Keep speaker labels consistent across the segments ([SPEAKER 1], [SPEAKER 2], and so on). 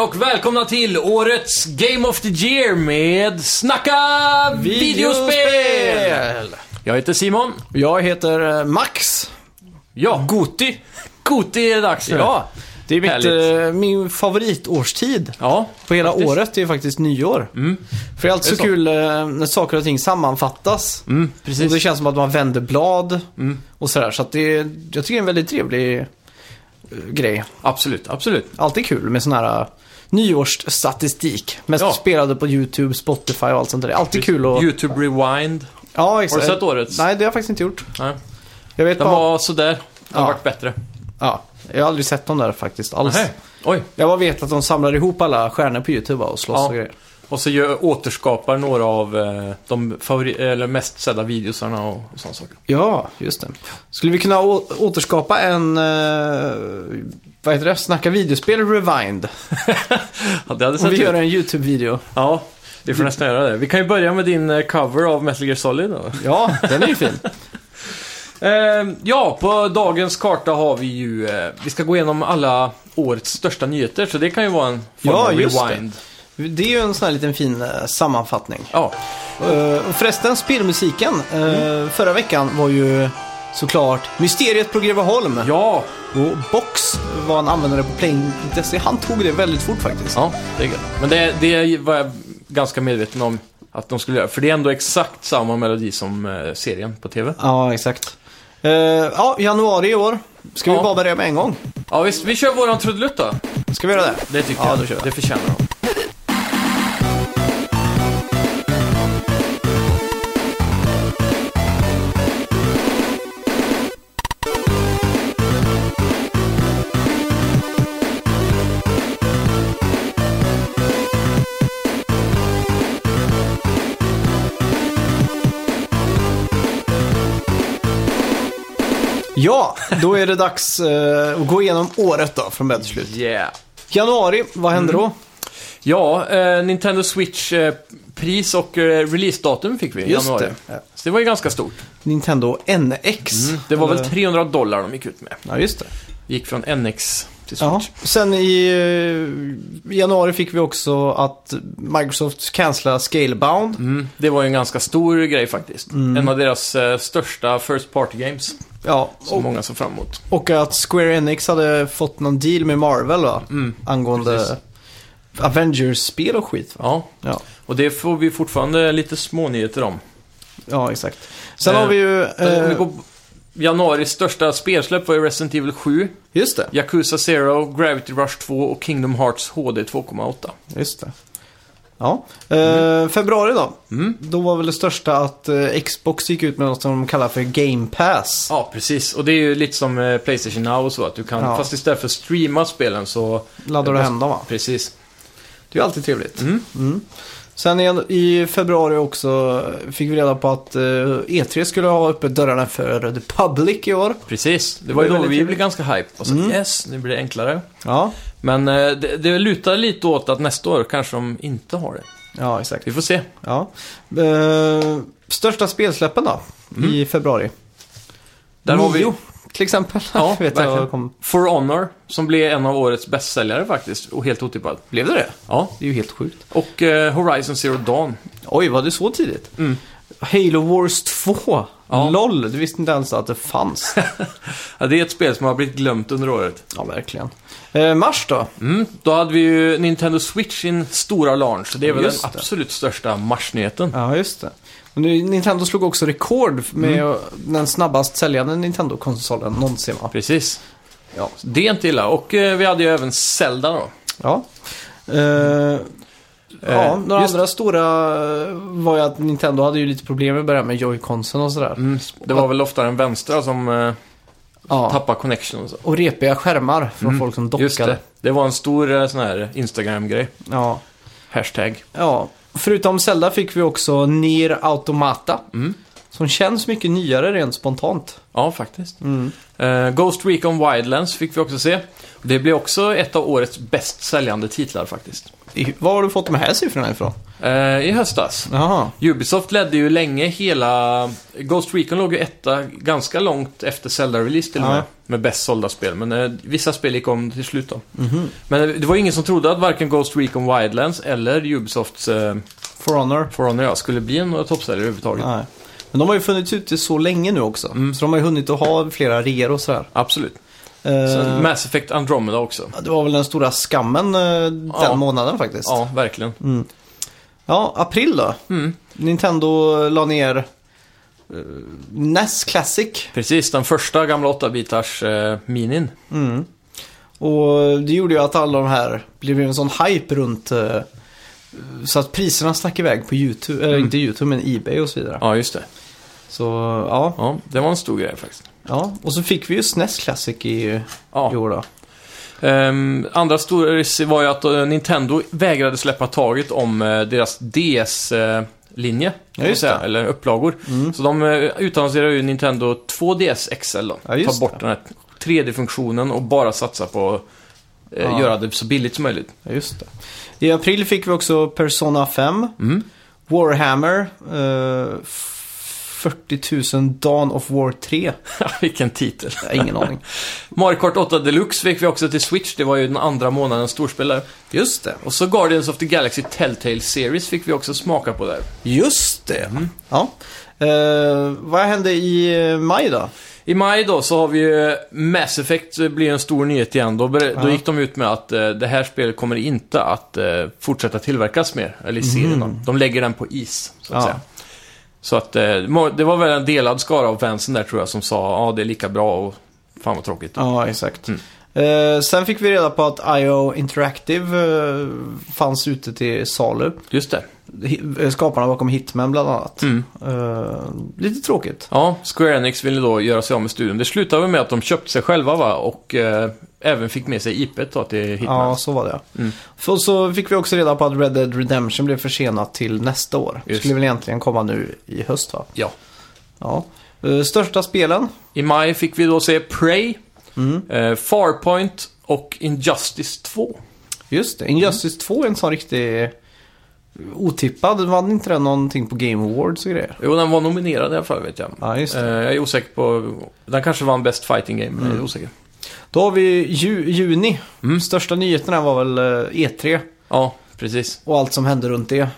[SPEAKER 1] och välkomna till årets Game of the Year med Snacka videospel! Jag heter Simon.
[SPEAKER 2] Jag heter eh, Max.
[SPEAKER 1] Ja, Goti. Goti är det dags nu.
[SPEAKER 2] Ja, det är mitt,
[SPEAKER 1] Härligt.
[SPEAKER 2] eh, min favoritårstid
[SPEAKER 1] Ja,
[SPEAKER 2] på hela
[SPEAKER 1] faktiskt. Mm.
[SPEAKER 2] året. Det är faktiskt nyår. För det är
[SPEAKER 1] Det är
[SPEAKER 2] alltid så
[SPEAKER 1] så.
[SPEAKER 2] kul eh, när saker och ting sammanfattas.
[SPEAKER 1] Mm,
[SPEAKER 2] Och det
[SPEAKER 1] precis.
[SPEAKER 2] känns som att man vänder blad
[SPEAKER 1] Mm.
[SPEAKER 2] och sådär. Så att det, jag tycker det är en väldigt trevlig eh, grej.
[SPEAKER 1] Absolut, absolut.
[SPEAKER 2] Alltid kul med sån här eh, nyårsstatistik. Mest
[SPEAKER 1] Ja.
[SPEAKER 2] spelade på YouTube, Spotify och allt sånt där. Det är Alltid kul att...
[SPEAKER 1] YouTube Rewind.
[SPEAKER 2] Ja, exakt.
[SPEAKER 1] Har du sett årets?
[SPEAKER 2] Nej, det har jag faktiskt inte gjort.
[SPEAKER 1] Nej.
[SPEAKER 2] Jag vet
[SPEAKER 1] Den
[SPEAKER 2] bara...
[SPEAKER 1] var sådär. Den har
[SPEAKER 2] Ja.
[SPEAKER 1] varit bättre.
[SPEAKER 2] Ja, jag har aldrig sett dem där faktiskt alls.
[SPEAKER 1] Nähä. Oj.
[SPEAKER 2] Jag bara vet att de samlar ihop alla stjärnor på YouTube och slåss
[SPEAKER 1] Ja.
[SPEAKER 2] och grejer.
[SPEAKER 1] Och så gör, återskapar några av eh, de favori- eller mest sedda videosarna och, och sådana saker.
[SPEAKER 2] Ja, just det. Skulle vi kunna å- återskapa en, eh, vad heter det, Snacka videospel Rewind?
[SPEAKER 1] Ja, det hade
[SPEAKER 2] Om
[SPEAKER 1] sett
[SPEAKER 2] vi
[SPEAKER 1] ut.
[SPEAKER 2] gör en YouTube-video.
[SPEAKER 1] Ja, vi får nästan göra det. Vi kan ju börja med din eh, cover av Metal Gear Solid då.
[SPEAKER 2] Ja, den är ju fin.
[SPEAKER 1] Eh, ja, på dagens karta har vi ju... Eh, vi ska gå igenom alla årets största nyheter, så det kan ju vara en form
[SPEAKER 2] Ja,
[SPEAKER 1] av
[SPEAKER 2] just det.
[SPEAKER 1] rewind.
[SPEAKER 2] Det är ju en sån här liten fin eh, sammanfattning.
[SPEAKER 1] Ja,
[SPEAKER 2] Eh, och förresten, spelmusiken eh, förra veckan var ju såklart Mysteriet på Greveholm.
[SPEAKER 1] ja,
[SPEAKER 2] Och Box var en användare på Playing.se. E. Han tog det väldigt fort faktiskt.
[SPEAKER 1] ja, det är gött. Men det, det var jag ganska medveten om att de skulle göra, för det är ändå exakt samma melodi som eh, serien på TV.
[SPEAKER 2] Ja, exakt. Eh, ja, januari i år. Ska vi
[SPEAKER 1] Ja.
[SPEAKER 2] bara börja med en gång?
[SPEAKER 1] Ja, visst, vi kör våran trudelutt då.
[SPEAKER 2] Ska vi göra det?
[SPEAKER 1] Det tycker
[SPEAKER 2] ja,
[SPEAKER 1] jag.
[SPEAKER 2] Då kör vi.
[SPEAKER 1] Det förtjänar de.
[SPEAKER 2] Ja, då är det dags eh, att gå igenom året då, från början till slut.
[SPEAKER 1] Yeah.
[SPEAKER 2] Januari, vad hände
[SPEAKER 1] Mm.
[SPEAKER 2] då?
[SPEAKER 1] Ja, eh, Nintendo Switch eh, pris och eh, releasedatum fick vi i
[SPEAKER 2] Just
[SPEAKER 1] januari.
[SPEAKER 2] det.
[SPEAKER 1] Så det var ju ganska stort.
[SPEAKER 2] Nintendo NX.
[SPEAKER 1] Mm, Det var väl
[SPEAKER 2] Eller-
[SPEAKER 1] 300 dollar de gick ut med.
[SPEAKER 2] Ja, just det.
[SPEAKER 1] Gick från NX till Switch.
[SPEAKER 2] Ja. Sen i eh, januari fick vi också att Microsoft cancellade Scalebound.
[SPEAKER 1] Mm, det var ju en ganska stor grej faktiskt.
[SPEAKER 2] Mm.
[SPEAKER 1] En av deras eh, största First Party Games.
[SPEAKER 2] Ja,
[SPEAKER 1] Som
[SPEAKER 2] och,
[SPEAKER 1] många såg fram emot.
[SPEAKER 2] och att Square Enix hade fått någon deal med Marvel va? Angående
[SPEAKER 1] Mm, precis.
[SPEAKER 2] Avengers-spel och skit va?
[SPEAKER 1] Ja,
[SPEAKER 2] Ja.
[SPEAKER 1] och det får vi fortfarande lite smånyheter om.
[SPEAKER 2] Ja, exakt. Sen
[SPEAKER 1] Eh,
[SPEAKER 2] har vi ju...
[SPEAKER 1] Om vi
[SPEAKER 2] Eh,
[SPEAKER 1] går på- Januaris största spelsläpp var ju Resident Evil 7,
[SPEAKER 2] just det.
[SPEAKER 1] Yakuza Zero, Gravity Rush 2 och Kingdom Hearts HD 2.8.
[SPEAKER 2] Just det. Ja. Eh, februari då.
[SPEAKER 1] Mm.
[SPEAKER 2] Då var väl det största att eh, Xbox gick ut med något som de kallar för Game Pass.
[SPEAKER 1] Ja, precis. Och det är ju lite som eh, Playstation Now och så, att du kan,
[SPEAKER 2] Ja.
[SPEAKER 1] fast istället för att streama spelen så...
[SPEAKER 2] Laddar du
[SPEAKER 1] Eh,
[SPEAKER 2] hem dem va?
[SPEAKER 1] Precis.
[SPEAKER 2] Det är ju alltid trevligt.
[SPEAKER 1] Mm.
[SPEAKER 2] Sen igen, i februari också fick vi reda på att eh, E3 skulle ha öppet dörrarna för The Public i år.
[SPEAKER 1] Precis. Det var ju
[SPEAKER 2] Det var
[SPEAKER 1] då
[SPEAKER 2] väldigt
[SPEAKER 1] vi
[SPEAKER 2] trevligt.
[SPEAKER 1] blev ganska hype. Och så
[SPEAKER 2] Mm.
[SPEAKER 1] yes, nu blir det enklare.
[SPEAKER 2] Ja,
[SPEAKER 1] Men eh, det, det lutar lite åt att nästa år kanske de inte har det.
[SPEAKER 2] ja exakt.
[SPEAKER 1] Vi får se.
[SPEAKER 2] Ja. Eh, största spelsläppen då i februari?
[SPEAKER 1] Mm. Där har vi-
[SPEAKER 2] Nio, till exempel.
[SPEAKER 1] Ja,
[SPEAKER 2] Vet jag,
[SPEAKER 1] verkligen.
[SPEAKER 2] jag kom...
[SPEAKER 1] For Honor, som blev en av årets bästsäljare faktiskt, och helt otippad.
[SPEAKER 2] Blev det det?
[SPEAKER 1] Ja.
[SPEAKER 2] Det är ju helt sjukt.
[SPEAKER 1] Och eh, Horizon Zero Dawn.
[SPEAKER 2] Oj, var det så tidigt?
[SPEAKER 1] Mm.
[SPEAKER 2] Halo Wars 2.
[SPEAKER 1] Ja.
[SPEAKER 2] LOL, du visste inte ens att det fanns.
[SPEAKER 1] Ja, det är ett spel som har blivit glömt under året.
[SPEAKER 2] ja, verkligen. Eh, mars då?
[SPEAKER 1] Mm, då hade vi ju Nintendo Switch sin stora launch. så Det är väl
[SPEAKER 2] Just
[SPEAKER 1] den
[SPEAKER 2] det.
[SPEAKER 1] absolut största marsnyheten.
[SPEAKER 2] Ja, just det. Och nu, Nintendo slog också rekord med
[SPEAKER 1] Mm.
[SPEAKER 2] eh, den snabbast säljande Nintendo-konsolen någonsin va?
[SPEAKER 1] Precis.
[SPEAKER 2] Ja.
[SPEAKER 1] Det är inte illa. Och eh, vi hade ju även Zelda då.
[SPEAKER 2] Ja. Eh, ja,
[SPEAKER 1] Eh,
[SPEAKER 2] några
[SPEAKER 1] just-
[SPEAKER 2] andra stora eh, var ju att Nintendo hade ju lite problem i början med Joy-Consen och sådär.
[SPEAKER 1] Mm, det var väl ofta den vänstra som eh,
[SPEAKER 2] Ja.
[SPEAKER 1] tappade connection och så.
[SPEAKER 2] Och repiga skärmar från folk som dockade.
[SPEAKER 1] Mm. Just det. Det var en stor eh, sån här Instagram-grej.
[SPEAKER 2] Ja.
[SPEAKER 1] Hashtag.
[SPEAKER 2] Ja, förutom Zelda fick vi också Nier Automata. Som känns mycket nyare rent spontant.
[SPEAKER 1] Mm. Ja, faktiskt.
[SPEAKER 2] Mm.
[SPEAKER 1] Eh, Ghost Recon Wildlands fick vi också se. Det blev också ett av årets bäst säljande titlar faktiskt.
[SPEAKER 2] I- Var har du fått de här siffrorna ifrån?
[SPEAKER 1] Eh, I höstas.
[SPEAKER 2] Jaha.
[SPEAKER 1] Ubisoft ledde ju länge hela... Ghost Recon låg ju etta ganska långt efter Zelda-release till och
[SPEAKER 2] Ja.
[SPEAKER 1] med. Med bäst sålda spel, men eh, vissa spel gick om till slut då.
[SPEAKER 2] Mhm.
[SPEAKER 1] Men eh, det var ingen som trodde att varken Ghost Recon Wildlands eller Ubisofts eh,
[SPEAKER 2] For Honor.
[SPEAKER 1] For Honor ja, skulle bli en toppsäljare överhuvudtaget.
[SPEAKER 2] Nej. Mm. Men de har ju funnits ute så länge nu också. Så de har ju hunnit att ha flera reor och sådär.
[SPEAKER 1] Absolut.
[SPEAKER 2] Eh,
[SPEAKER 1] Sen Mass Effect Andromeda också.
[SPEAKER 2] det var väl den stora skammen eh, den
[SPEAKER 1] Ja.
[SPEAKER 2] månaden faktiskt.
[SPEAKER 1] Ja, verkligen.
[SPEAKER 2] Mm. Ja, april då.
[SPEAKER 1] Mm.
[SPEAKER 2] Nintendo la ner eh, NES Classic.
[SPEAKER 1] Precis, den första gamla 8-bitars eh, minin.
[SPEAKER 2] Och det gjorde ju att alla de här blev en sån hype runt eh, så att priserna stack iväg på YouTube, eller inte YouTube men Ebay och så vidare.
[SPEAKER 1] Ja, just det.
[SPEAKER 2] Så ja,
[SPEAKER 1] Ja, det var en stor grej faktiskt.
[SPEAKER 2] ja. Och så fick vi ju SNES Classic i
[SPEAKER 1] Ja.
[SPEAKER 2] i år då.
[SPEAKER 1] Ehm, andra stora risk var ju att eh, Nintendo vägrade släppa taget om eh, deras eh, DS-linje.
[SPEAKER 2] just det. Mm.
[SPEAKER 1] Eller upplagor. Så de eh, utannonserade ju Nintendo 2DS XL då.
[SPEAKER 2] Ja, just
[SPEAKER 1] Ta bort den här 3D-funktionen och bara satsa på att eh,
[SPEAKER 2] Ja.
[SPEAKER 1] göra det så billigt som möjligt.
[SPEAKER 2] Ja, just det. I april fick vi också Persona 5, Warhammer, eh, 40 000 Dawn of War 3.
[SPEAKER 1] Vilken titel.
[SPEAKER 2] Jag har ingen aning.
[SPEAKER 1] Mario Kart 8 Deluxe fick vi också till Switch. Det var ju den andra månaden storspelare.
[SPEAKER 2] Just det.
[SPEAKER 1] Och så Guardians of the Galaxy Telltale Series fick vi också smaka på där.
[SPEAKER 2] Just det. Mm. Ja. Eh, vad hände i eh, maj då?
[SPEAKER 1] I maj då så har vi ju Mass Effect eh, blir en stor nyhet igen. Då, ber- då
[SPEAKER 2] Ja.
[SPEAKER 1] gick de ut med att eh, det här spelet kommer inte att eh, fortsätta tillverkas mer, eller i serien då. De lägger den på is, så att
[SPEAKER 2] Mhm. Ja.
[SPEAKER 1] säga. Så att eh, må- det var väl en delad skara av fansen där tror jag som sa ja ah, det är lika bra och fan vad tråkigt.
[SPEAKER 2] Ja, exakt. Eh, sen fick vi reda på att IO Interactive eh, fanns ute till salu.
[SPEAKER 1] Just det.
[SPEAKER 2] Hi- eh, Skaparna bakom Hitman bland annat. Eh, lite tråkigt.
[SPEAKER 1] Ja, Square Enix ville då göra sig av med studion. Det slutade väl med att de köpte sig själva va? Och eh, även fick med sig IPet då till Hitman.
[SPEAKER 2] Ja, så var det. ja. Och så fick vi också reda på att Red Dead Redemption blev försenat till nästa år.
[SPEAKER 1] Just.
[SPEAKER 2] Skulle väl egentligen komma nu i höst va?
[SPEAKER 1] ja.
[SPEAKER 2] Ja. Eh, Största spelen?
[SPEAKER 1] I maj fick vi då se Prey,
[SPEAKER 2] Mm.
[SPEAKER 1] eh, Farpoint och Injustice 2.
[SPEAKER 2] Just det. Injustice 2 är en sån riktig otippad. Vann inte den någonting på Game Awards och grejer?
[SPEAKER 1] Jo, den var nominerad i alla fall vet jag.
[SPEAKER 2] Ja, just det. Mm.
[SPEAKER 1] Eh, jag är osäker på... Den kanske vann Best Fighting Game, men jag är osäker.
[SPEAKER 2] Då har vi ju, juni. Största nyheterna var väl eh, E3
[SPEAKER 1] Ja, precis.
[SPEAKER 2] och allt som hände runt det. Eh,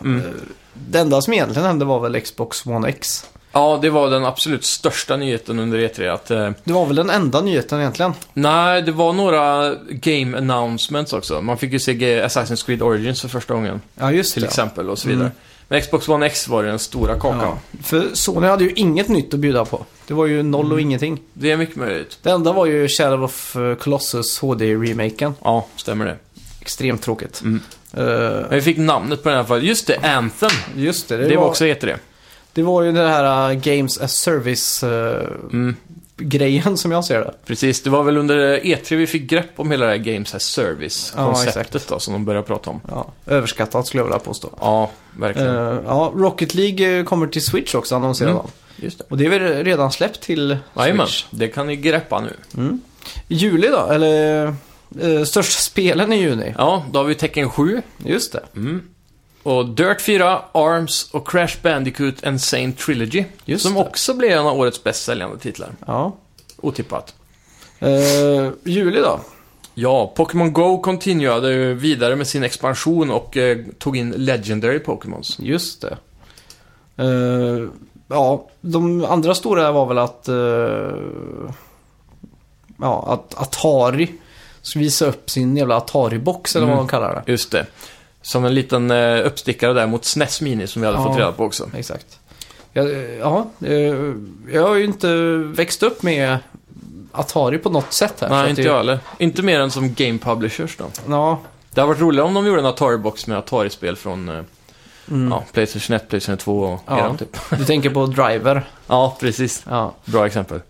[SPEAKER 2] Det enda som egentligen hände var väl Xbox One X.
[SPEAKER 1] Ja, det var den absolut största nyheten under E3. Att, eh,
[SPEAKER 2] Det var väl den enda nyheten egentligen.
[SPEAKER 1] nej, det var några game announcements också. Man fick ju se G- Assassin's Creed Origins för första gången,
[SPEAKER 2] Ja, just
[SPEAKER 1] till exempel, och så vidare. Men Xbox One X var ju den stora kakan.
[SPEAKER 2] Ja. För Sony hade ju inget nytt att bjuda på. Det var ju noll
[SPEAKER 1] Mm.
[SPEAKER 2] och ingenting.
[SPEAKER 1] Det är mycket möjligt.
[SPEAKER 2] Det enda var ju Shadow of eh, Colossus HD-remaken.
[SPEAKER 1] Ja, stämmer det.
[SPEAKER 2] Extremt tråkigt.
[SPEAKER 1] Mm.
[SPEAKER 2] Eh,
[SPEAKER 1] Men vi fick namnet på den i alla fall. Just det, Anthem.
[SPEAKER 2] just det,
[SPEAKER 1] Det,
[SPEAKER 2] det,
[SPEAKER 1] var
[SPEAKER 2] var,
[SPEAKER 1] också E E3.
[SPEAKER 2] det var ju det här eh, Games as
[SPEAKER 1] Mm.
[SPEAKER 2] Service-grejen som jag ser det.
[SPEAKER 1] Precis, det var väl under E3 vi fick grepp om hela det här Games as
[SPEAKER 2] Ja,
[SPEAKER 1] Service-konceptet då, som de började prata om.
[SPEAKER 2] Ja, överskattat skulle jag vilja påstå.
[SPEAKER 1] Ja, verkligen.
[SPEAKER 2] Eh, ja, Rocket League eh, kommer till Switch också annonserade
[SPEAKER 1] Mm.
[SPEAKER 2] de.
[SPEAKER 1] Just det.
[SPEAKER 2] Och det är väl redan släppt till
[SPEAKER 1] Jajamän,
[SPEAKER 2] Switch.
[SPEAKER 1] det kan ni greppa nu.
[SPEAKER 2] I juli då, eller eh, största spelen i juni.
[SPEAKER 1] Ja, Mm. då har vi Tekken 7
[SPEAKER 2] Just det,
[SPEAKER 1] och Dirt 4, Arms och Crash Bandicoot Insane Trilogy.
[SPEAKER 2] Just
[SPEAKER 1] som
[SPEAKER 2] det.
[SPEAKER 1] också blir en av årets bäst säljande titlar.
[SPEAKER 2] ja.
[SPEAKER 1] Otippat.
[SPEAKER 2] Eh, juli då?
[SPEAKER 1] Ja, Pokémon Go continuade ju vidare med sin expansion och eh, tog in Legendary Pokémons.
[SPEAKER 2] Just det. Eh, ja, de andra stora var väl att... eh, ja, att Atari ska visa upp sin jävla Atari-box eller vad de kallar det.
[SPEAKER 1] Just det. Som en liten eh, uppstickare där mot SNES Mini som vi hade
[SPEAKER 2] Ja.
[SPEAKER 1] fått reda på också.
[SPEAKER 2] Exakt. Ja, eh, ja, eh, jag har ju inte växt upp med Atari på något sätt här. så att
[SPEAKER 1] Nej, inte
[SPEAKER 2] det,
[SPEAKER 1] jag heller. Inte mer än som Game Publishers då.
[SPEAKER 2] Ja,
[SPEAKER 1] Det hade varit roligare om de gjorde en Atari-box med Atari-spel från eh, ja, Playstation 1, Playstation 2 och
[SPEAKER 2] Ja.
[SPEAKER 1] eran typ.
[SPEAKER 2] du tänker på Driver.
[SPEAKER 1] Ja, precis.
[SPEAKER 2] Ja.
[SPEAKER 1] Bra exempel.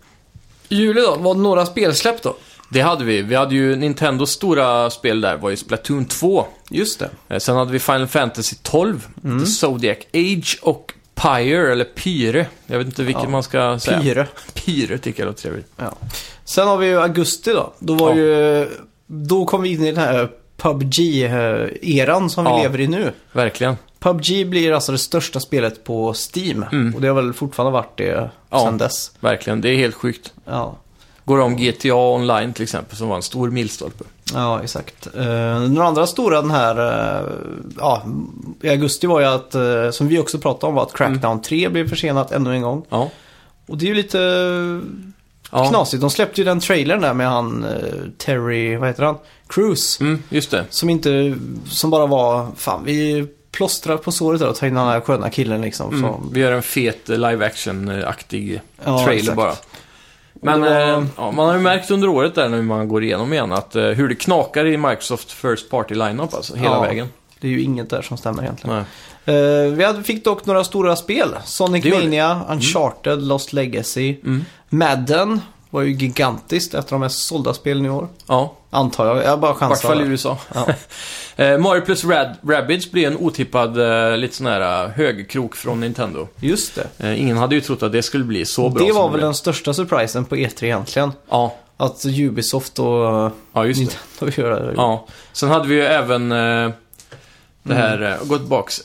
[SPEAKER 2] I Juli då, var det några spelsläpp då?
[SPEAKER 1] Det hade vi. Vi hade ju Nintendos stora spel där, var ju Splatoon 2.
[SPEAKER 2] Just det.
[SPEAKER 1] Eh, Sen hade vi Final Fantasy 12, The Zodiac Age och Pyre, eller Pyre. Jag vet inte vilket
[SPEAKER 2] Ja.
[SPEAKER 1] man ska säga.
[SPEAKER 2] Pyre.
[SPEAKER 1] Pyre tycker jag låter trevligt.
[SPEAKER 2] Ja. Sen har vi ju augusti då. Då var
[SPEAKER 1] Ja.
[SPEAKER 2] ju... Då kom vi in i den här PubG-eran eh, som
[SPEAKER 1] Ja.
[SPEAKER 2] vi lever i nu.
[SPEAKER 1] Verkligen.
[SPEAKER 2] PubG blir alltså det största spelet på Steam. Och det har väl fortfarande varit det
[SPEAKER 1] Mm. Ja.
[SPEAKER 2] sedan dess.
[SPEAKER 1] Verkligen. Det är helt sjukt.
[SPEAKER 2] Ja.
[SPEAKER 1] Går om GTA online till exempel, som var en stor milstolpe.
[SPEAKER 2] Ja, exakt. Eh, den andra stora den här, eh, ja, i augusti var ju att, eh, som vi också pratade om, var att
[SPEAKER 1] Mm.
[SPEAKER 2] Crackdown 3 blev försenat ännu en gång.
[SPEAKER 1] Ja.
[SPEAKER 2] Och det är ju lite eh,
[SPEAKER 1] ja.
[SPEAKER 2] knasigt. De släppte ju den trailern där med han eh, Terry, vad heter han? Cruise.
[SPEAKER 1] Mm, just det.
[SPEAKER 2] Som inte, som bara var, fan vi plåstrar på såret där och tar in den här sköna killen liksom.
[SPEAKER 1] Mm.
[SPEAKER 2] Som,
[SPEAKER 1] Vi gör en fet eh, live action-aktig eh,
[SPEAKER 2] Ja,
[SPEAKER 1] trailer
[SPEAKER 2] exakt.
[SPEAKER 1] bara. Men
[SPEAKER 2] det var-
[SPEAKER 1] eh, ja, man har ju märkt under året där när man går igenom igen att eh, hur det knakar i Microsoft First Party Lineup alltså, hela
[SPEAKER 2] Ja.
[SPEAKER 1] vägen.
[SPEAKER 2] det är ju inget där som stämmer egentligen.
[SPEAKER 1] Nej.
[SPEAKER 2] Eh, vi hade, fick dock några stora spel. Sonic
[SPEAKER 1] Det gjorde
[SPEAKER 2] Mania, Uncharted, Lost Legacy.
[SPEAKER 1] Mm.
[SPEAKER 2] Madden var ju gigantiskt efter de mest sålda spelen i år.
[SPEAKER 1] Ja,
[SPEAKER 2] Antar jag. Jag bara
[SPEAKER 1] i vart
[SPEAKER 2] chansar.
[SPEAKER 1] fall i
[SPEAKER 2] där.
[SPEAKER 1] USA.
[SPEAKER 2] Ja.
[SPEAKER 1] Eh, Mario plus Rad- Rabbids blir en otippad eh, lite sån här eh, högkrok från Nintendo.
[SPEAKER 2] Just det.
[SPEAKER 1] Eh, ingen hade ju trott att det skulle bli så bra
[SPEAKER 2] Det
[SPEAKER 1] som
[SPEAKER 2] var väl
[SPEAKER 1] blev.
[SPEAKER 2] den största surprisen på E3 egentligen.
[SPEAKER 1] Ja,
[SPEAKER 2] Att Ubisoft och
[SPEAKER 1] ja just det.
[SPEAKER 2] Nintendo gör det.
[SPEAKER 1] Ja. Sen hade vi ju även eh, det här,
[SPEAKER 2] Mm.
[SPEAKER 1] eh, gå tillbaks.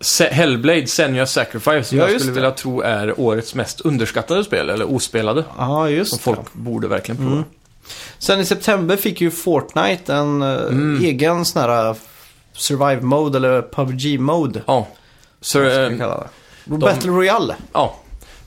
[SPEAKER 1] Se- Hellblade Senua Sacrifice som
[SPEAKER 2] Ja,
[SPEAKER 1] jag
[SPEAKER 2] just
[SPEAKER 1] skulle
[SPEAKER 2] det.
[SPEAKER 1] vilja tro är årets mest underskattade spel, eller ospelade.
[SPEAKER 2] Ja,
[SPEAKER 1] Som
[SPEAKER 2] just det.
[SPEAKER 1] folk borde verkligen prova.
[SPEAKER 2] Mm. Sen i september fick ju Fortnite en eh,
[SPEAKER 1] Mm.
[SPEAKER 2] egen sån här eh, Survive Mode eller PubG Mode.
[SPEAKER 1] Ja. Så,
[SPEAKER 2] Ska
[SPEAKER 1] eh,
[SPEAKER 2] vi kalla det. Battle Royale.
[SPEAKER 1] ja.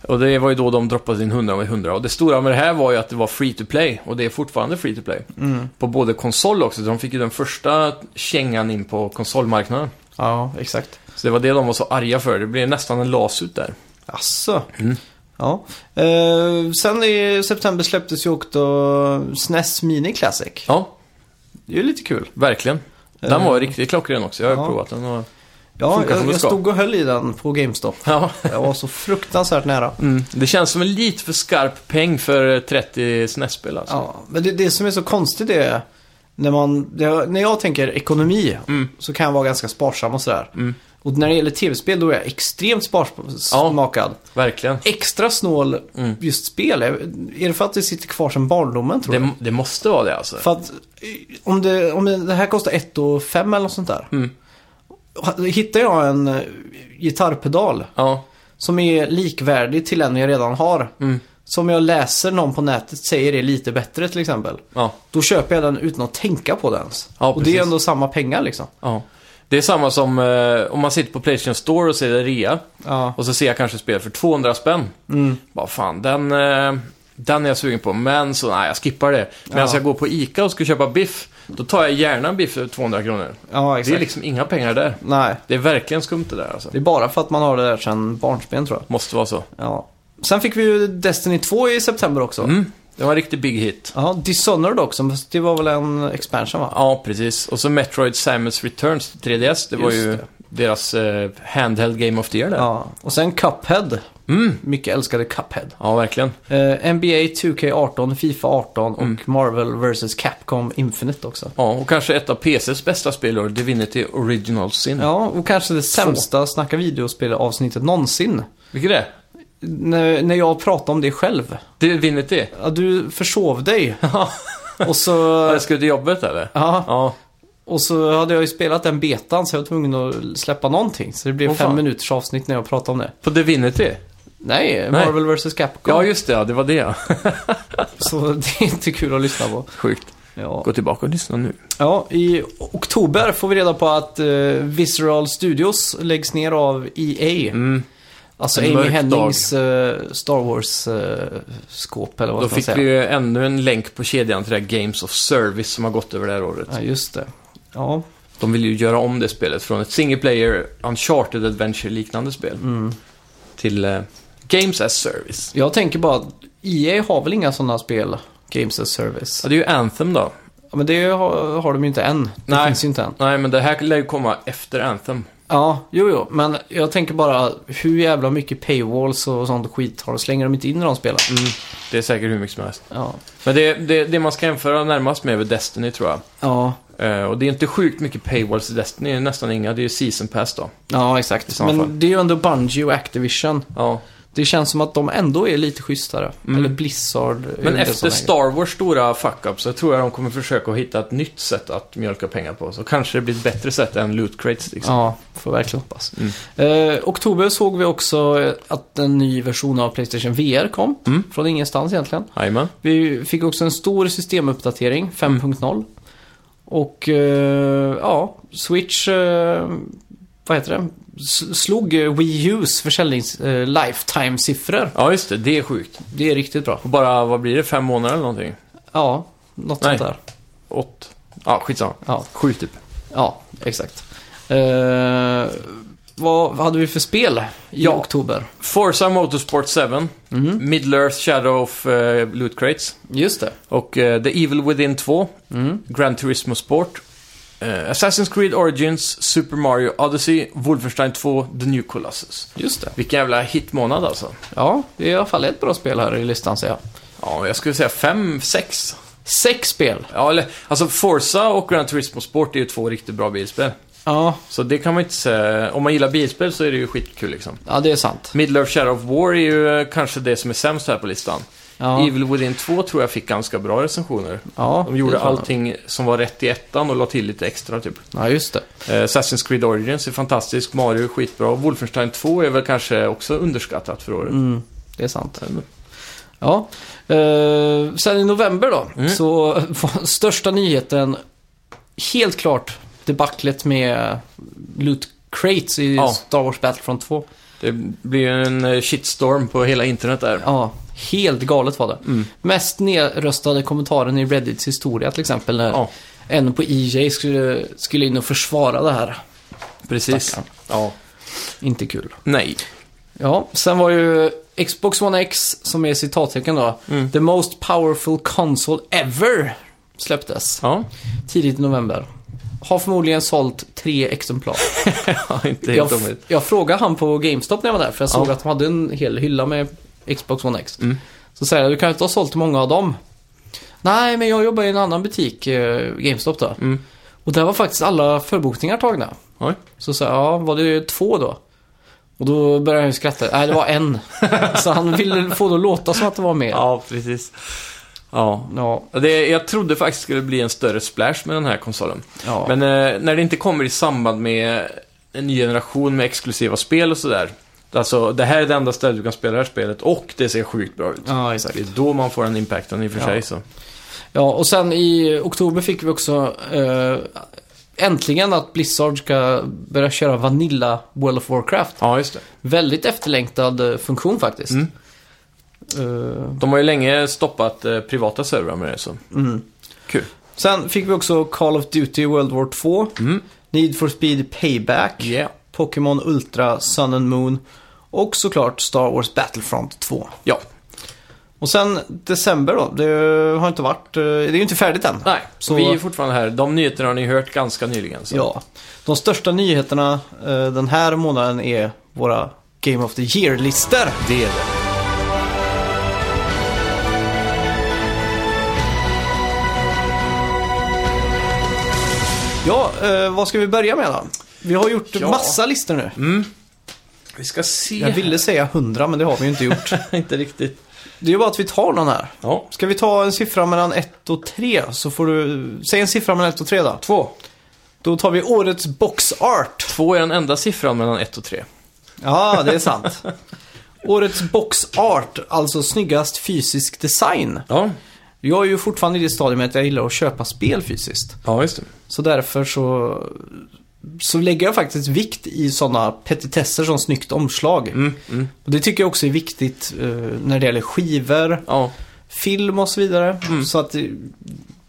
[SPEAKER 1] Och det var ju då de droppade in 100 med 100. Och det stora med det här var ju att det var free to play. Och det är fortfarande free to play.
[SPEAKER 2] Mm.
[SPEAKER 1] På både konsol också. så De fick ju den första kängan in på konsolmarknaden.
[SPEAKER 2] Ja, exakt.
[SPEAKER 1] Så det var det de var så arga för. Det blev nästan en lasut där.
[SPEAKER 2] Asså.
[SPEAKER 1] Mm.
[SPEAKER 2] Ja. Eh, sen i september släpptes ju också SNES Mini Classic.
[SPEAKER 1] Ja,
[SPEAKER 2] Det är ju lite kul.
[SPEAKER 1] Verkligen. Den
[SPEAKER 2] Eh,
[SPEAKER 1] var riktigt klockren också. Jag har ju
[SPEAKER 2] ja.
[SPEAKER 1] provat den och...
[SPEAKER 2] Ja,
[SPEAKER 1] Funkar som
[SPEAKER 2] jag,
[SPEAKER 1] det
[SPEAKER 2] jag
[SPEAKER 1] ska.
[SPEAKER 2] stod och höll i den på GameStop.
[SPEAKER 1] Ja.
[SPEAKER 2] Jag var så fruktansvärt nära.
[SPEAKER 1] Mm. Det känns som en lite för skarp peng för eh, 30 SNES-spel alltså.
[SPEAKER 2] Ja, men det, det som är så konstigt är när, man, det, när jag tänker ekonomi
[SPEAKER 1] Mm.
[SPEAKER 2] så kan jag vara ganska sparsam och sådär.
[SPEAKER 1] Mm.
[SPEAKER 2] Och när det gäller tv-spel då är jag extremt sparsmakad.
[SPEAKER 1] Verkligen.
[SPEAKER 2] Extra snål
[SPEAKER 1] Mm.
[SPEAKER 2] just spel. Är, är det för att det sitter kvar sedan barndomen tror jag?
[SPEAKER 1] Det, det måste vara det alltså.
[SPEAKER 2] För att eh, om det, om det här kostar 1 och fem eller något sånt där.
[SPEAKER 1] Mm.
[SPEAKER 2] Hittar jag en eh, gitarrpedal
[SPEAKER 1] Ja.
[SPEAKER 2] som är likvärdig till en jag redan har.
[SPEAKER 1] Mm.
[SPEAKER 2] Som jag läser någon på nätet säger är lite bättre till exempel.
[SPEAKER 1] Ja.
[SPEAKER 2] Då köper jag den utan att tänka på den ens.
[SPEAKER 1] Ja,
[SPEAKER 2] och det
[SPEAKER 1] precis.
[SPEAKER 2] är ändå samma pengar liksom.
[SPEAKER 1] ja. Det är samma som eh, om man sitter på Playstation Store och ser det rea.
[SPEAKER 2] Ja.
[SPEAKER 1] Och så ser jag kanske spel för 200 spänn.
[SPEAKER 2] Mm.
[SPEAKER 1] Bara fan, den, eh, den är jag sugen på. Men så, nej jag skippar det. Men
[SPEAKER 2] Ja.
[SPEAKER 1] jag går på ICA och ska köpa biff. Då tar jag gärna en biff för 200 kronor.
[SPEAKER 2] ja, exakt.
[SPEAKER 1] Det är liksom inga pengar där.
[SPEAKER 2] Nej,
[SPEAKER 1] Det är verkligen skumt det där alltså.
[SPEAKER 2] det är bara för att man har det där sedan barnsben tror jag.
[SPEAKER 1] Måste vara så.
[SPEAKER 2] Ja. Sen fick vi ju Destiny 2 i september också.
[SPEAKER 1] Mm. Det var en riktig big hit.
[SPEAKER 2] Ja, Dishonored också, fast det var väl en expansion va?
[SPEAKER 1] Ja, precis. Och så Metroid Samus Returns till 3DS. Det var
[SPEAKER 2] Just
[SPEAKER 1] ju
[SPEAKER 2] det.
[SPEAKER 1] deras eh, handheld Game of the Year där. Ja,
[SPEAKER 2] Ja. Och sen Cuphead.
[SPEAKER 1] mm.
[SPEAKER 2] Mycket älskade Cuphead.
[SPEAKER 1] ja verkligen.
[SPEAKER 2] Eh, NBA 2K18, FIFA 18 och
[SPEAKER 1] Mm.
[SPEAKER 2] Marvel vs Capcom Infinite också.
[SPEAKER 1] Ja, och kanske ett av PCs bästa spel då, Divinity Original Sin.
[SPEAKER 2] Ja, och kanske det sämsta Snacka videospel-avsnittet någonsin.
[SPEAKER 1] Vilket är det?
[SPEAKER 2] När, när jag pratade om det själv.
[SPEAKER 1] Divinity?
[SPEAKER 2] Ja, du försov dig. och
[SPEAKER 1] Ja,
[SPEAKER 2] så...
[SPEAKER 1] jag skulle till jobbet eller?
[SPEAKER 2] Ja,
[SPEAKER 1] Ja,
[SPEAKER 2] och så hade jag ju spelat den betan så jag var tvungen att släppa någonting. Så det blev
[SPEAKER 1] Åh,
[SPEAKER 2] fem
[SPEAKER 1] fan.
[SPEAKER 2] minuters avsnitt när jag pratade om det.
[SPEAKER 1] på Divinity?
[SPEAKER 2] Nej,
[SPEAKER 1] Nej.
[SPEAKER 2] Marvel vs Capcom.
[SPEAKER 1] Ja, just det. Ja, det var det ja.
[SPEAKER 2] Så det är inte kul att lyssna på.
[SPEAKER 1] Sjukt.
[SPEAKER 2] Ja.
[SPEAKER 1] Gå tillbaka och lyssna nu.
[SPEAKER 2] ja, i oktober får vi reda på att eh, Visceral Studios läggs ner av EA.
[SPEAKER 1] Mm.
[SPEAKER 2] Alltså
[SPEAKER 1] En
[SPEAKER 2] Amy
[SPEAKER 1] mörk
[SPEAKER 2] Hennings eh, Star Wars-skåp eller vad
[SPEAKER 1] Då
[SPEAKER 2] ska man
[SPEAKER 1] fick
[SPEAKER 2] säga.
[SPEAKER 1] vi ju ännu en länk på kedjan till det här Games of Service som har gått över det här året.
[SPEAKER 2] Ja, just det. Ja,
[SPEAKER 1] De vill ju göra om det spelet från ett single player uncharted adventure-liknande spel till eh, Games as Service.
[SPEAKER 2] jag tänker bara att EA har väl inga sådana spel, Games as Service.
[SPEAKER 1] Ja, det är ju Anthem då.
[SPEAKER 2] Ja, men det har, har de ju inte än. Det
[SPEAKER 1] Nej.
[SPEAKER 2] finns ju inte än.
[SPEAKER 1] Nej, men det här lär ju komma efter Anthem.
[SPEAKER 2] Ja, jo, jo. Men jag tänker bara hur jävla mycket paywalls och sånt skit har de? Slänger de inte in i de spelen?
[SPEAKER 1] Det är säkert hur mycket som helst.
[SPEAKER 2] Ja.
[SPEAKER 1] Men det, det, det man ska jämföra närmast med är väl Destiny, tror jag.
[SPEAKER 2] Ja,
[SPEAKER 1] Eh, och det är inte sjukt mycket paywalls i Destiny, det är nästan inga. Det är ju Season Pass då.
[SPEAKER 2] ja
[SPEAKER 1] I
[SPEAKER 2] exakt.
[SPEAKER 1] sådana
[SPEAKER 2] Men
[SPEAKER 1] fall.
[SPEAKER 2] det är ju ändå Bungie och Activision.
[SPEAKER 1] Ja,
[SPEAKER 2] Det känns som att de ändå är lite schysstare.
[SPEAKER 1] Mm.
[SPEAKER 2] Eller Blizzard. är
[SPEAKER 1] Men
[SPEAKER 2] det som
[SPEAKER 1] efter
[SPEAKER 2] är-
[SPEAKER 1] Star Wars stora fuck-up så tror jag de kommer försöka att hitta ett nytt sätt att mjölka pengar på. Så kanske det blir ett bättre sätt än loot crates liksom.
[SPEAKER 2] Ja, får verkligen hoppas. Eh, oktober såg vi också eh, att en ny version av Playstation VR kom.
[SPEAKER 1] Mm.
[SPEAKER 2] Från ingenstans egentligen.
[SPEAKER 1] Jajamän.
[SPEAKER 2] Vi fick också en stor systemuppdatering,
[SPEAKER 1] Mm.
[SPEAKER 2] 5.0. Och eh, ja, Switch, eh, vad heter det? S- slog eh, Wii U's försäljnings eh, lifetime-siffror.
[SPEAKER 1] Ja, just det. Det är sjukt.
[SPEAKER 2] Det är riktigt bra.
[SPEAKER 1] Och bara, vad blir det? Fem månader eller någonting?
[SPEAKER 2] Ja, något
[SPEAKER 1] Nej.
[SPEAKER 2] sånt där.
[SPEAKER 1] Åt? Ja, skitsamma.
[SPEAKER 2] Ja,
[SPEAKER 1] Sju typ.
[SPEAKER 2] ja exakt. Eh, vad, vad hade vi för spel i
[SPEAKER 1] Ja.
[SPEAKER 2] oktober?
[SPEAKER 1] Forza Motorsport 7.
[SPEAKER 2] Mhm.
[SPEAKER 1] Middle Earth Shadow of eh, Loot Crates.
[SPEAKER 2] Just det.
[SPEAKER 1] Och eh, The Evil Within 2.
[SPEAKER 2] Mm.
[SPEAKER 1] Gran Turismo Sport. eh, Assassin's Creed Origins, Super Mario Odyssey, Wolfenstein 2, The New Colossus.
[SPEAKER 2] Just det.
[SPEAKER 1] Vilken jävla hitmånad alltså.
[SPEAKER 2] Ja, det är i alla fall ett bra spel här i listan säger jag.
[SPEAKER 1] Ja, jag skulle säga fem, sex.
[SPEAKER 2] Sex spel.
[SPEAKER 1] Ja, eller, alltså Forza och Gran Turismo Sport är ju två riktigt bra bilspel.
[SPEAKER 2] Ja,
[SPEAKER 1] Så det kan man inte säga. Om man gillar bilspel så är det ju skitkul liksom.
[SPEAKER 2] ja det är sant.
[SPEAKER 1] Middle of Shadow of War är ju eh, kanske det som är sämst här på listan.
[SPEAKER 2] Ja,
[SPEAKER 1] Evil Within 2 tror jag fick ganska bra recensioner.
[SPEAKER 2] ja,
[SPEAKER 1] De gjorde
[SPEAKER 2] det tror jag.
[SPEAKER 1] allting som var rätt i ettan och la till lite extra typ.
[SPEAKER 2] Ja, just det.
[SPEAKER 1] Eh, Assassin's Creed Origins är fantastisk, Mario är skitbra. och Wolfenstein 2 är väl kanske också underskattat för året.
[SPEAKER 2] Mm, det är sant. Ja. Eh, sen i november då,
[SPEAKER 1] Mm.
[SPEAKER 2] så var största nyheten helt klart debaclet med loot crates i
[SPEAKER 1] Ja.
[SPEAKER 2] Star Wars Battlefront 2.
[SPEAKER 1] Det blir ju en eh, shitstorm på hela internet där.
[SPEAKER 2] Ja, helt galet var det.
[SPEAKER 1] Mm.
[SPEAKER 2] Mest nedröstade kommentaren i Reddits historia till exempel, när
[SPEAKER 1] Ja,
[SPEAKER 2] en på EJ skulle, skulle in och försvara det här.
[SPEAKER 1] precis.
[SPEAKER 2] Stackarn.
[SPEAKER 1] Ja.
[SPEAKER 2] Inte kul.
[SPEAKER 1] Nej.
[SPEAKER 2] Ja, sen var ju Xbox One X, som är citattecken då,
[SPEAKER 1] Mm.
[SPEAKER 2] “The most powerful console ever” släpptes
[SPEAKER 1] Ja,
[SPEAKER 2] tidigt i november. Har förmodligen sålt tre exemplar.
[SPEAKER 1] ja inte
[SPEAKER 2] Jag,
[SPEAKER 1] helt omöjligt.
[SPEAKER 2] jag frågade han på GameStop när jag var där, för jag såg
[SPEAKER 1] Ja.
[SPEAKER 2] att de hade en hel hylla med Xbox One X.
[SPEAKER 1] Mm.
[SPEAKER 2] Så säger jag, du kan ju inte ha sålt många av dem. Nej, men jag jobbar i en annan butik, eh, GameStop då.
[SPEAKER 1] Mm.
[SPEAKER 2] Och där var faktiskt alla förbokningar tagna.
[SPEAKER 1] Oj.
[SPEAKER 2] Så sa jag, ja, var det två då? Och då började han ju skratta. Nej, det var en. Så han ville få det att låta som att det var mer. Ja.
[SPEAKER 1] Ja, precis. Ja. Det, jag trodde faktiskt skulle bli en större splash med den här konsolen.
[SPEAKER 2] ja.
[SPEAKER 1] Men eh, när det inte kommer i samband med en ny generation med exklusiva spel och sådär. Alltså, det här är det enda stället du kan spela det här spelet och det ser sjukt bra ut.
[SPEAKER 2] ja, exakt.
[SPEAKER 1] Det är då man får den impacten i och för
[SPEAKER 2] Ja.
[SPEAKER 1] sig. Så.
[SPEAKER 2] Ja, och sen i oktober fick vi också eh, äntligen att Blizzard ska börja köra Vanilla World of Warcraft.
[SPEAKER 1] Ja, just det.
[SPEAKER 2] Väldigt efterlängtad eh, funktion faktiskt.
[SPEAKER 1] Mm.
[SPEAKER 2] Eh,
[SPEAKER 1] De har ju länge stoppat eh, privata servrar med det. Så.
[SPEAKER 2] mm.
[SPEAKER 1] Kul.
[SPEAKER 2] Sen fick vi också Call of Duty World War 2,
[SPEAKER 1] Mm.
[SPEAKER 2] Need for Speed Payback.
[SPEAKER 1] Yeah.
[SPEAKER 2] Pokémon Ultra, Sun and Moon och såklart Star Wars Battlefront 2.
[SPEAKER 1] Ja.
[SPEAKER 2] Och sen december då, det har inte varit, eh, det är ju inte färdigt än.
[SPEAKER 1] Nej,
[SPEAKER 2] Så-
[SPEAKER 1] så vi är fortfarande här. De nyheterna har ni hört ganska nyligen. Så.
[SPEAKER 2] Ja. De största nyheterna eh, den här månaden är våra Game of the Year-listor.
[SPEAKER 1] Det är det.
[SPEAKER 2] Ja, eh, vad ska vi börja med då? Vi har gjort
[SPEAKER 1] Ja. Mm.
[SPEAKER 2] massa listor nu.
[SPEAKER 1] Vi ska se.
[SPEAKER 2] Jag ville säga 100 men det har vi ju inte gjort.
[SPEAKER 1] inte riktigt.
[SPEAKER 2] Det är ju bara att vi tar någon här.
[SPEAKER 1] Ja.
[SPEAKER 2] Ska vi ta en siffra mellan 1 och 3 så får du, säg en siffra mellan 1 och 3 då.
[SPEAKER 1] Två.
[SPEAKER 2] Då tar vi årets box art.
[SPEAKER 1] Två är den enda siffran mellan ett och tre.
[SPEAKER 2] Ja, det är sant. Årets box art, alltså snyggast fysisk design.
[SPEAKER 1] Ja,
[SPEAKER 2] Jag är ju fortfarande i det stadiet med att jag gillar att köpa spel fysiskt.
[SPEAKER 1] ja just det.
[SPEAKER 2] Så därför så, så lägger jag faktiskt vikt i sådana petitesser som snyggt omslag.
[SPEAKER 1] Mm, mm.
[SPEAKER 2] Och det tycker jag också är viktigt eh, när det gäller skivor,
[SPEAKER 1] Ja.
[SPEAKER 2] film och så vidare.
[SPEAKER 1] Mm.
[SPEAKER 2] Så att, det-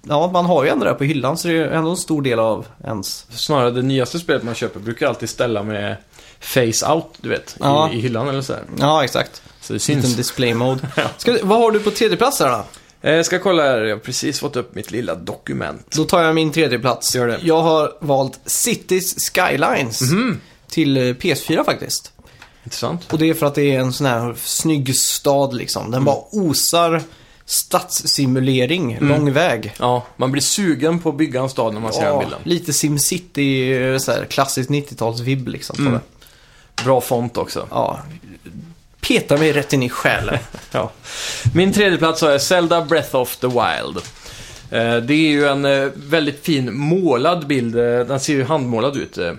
[SPEAKER 2] ja, man har ju ändå det här på hyllan så det är ändå en stor del av ens.
[SPEAKER 1] Snarare det nyaste spelet man köper brukar alltid ställa med face out, du vet,
[SPEAKER 2] Ja.
[SPEAKER 1] i, i hyllan eller sådär.
[SPEAKER 2] Ja, exakt.
[SPEAKER 1] Så det syns.
[SPEAKER 2] Liten display mode. Ska, vad har du på tredje plats där då?
[SPEAKER 1] Eh, Jag ska kolla här, jag har precis fått upp mitt lilla dokument.
[SPEAKER 2] Då tar jag min tredje plats.
[SPEAKER 1] Gör det. Mhm.
[SPEAKER 2] Jag har valt Cities Skylines till eh, PS4 faktiskt.
[SPEAKER 1] Intressant.
[SPEAKER 2] Och det är för att det är en sån här snygg stad liksom. Den bara
[SPEAKER 1] Mm.
[SPEAKER 2] osar stadssimulering lång väg.
[SPEAKER 1] Ja, man blir sugen på att bygga en stad när man Mm. ser den bilden.
[SPEAKER 2] lite SimCity,
[SPEAKER 1] Mm.
[SPEAKER 2] eh, så här klassiskt 90-talsvibb liksom. på det.
[SPEAKER 1] Bra font också.
[SPEAKER 2] Ja. petar mig rätt in i
[SPEAKER 1] Eh,
[SPEAKER 2] själen.
[SPEAKER 1] Ja. Min tredje plats har jag Zelda Breath of the Wild. Eh, Det är ju en eh, väldigt fin målad bild. eh, Den ser ju handmålad ut. eh.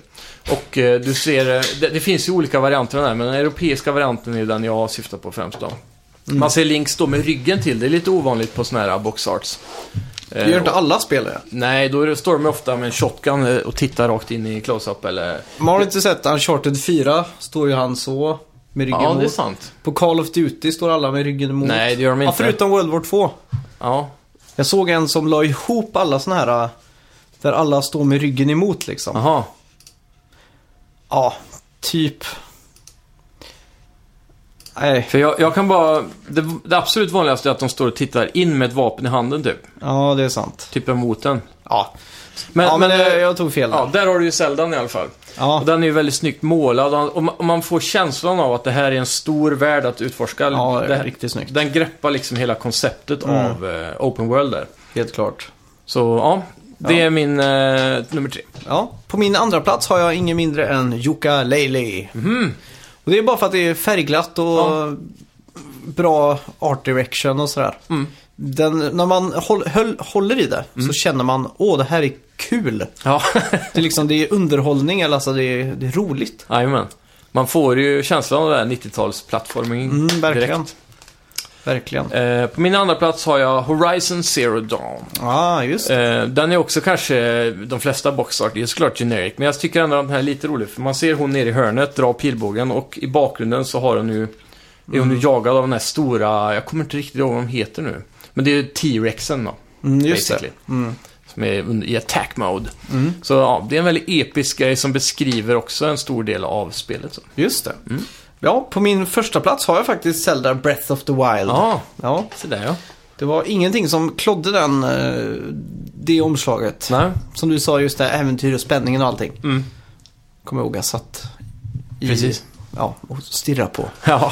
[SPEAKER 1] Och eh, du ser, eh, det, det finns ju olika varianter av den här, men den europeiska varianten är den jag syftar på främst då. Man ser Link stå med ryggen till, det är lite ovanligt på sådana här boxarts.
[SPEAKER 2] Det gör inte alla spelare.
[SPEAKER 1] Nej, då är det- står de ofta med en shotgun eh, och tittar rakt in i close-up eller...
[SPEAKER 2] Man har inte sett Uncharted 4, står ju han så med ryggen
[SPEAKER 1] Ja, det är
[SPEAKER 2] mot.
[SPEAKER 1] sant.
[SPEAKER 2] På Call of Duty står alla med ryggen mot.
[SPEAKER 1] Nej, det gör de
[SPEAKER 2] Ja,
[SPEAKER 1] inte.
[SPEAKER 2] förutom World War 2.
[SPEAKER 1] Ja,
[SPEAKER 2] Jag såg en som la ihop alla såna här äh, där alla står med ryggen emot liksom.
[SPEAKER 1] aha.
[SPEAKER 2] Ja, typ. Nej,
[SPEAKER 1] För jag, jag kan bara... Det, det absolut vanligaste är att de står och tittar in med ett vapen i handen typ.
[SPEAKER 2] ja det är sant.
[SPEAKER 1] Typ emot den.
[SPEAKER 2] Ja,
[SPEAKER 1] Men,
[SPEAKER 2] ja men,
[SPEAKER 1] men,
[SPEAKER 2] jag,
[SPEAKER 1] eh,
[SPEAKER 2] jag tog fel.
[SPEAKER 1] ja,
[SPEAKER 2] där.
[SPEAKER 1] där har du ju Zeldan i alla fall.
[SPEAKER 2] Ja,
[SPEAKER 1] Och den är ju väldigt snyggt målad och- och man, och man får känslan av att det här är en stor värld att utforska.
[SPEAKER 2] ja,
[SPEAKER 1] det,
[SPEAKER 2] det är
[SPEAKER 1] här-
[SPEAKER 2] riktigt snyggt.
[SPEAKER 1] den greppar liksom hela konceptet
[SPEAKER 2] Mm.
[SPEAKER 1] av eh, Open World där.
[SPEAKER 2] Helt klart.
[SPEAKER 1] Så ja, det
[SPEAKER 2] Ja.
[SPEAKER 1] är min eh, nummer tre.
[SPEAKER 2] Ja, på min andra plats har jag ingen mindre än Jukka Leili. Och det är bara för att det är färgglatt och
[SPEAKER 1] Mhm. Ja.
[SPEAKER 2] bra art direction och sådär.
[SPEAKER 1] Mm.
[SPEAKER 2] Den, när man håll, höll, håller i det så känner man åh det här är kul.
[SPEAKER 1] Ja,
[SPEAKER 2] Det är liksom det är underhållning, eller alltså det är, det är roligt.
[SPEAKER 1] jajamän. Man får ju känslan av det här 90-talsplattforming
[SPEAKER 2] Mm, verkligen.
[SPEAKER 1] direkt.
[SPEAKER 2] Verkligen.
[SPEAKER 1] Eh, på min andra plats har jag Horizon Zero Dawn.
[SPEAKER 2] Ja, ah, just det.
[SPEAKER 1] Eh, den är också kanske, de flesta boxart är såklart generic, men jag tycker ändå att den här är lite rolig. För man ser hon nere i hörnet dra pilbågen och i bakgrunden så har hon nu, är
[SPEAKER 2] Mm.
[SPEAKER 1] hon nu jagad av den här stora, jag kommer inte riktigt ihåg vad de heter nu. Men det är ju T-Rexen då,
[SPEAKER 2] Mm, Mm. just det.
[SPEAKER 1] basically. Som är under- i attack mode. Så ja, det är en väldigt episk grej som beskriver också en stor del av spelet. Så.
[SPEAKER 2] Just det.
[SPEAKER 1] Mm.
[SPEAKER 2] Ja, på min första plats har jag faktiskt Zelda Breath of the Wild.
[SPEAKER 1] Ja,
[SPEAKER 2] Ja,
[SPEAKER 1] så där ja.
[SPEAKER 2] det var ingenting som klodde den, eh, det omslaget.
[SPEAKER 1] Nej,
[SPEAKER 2] Som du sa, just det här äventyr och spänningen och allting.
[SPEAKER 1] Mm.
[SPEAKER 2] Kommer jag ihåg, jag satt i,
[SPEAKER 1] Precis.
[SPEAKER 2] Ja, och stirrade på.
[SPEAKER 1] ja.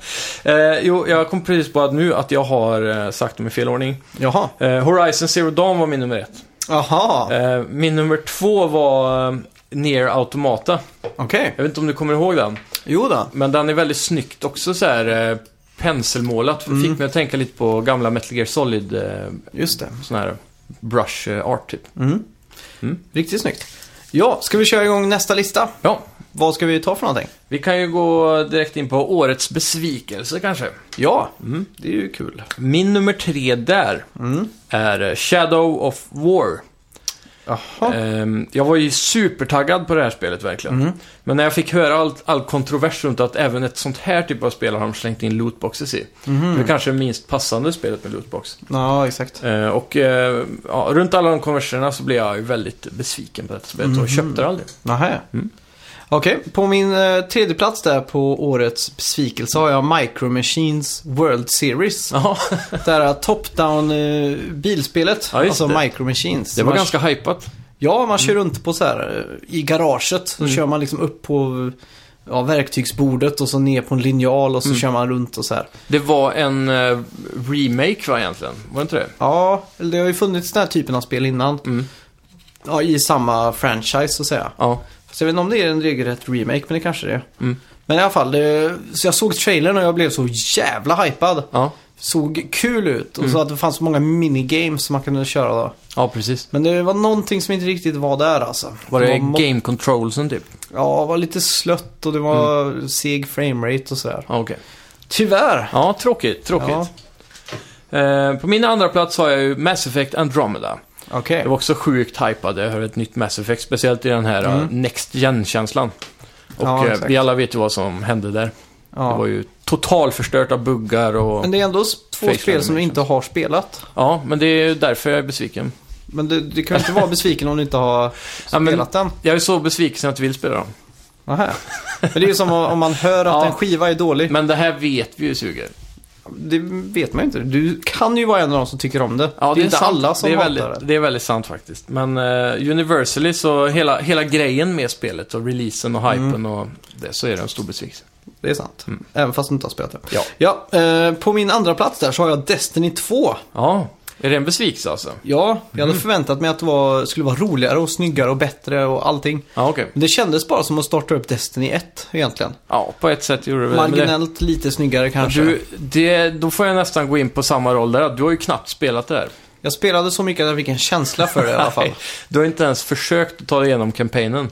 [SPEAKER 1] eh, jo, jag kom precis på att nu att jag har eh, sagt dem i fel ordning.
[SPEAKER 2] Jaha.
[SPEAKER 1] Eh, Horizon Zero Dawn var min nummer ett.
[SPEAKER 2] Jaha,
[SPEAKER 1] Eh, min nummer två var eh, Nier Automata.
[SPEAKER 2] okej.
[SPEAKER 1] Jag vet inte om du kommer ihåg den.
[SPEAKER 2] Jo då.
[SPEAKER 1] Men den är väldigt snyggt också så här eh, penselmålat.
[SPEAKER 2] Mm.
[SPEAKER 1] Fick mig att tänka lite på gamla Metal Gear Solid eh,
[SPEAKER 2] Just det.
[SPEAKER 1] sån här brush eh, art typ.
[SPEAKER 2] Mm.
[SPEAKER 1] Mm.
[SPEAKER 2] Riktigt snyggt. Ja, ska vi köra igång nästa lista?
[SPEAKER 1] Ja,
[SPEAKER 2] Vad ska vi ta för någonting?
[SPEAKER 1] vi kan ju gå direkt in på årets besvikelse kanske.
[SPEAKER 2] Ja,
[SPEAKER 1] Mm.
[SPEAKER 2] det är ju kul.
[SPEAKER 1] Min nummer tre där
[SPEAKER 2] Mm.
[SPEAKER 1] är eh, Shadow of War.
[SPEAKER 2] Jaha.
[SPEAKER 1] Ehm, Jag var ju supertaggad på det här spelet verkligen.
[SPEAKER 2] Mm.
[SPEAKER 1] Men när jag fick höra all, all kontrovers runt att även ett sånt här typ av spel har de slängt in lootboxes i. Det är kanske det minst passande spelet med lootbox.
[SPEAKER 2] Ja, exakt.
[SPEAKER 1] Eh, och eh, ja, runt alla de konverserna så blev jag ju väldigt besviken på detta spelet och köpte det aldrig.
[SPEAKER 2] Nähä.
[SPEAKER 1] Mm.
[SPEAKER 2] Okej, på min eh, tredje plats där på årets besvikelse har jag Micro Machines World Series.
[SPEAKER 1] Jaha,
[SPEAKER 2] Det här top-down eh, bilspelet,
[SPEAKER 1] Ja, just
[SPEAKER 2] alltså
[SPEAKER 1] det.
[SPEAKER 2] Micro Machines.
[SPEAKER 1] det var
[SPEAKER 2] Man-
[SPEAKER 1] ganska Mm. hypat.
[SPEAKER 2] Ja, man kör runt på så här eh, i garaget. Så
[SPEAKER 1] Mm.
[SPEAKER 2] kör man liksom upp på ja, verktygsbordet och så ner på en linjal och
[SPEAKER 1] Mm.
[SPEAKER 2] så kör man runt och så här.
[SPEAKER 1] Det var en eh, remake va egentligen? Var det inte det?
[SPEAKER 2] Ja, eller det har ju funnits den här typen av spel innan.
[SPEAKER 1] Mm.
[SPEAKER 2] Ja, i samma franchise så att säga.
[SPEAKER 1] Ja.
[SPEAKER 2] Fast jag vet inte om det är en regelrätt remake, men det kanske det är.
[SPEAKER 1] Mm.
[SPEAKER 2] Men i alla fall, det, så jag såg trailern och jag blev så jävla hypad.
[SPEAKER 1] Ja.
[SPEAKER 2] Såg kul ut
[SPEAKER 1] Mm.
[SPEAKER 2] och så att det fanns så många minigames som man kunde köra då.
[SPEAKER 1] ja, precis.
[SPEAKER 2] Men det var någonting som inte riktigt var där alltså.
[SPEAKER 1] Var det
[SPEAKER 2] mo-
[SPEAKER 1] game controlsen typ?
[SPEAKER 2] Ja, det var lite slött och det var
[SPEAKER 1] Mm.
[SPEAKER 2] seg framerate och sådär.
[SPEAKER 1] Ja, okej.
[SPEAKER 2] Tyvärr.
[SPEAKER 1] Ja, tråkigt. Tråkigt.
[SPEAKER 2] Ja.
[SPEAKER 1] Eh, på min andra plats har jag ju Mass Effect Andromeda.
[SPEAKER 2] Okej.
[SPEAKER 1] Jag var också sjukt hypad. Jag hör ett nytt Mass Effect, speciellt i den här
[SPEAKER 2] Mm.
[SPEAKER 1] eh, Next Gen-känslan. Och
[SPEAKER 2] Ja,
[SPEAKER 1] eh,
[SPEAKER 2] exakt.
[SPEAKER 1] vi alla vet ju vad som hände där. Det var
[SPEAKER 2] Ja.
[SPEAKER 1] ju totalförstört av buggar och...
[SPEAKER 2] Men det är ändå s- två
[SPEAKER 1] Face
[SPEAKER 2] spel som
[SPEAKER 1] animations.
[SPEAKER 2] du inte har spelat.
[SPEAKER 1] Ja, men det är ju därför jag är besviken.
[SPEAKER 2] Men du, du kan ju inte vara besviken om du inte har
[SPEAKER 1] Ja, men-
[SPEAKER 2] spelat den.
[SPEAKER 1] Jag är så besviken så jag inte vill spela dem.
[SPEAKER 2] Nähä. Men det är ju som om om man hör att
[SPEAKER 1] Ja.
[SPEAKER 2] en skiva är dålig.
[SPEAKER 1] Men det här vet vi ju suger.
[SPEAKER 2] Det vet man ju inte. Du kan ju vara en av dem som tycker om det. det, är inte
[SPEAKER 1] sant.
[SPEAKER 2] alla som
[SPEAKER 1] det är
[SPEAKER 2] hatar
[SPEAKER 1] väldigt,
[SPEAKER 2] det.
[SPEAKER 1] det. är väldigt sant faktiskt. Men eh, Universally, så hela, hela grejen med spelet och releasen och hypen
[SPEAKER 2] Mm.
[SPEAKER 1] och det, så är det en stor besvikelse.
[SPEAKER 2] Det är sant.
[SPEAKER 1] Mm.
[SPEAKER 2] Även fast du inte har spelat det.
[SPEAKER 1] Ja.
[SPEAKER 2] Ja, eh, på min andra plats där så har jag Destiny 2.
[SPEAKER 1] Ja, Är det en besvikelse alltså?
[SPEAKER 2] Ja, jag hade förväntat mig att det var, skulle vara roligare och snyggare och bättre och allting.
[SPEAKER 1] Ja, okej.
[SPEAKER 2] Men det kändes bara som att starta upp Destiny 1 egentligen.
[SPEAKER 1] Ja, på ett sätt gjorde det väl men det.
[SPEAKER 2] Marginellt lite snyggare kanske.
[SPEAKER 1] Du, det, då får jag nästan gå in på samma roll där. Du har ju knappt spelat det där.
[SPEAKER 2] Jag spelade så mycket att jag fick en känsla för det i alla fall.
[SPEAKER 1] Nej, Du har inte ens försökt att ta dig igenom kampanjen.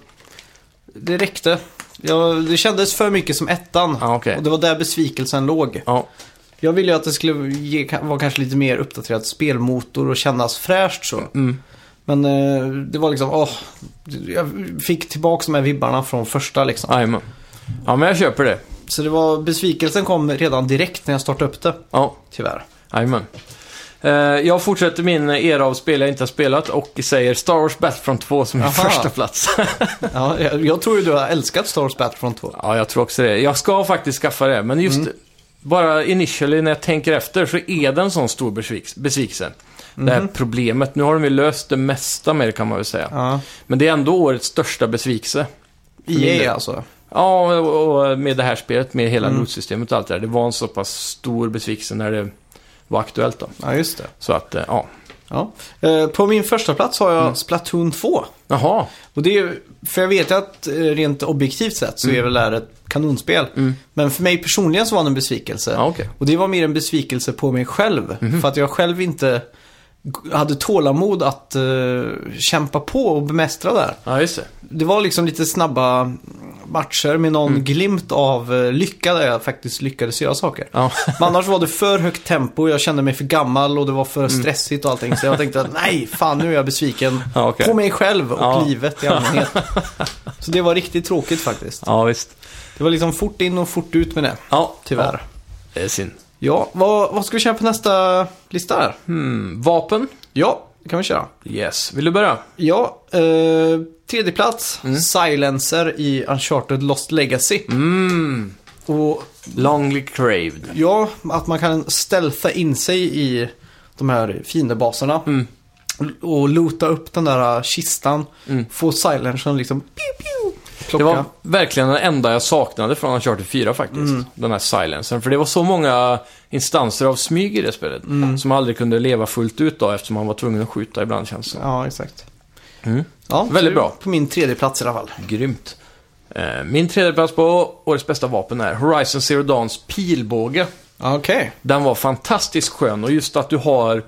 [SPEAKER 2] Det räckte. Jag, det kändes för mycket som ettan.
[SPEAKER 1] Ja, okej.
[SPEAKER 2] Och det var där besvikelsen låg.
[SPEAKER 1] Ja,
[SPEAKER 2] Jag ville ju att det skulle ge, ka- vara kanske lite mer uppdaterad spelmotor och kännas fräscht så.
[SPEAKER 1] mm.
[SPEAKER 2] Men eh, det var liksom, åh. Jag fick tillbaka de här vibbarna från första liksom.
[SPEAKER 1] Jajamän. Ja, men jag köper det.
[SPEAKER 2] Så det var, besvikelsen kom redan direkt när jag startade upp det,
[SPEAKER 1] Ja,
[SPEAKER 2] tyvärr.
[SPEAKER 1] jajamän. Eh, Jag fortsätter min era av spel jag inte har spelat och säger Star Wars Battlefront 2 som min
[SPEAKER 2] Aha.
[SPEAKER 1] första plats.
[SPEAKER 2] Ja, jag, jag tror ju du har älskat Star Wars Battlefront 2.
[SPEAKER 1] Ja, jag tror också det. Jag ska faktiskt skaffa det, men just bara initially när jag tänker efter så är det en sån stor besviks- besvikelse. Det här problemet. Nu har de ju löst det mesta med det kan man väl säga.
[SPEAKER 2] Ja.
[SPEAKER 1] Men det är ändå årets största besvikelse. min del.
[SPEAKER 2] EA alltså.
[SPEAKER 1] Ja, och och med det här spelet, med hela lootsystemet och allt det där. Det var en så pass stor besvikelse när det var aktuellt då.
[SPEAKER 2] Ja, just det.
[SPEAKER 1] Så att, eh, ja.
[SPEAKER 2] Ja. Eh, på min första plats har
[SPEAKER 1] Mm.
[SPEAKER 2] jag Splatoon 2.
[SPEAKER 1] Jaha,
[SPEAKER 2] Och det är, ju- för jag vet ju att eh, rent objektivt sett så
[SPEAKER 1] Mm.
[SPEAKER 2] är väl det här ett kanonspel. Men för mig personligen så var det en besvikelse.
[SPEAKER 1] ja, okej. Mm-hmm.
[SPEAKER 2] Och det var mer en besvikelse på mig själv. För att jag själv inte g- hade tålamod att eh, kämpa på och bemästra det här.
[SPEAKER 1] Ja, just det.
[SPEAKER 2] Det var liksom lite snabba matcher med någon
[SPEAKER 1] Mm.
[SPEAKER 2] glimt av eh, lycka där jag faktiskt lyckades göra saker.
[SPEAKER 1] Ja,
[SPEAKER 2] Men annars var det för högt tempo, jag kände mig för gammal och det var
[SPEAKER 1] Mm.
[SPEAKER 2] för stressigt och allting. Så jag tänkte att nej, fan nu är jag besviken
[SPEAKER 1] ja okej.
[SPEAKER 2] på mig själv och
[SPEAKER 1] Ja.
[SPEAKER 2] livet i allmänhet. Så det var riktigt tråkigt faktiskt.
[SPEAKER 1] Ja, visst.
[SPEAKER 2] Det var liksom fort in och fort ut med det,
[SPEAKER 1] Ja,
[SPEAKER 2] tyvärr.
[SPEAKER 1] Ja,
[SPEAKER 2] Ja,
[SPEAKER 1] det är synd.
[SPEAKER 2] vad, vad ska vi köra på nästa lista här?
[SPEAKER 1] Hmm, vapen?
[SPEAKER 2] Ja, det kan vi köra.
[SPEAKER 1] Yes. Vill du börja?
[SPEAKER 2] Ja, eh, tredje plats, Silencer i Uncharted Lost Legacy.
[SPEAKER 1] Mm.
[SPEAKER 2] Och
[SPEAKER 1] Longly craved.
[SPEAKER 2] Ja, att man kan stealtha in sig i de här fiendebaserna.
[SPEAKER 1] Mm.
[SPEAKER 2] Och loota upp den där äh, kistan. Få silencern liksom... Pew, pew,
[SPEAKER 1] Mm. Det
[SPEAKER 2] plocka.
[SPEAKER 1] var verkligen den enda jag saknade från Uncharted 4 faktiskt. Den här silensen. För det var så många instanser av smyg i det spelet. Som aldrig kunde leva fullt ut då eftersom man var tvungen att skjuta ibland känns det som.
[SPEAKER 2] Ja, exakt.
[SPEAKER 1] Mm.
[SPEAKER 2] Ja,
[SPEAKER 1] Väldigt
[SPEAKER 2] så det är
[SPEAKER 1] bra.
[SPEAKER 2] På min tredje plats i alla fall.
[SPEAKER 1] Grymt. Eh, Min tredje plats på årets bästa vapen är Horizon Zero Dawns pilbåge.
[SPEAKER 2] Okej.
[SPEAKER 1] Den var fantastiskt skön och just att du har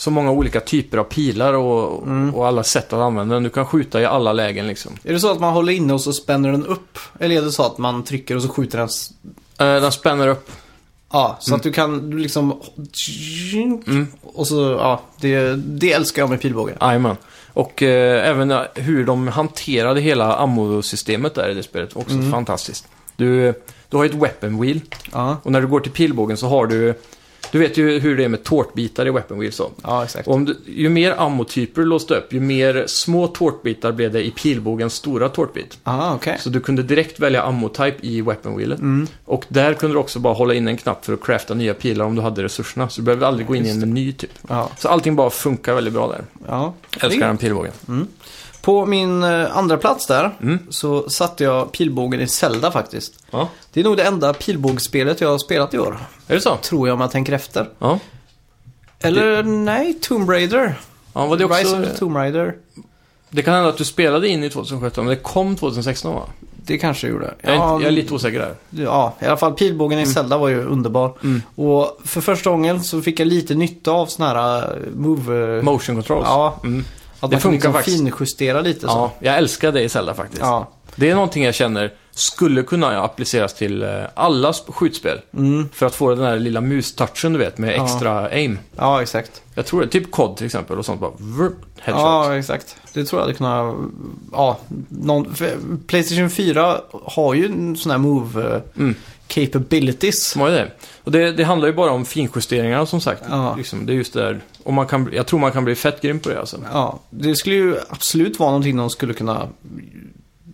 [SPEAKER 1] så många olika typer av pilar och, och alla sätt att använda den. Du kan skjuta i alla lägen liksom.
[SPEAKER 2] Är det så att man håller inne och så spänner den upp? Eller är det så att man trycker och så skjuter den? s-
[SPEAKER 1] Eh, Den spänner upp.
[SPEAKER 2] Ja, så
[SPEAKER 1] Mm.
[SPEAKER 2] att du kan du liksom... Och så, ja. Det, det älskar jag med pilbåge.
[SPEAKER 1] Jajamän. Och eh, även eh, hur de hanterade hela ammo-systemet där i det spelet var också fantastiskt. Du, du har ju ett weapon wheel
[SPEAKER 2] Ja,
[SPEAKER 1] och när du går till pilbågen så har du... Du vet ju hur det är med tårtbitar i weapon wheel så.
[SPEAKER 2] ja exakt.
[SPEAKER 1] Och om du, ju mer ammotyper du låste upp, ju mer små tårtbitar blev det i pilbågens stora tårtbit.
[SPEAKER 2] Ah, okej.
[SPEAKER 1] Så du kunde direkt välja ammotype i weapon wheelet. Och där kunde du också bara hålla in en knapp för att crafta nya pilar om du hade resurserna. Så du behövde aldrig gå in i en meny typ.
[SPEAKER 2] Ja,
[SPEAKER 1] Så allting bara funkar väldigt bra där.
[SPEAKER 2] ja.
[SPEAKER 1] Älskar den pilbågen.
[SPEAKER 2] På min eh, andra plats där
[SPEAKER 1] Mm.
[SPEAKER 2] så satte jag pilbågen i Zelda faktiskt.
[SPEAKER 1] Ja.
[SPEAKER 2] Det är nog det enda pilbågsspelet jag har spelat i år.
[SPEAKER 1] Är det så?
[SPEAKER 2] Tror jag om jag tänker efter.
[SPEAKER 1] Ja.
[SPEAKER 2] Eller nej, Tomb Raider.
[SPEAKER 1] ja var det,
[SPEAKER 2] Rise
[SPEAKER 1] också,
[SPEAKER 2] of the Tomb Raider.
[SPEAKER 1] det kan hända att du spelade in i 2017, men det kom 2016 va?
[SPEAKER 2] Det kanske jag gjorde.
[SPEAKER 1] Jag är, inte, jag är
[SPEAKER 2] men-
[SPEAKER 1] lite osäker där.
[SPEAKER 2] ja, i alla fall pilbågen i Zelda var ju underbar.
[SPEAKER 1] Mm.
[SPEAKER 2] Och för första gången så fick jag lite nytta av såna här eh, move...
[SPEAKER 1] Motion controls.
[SPEAKER 2] ja,
[SPEAKER 1] Mm. det
[SPEAKER 2] att man kan
[SPEAKER 1] funkar
[SPEAKER 2] liksom
[SPEAKER 1] faktiskt.
[SPEAKER 2] finjustera lite så.
[SPEAKER 1] ja, jag älskar det i Zelda faktiskt.
[SPEAKER 2] Ja.
[SPEAKER 1] Det är någonting jag känner skulle kunna appliceras till eh, alla sp- skjutspel.
[SPEAKER 2] Mm.
[SPEAKER 1] För att få den där lilla mustouchen du vet med
[SPEAKER 2] Ja.
[SPEAKER 1] extra aim.
[SPEAKER 2] ja, exakt.
[SPEAKER 1] Jag tror det. Typ COD till exempel och sånt bara vrrt, headshot.
[SPEAKER 2] Ja, exakt. Det tror jag hade kunnat... Ja, någon, för Playstation 4 har ju en sån här move eh,
[SPEAKER 1] Mm.
[SPEAKER 2] capabilities.
[SPEAKER 1] Vad är det? Och det, det handlar ju bara om finjusteringar som sagt.
[SPEAKER 2] Ja.
[SPEAKER 1] Liksom, det är just det där. Och man kan, bli- jag tror man kan bli fett grym på det alltså.
[SPEAKER 2] Ja, det skulle ju absolut vara någonting de skulle kunna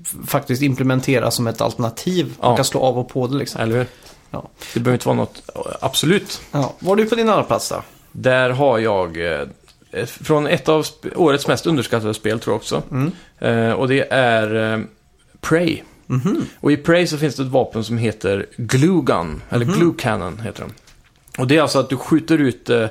[SPEAKER 2] f- faktiskt implementera som ett alternativ. Man
[SPEAKER 1] Ja.
[SPEAKER 2] kan slå av och på det liksom.
[SPEAKER 1] Eller hur?
[SPEAKER 2] Ja.
[SPEAKER 1] Det behöver inte vara något absolut.
[SPEAKER 2] Ja. Var du på din andra plats då?
[SPEAKER 1] Där har jag eh, ett- från ett av sp- årets mest underskattade spel tror jag också.
[SPEAKER 2] Mm.
[SPEAKER 1] Eh, och det är eh, Prey.
[SPEAKER 2] Mhm.
[SPEAKER 1] Och i Prey så finns det ett vapen som
[SPEAKER 2] Mhm.
[SPEAKER 1] heter Glue Gun, eller Glue Cannon heter den. Och det är alltså att du skjuter ut eh,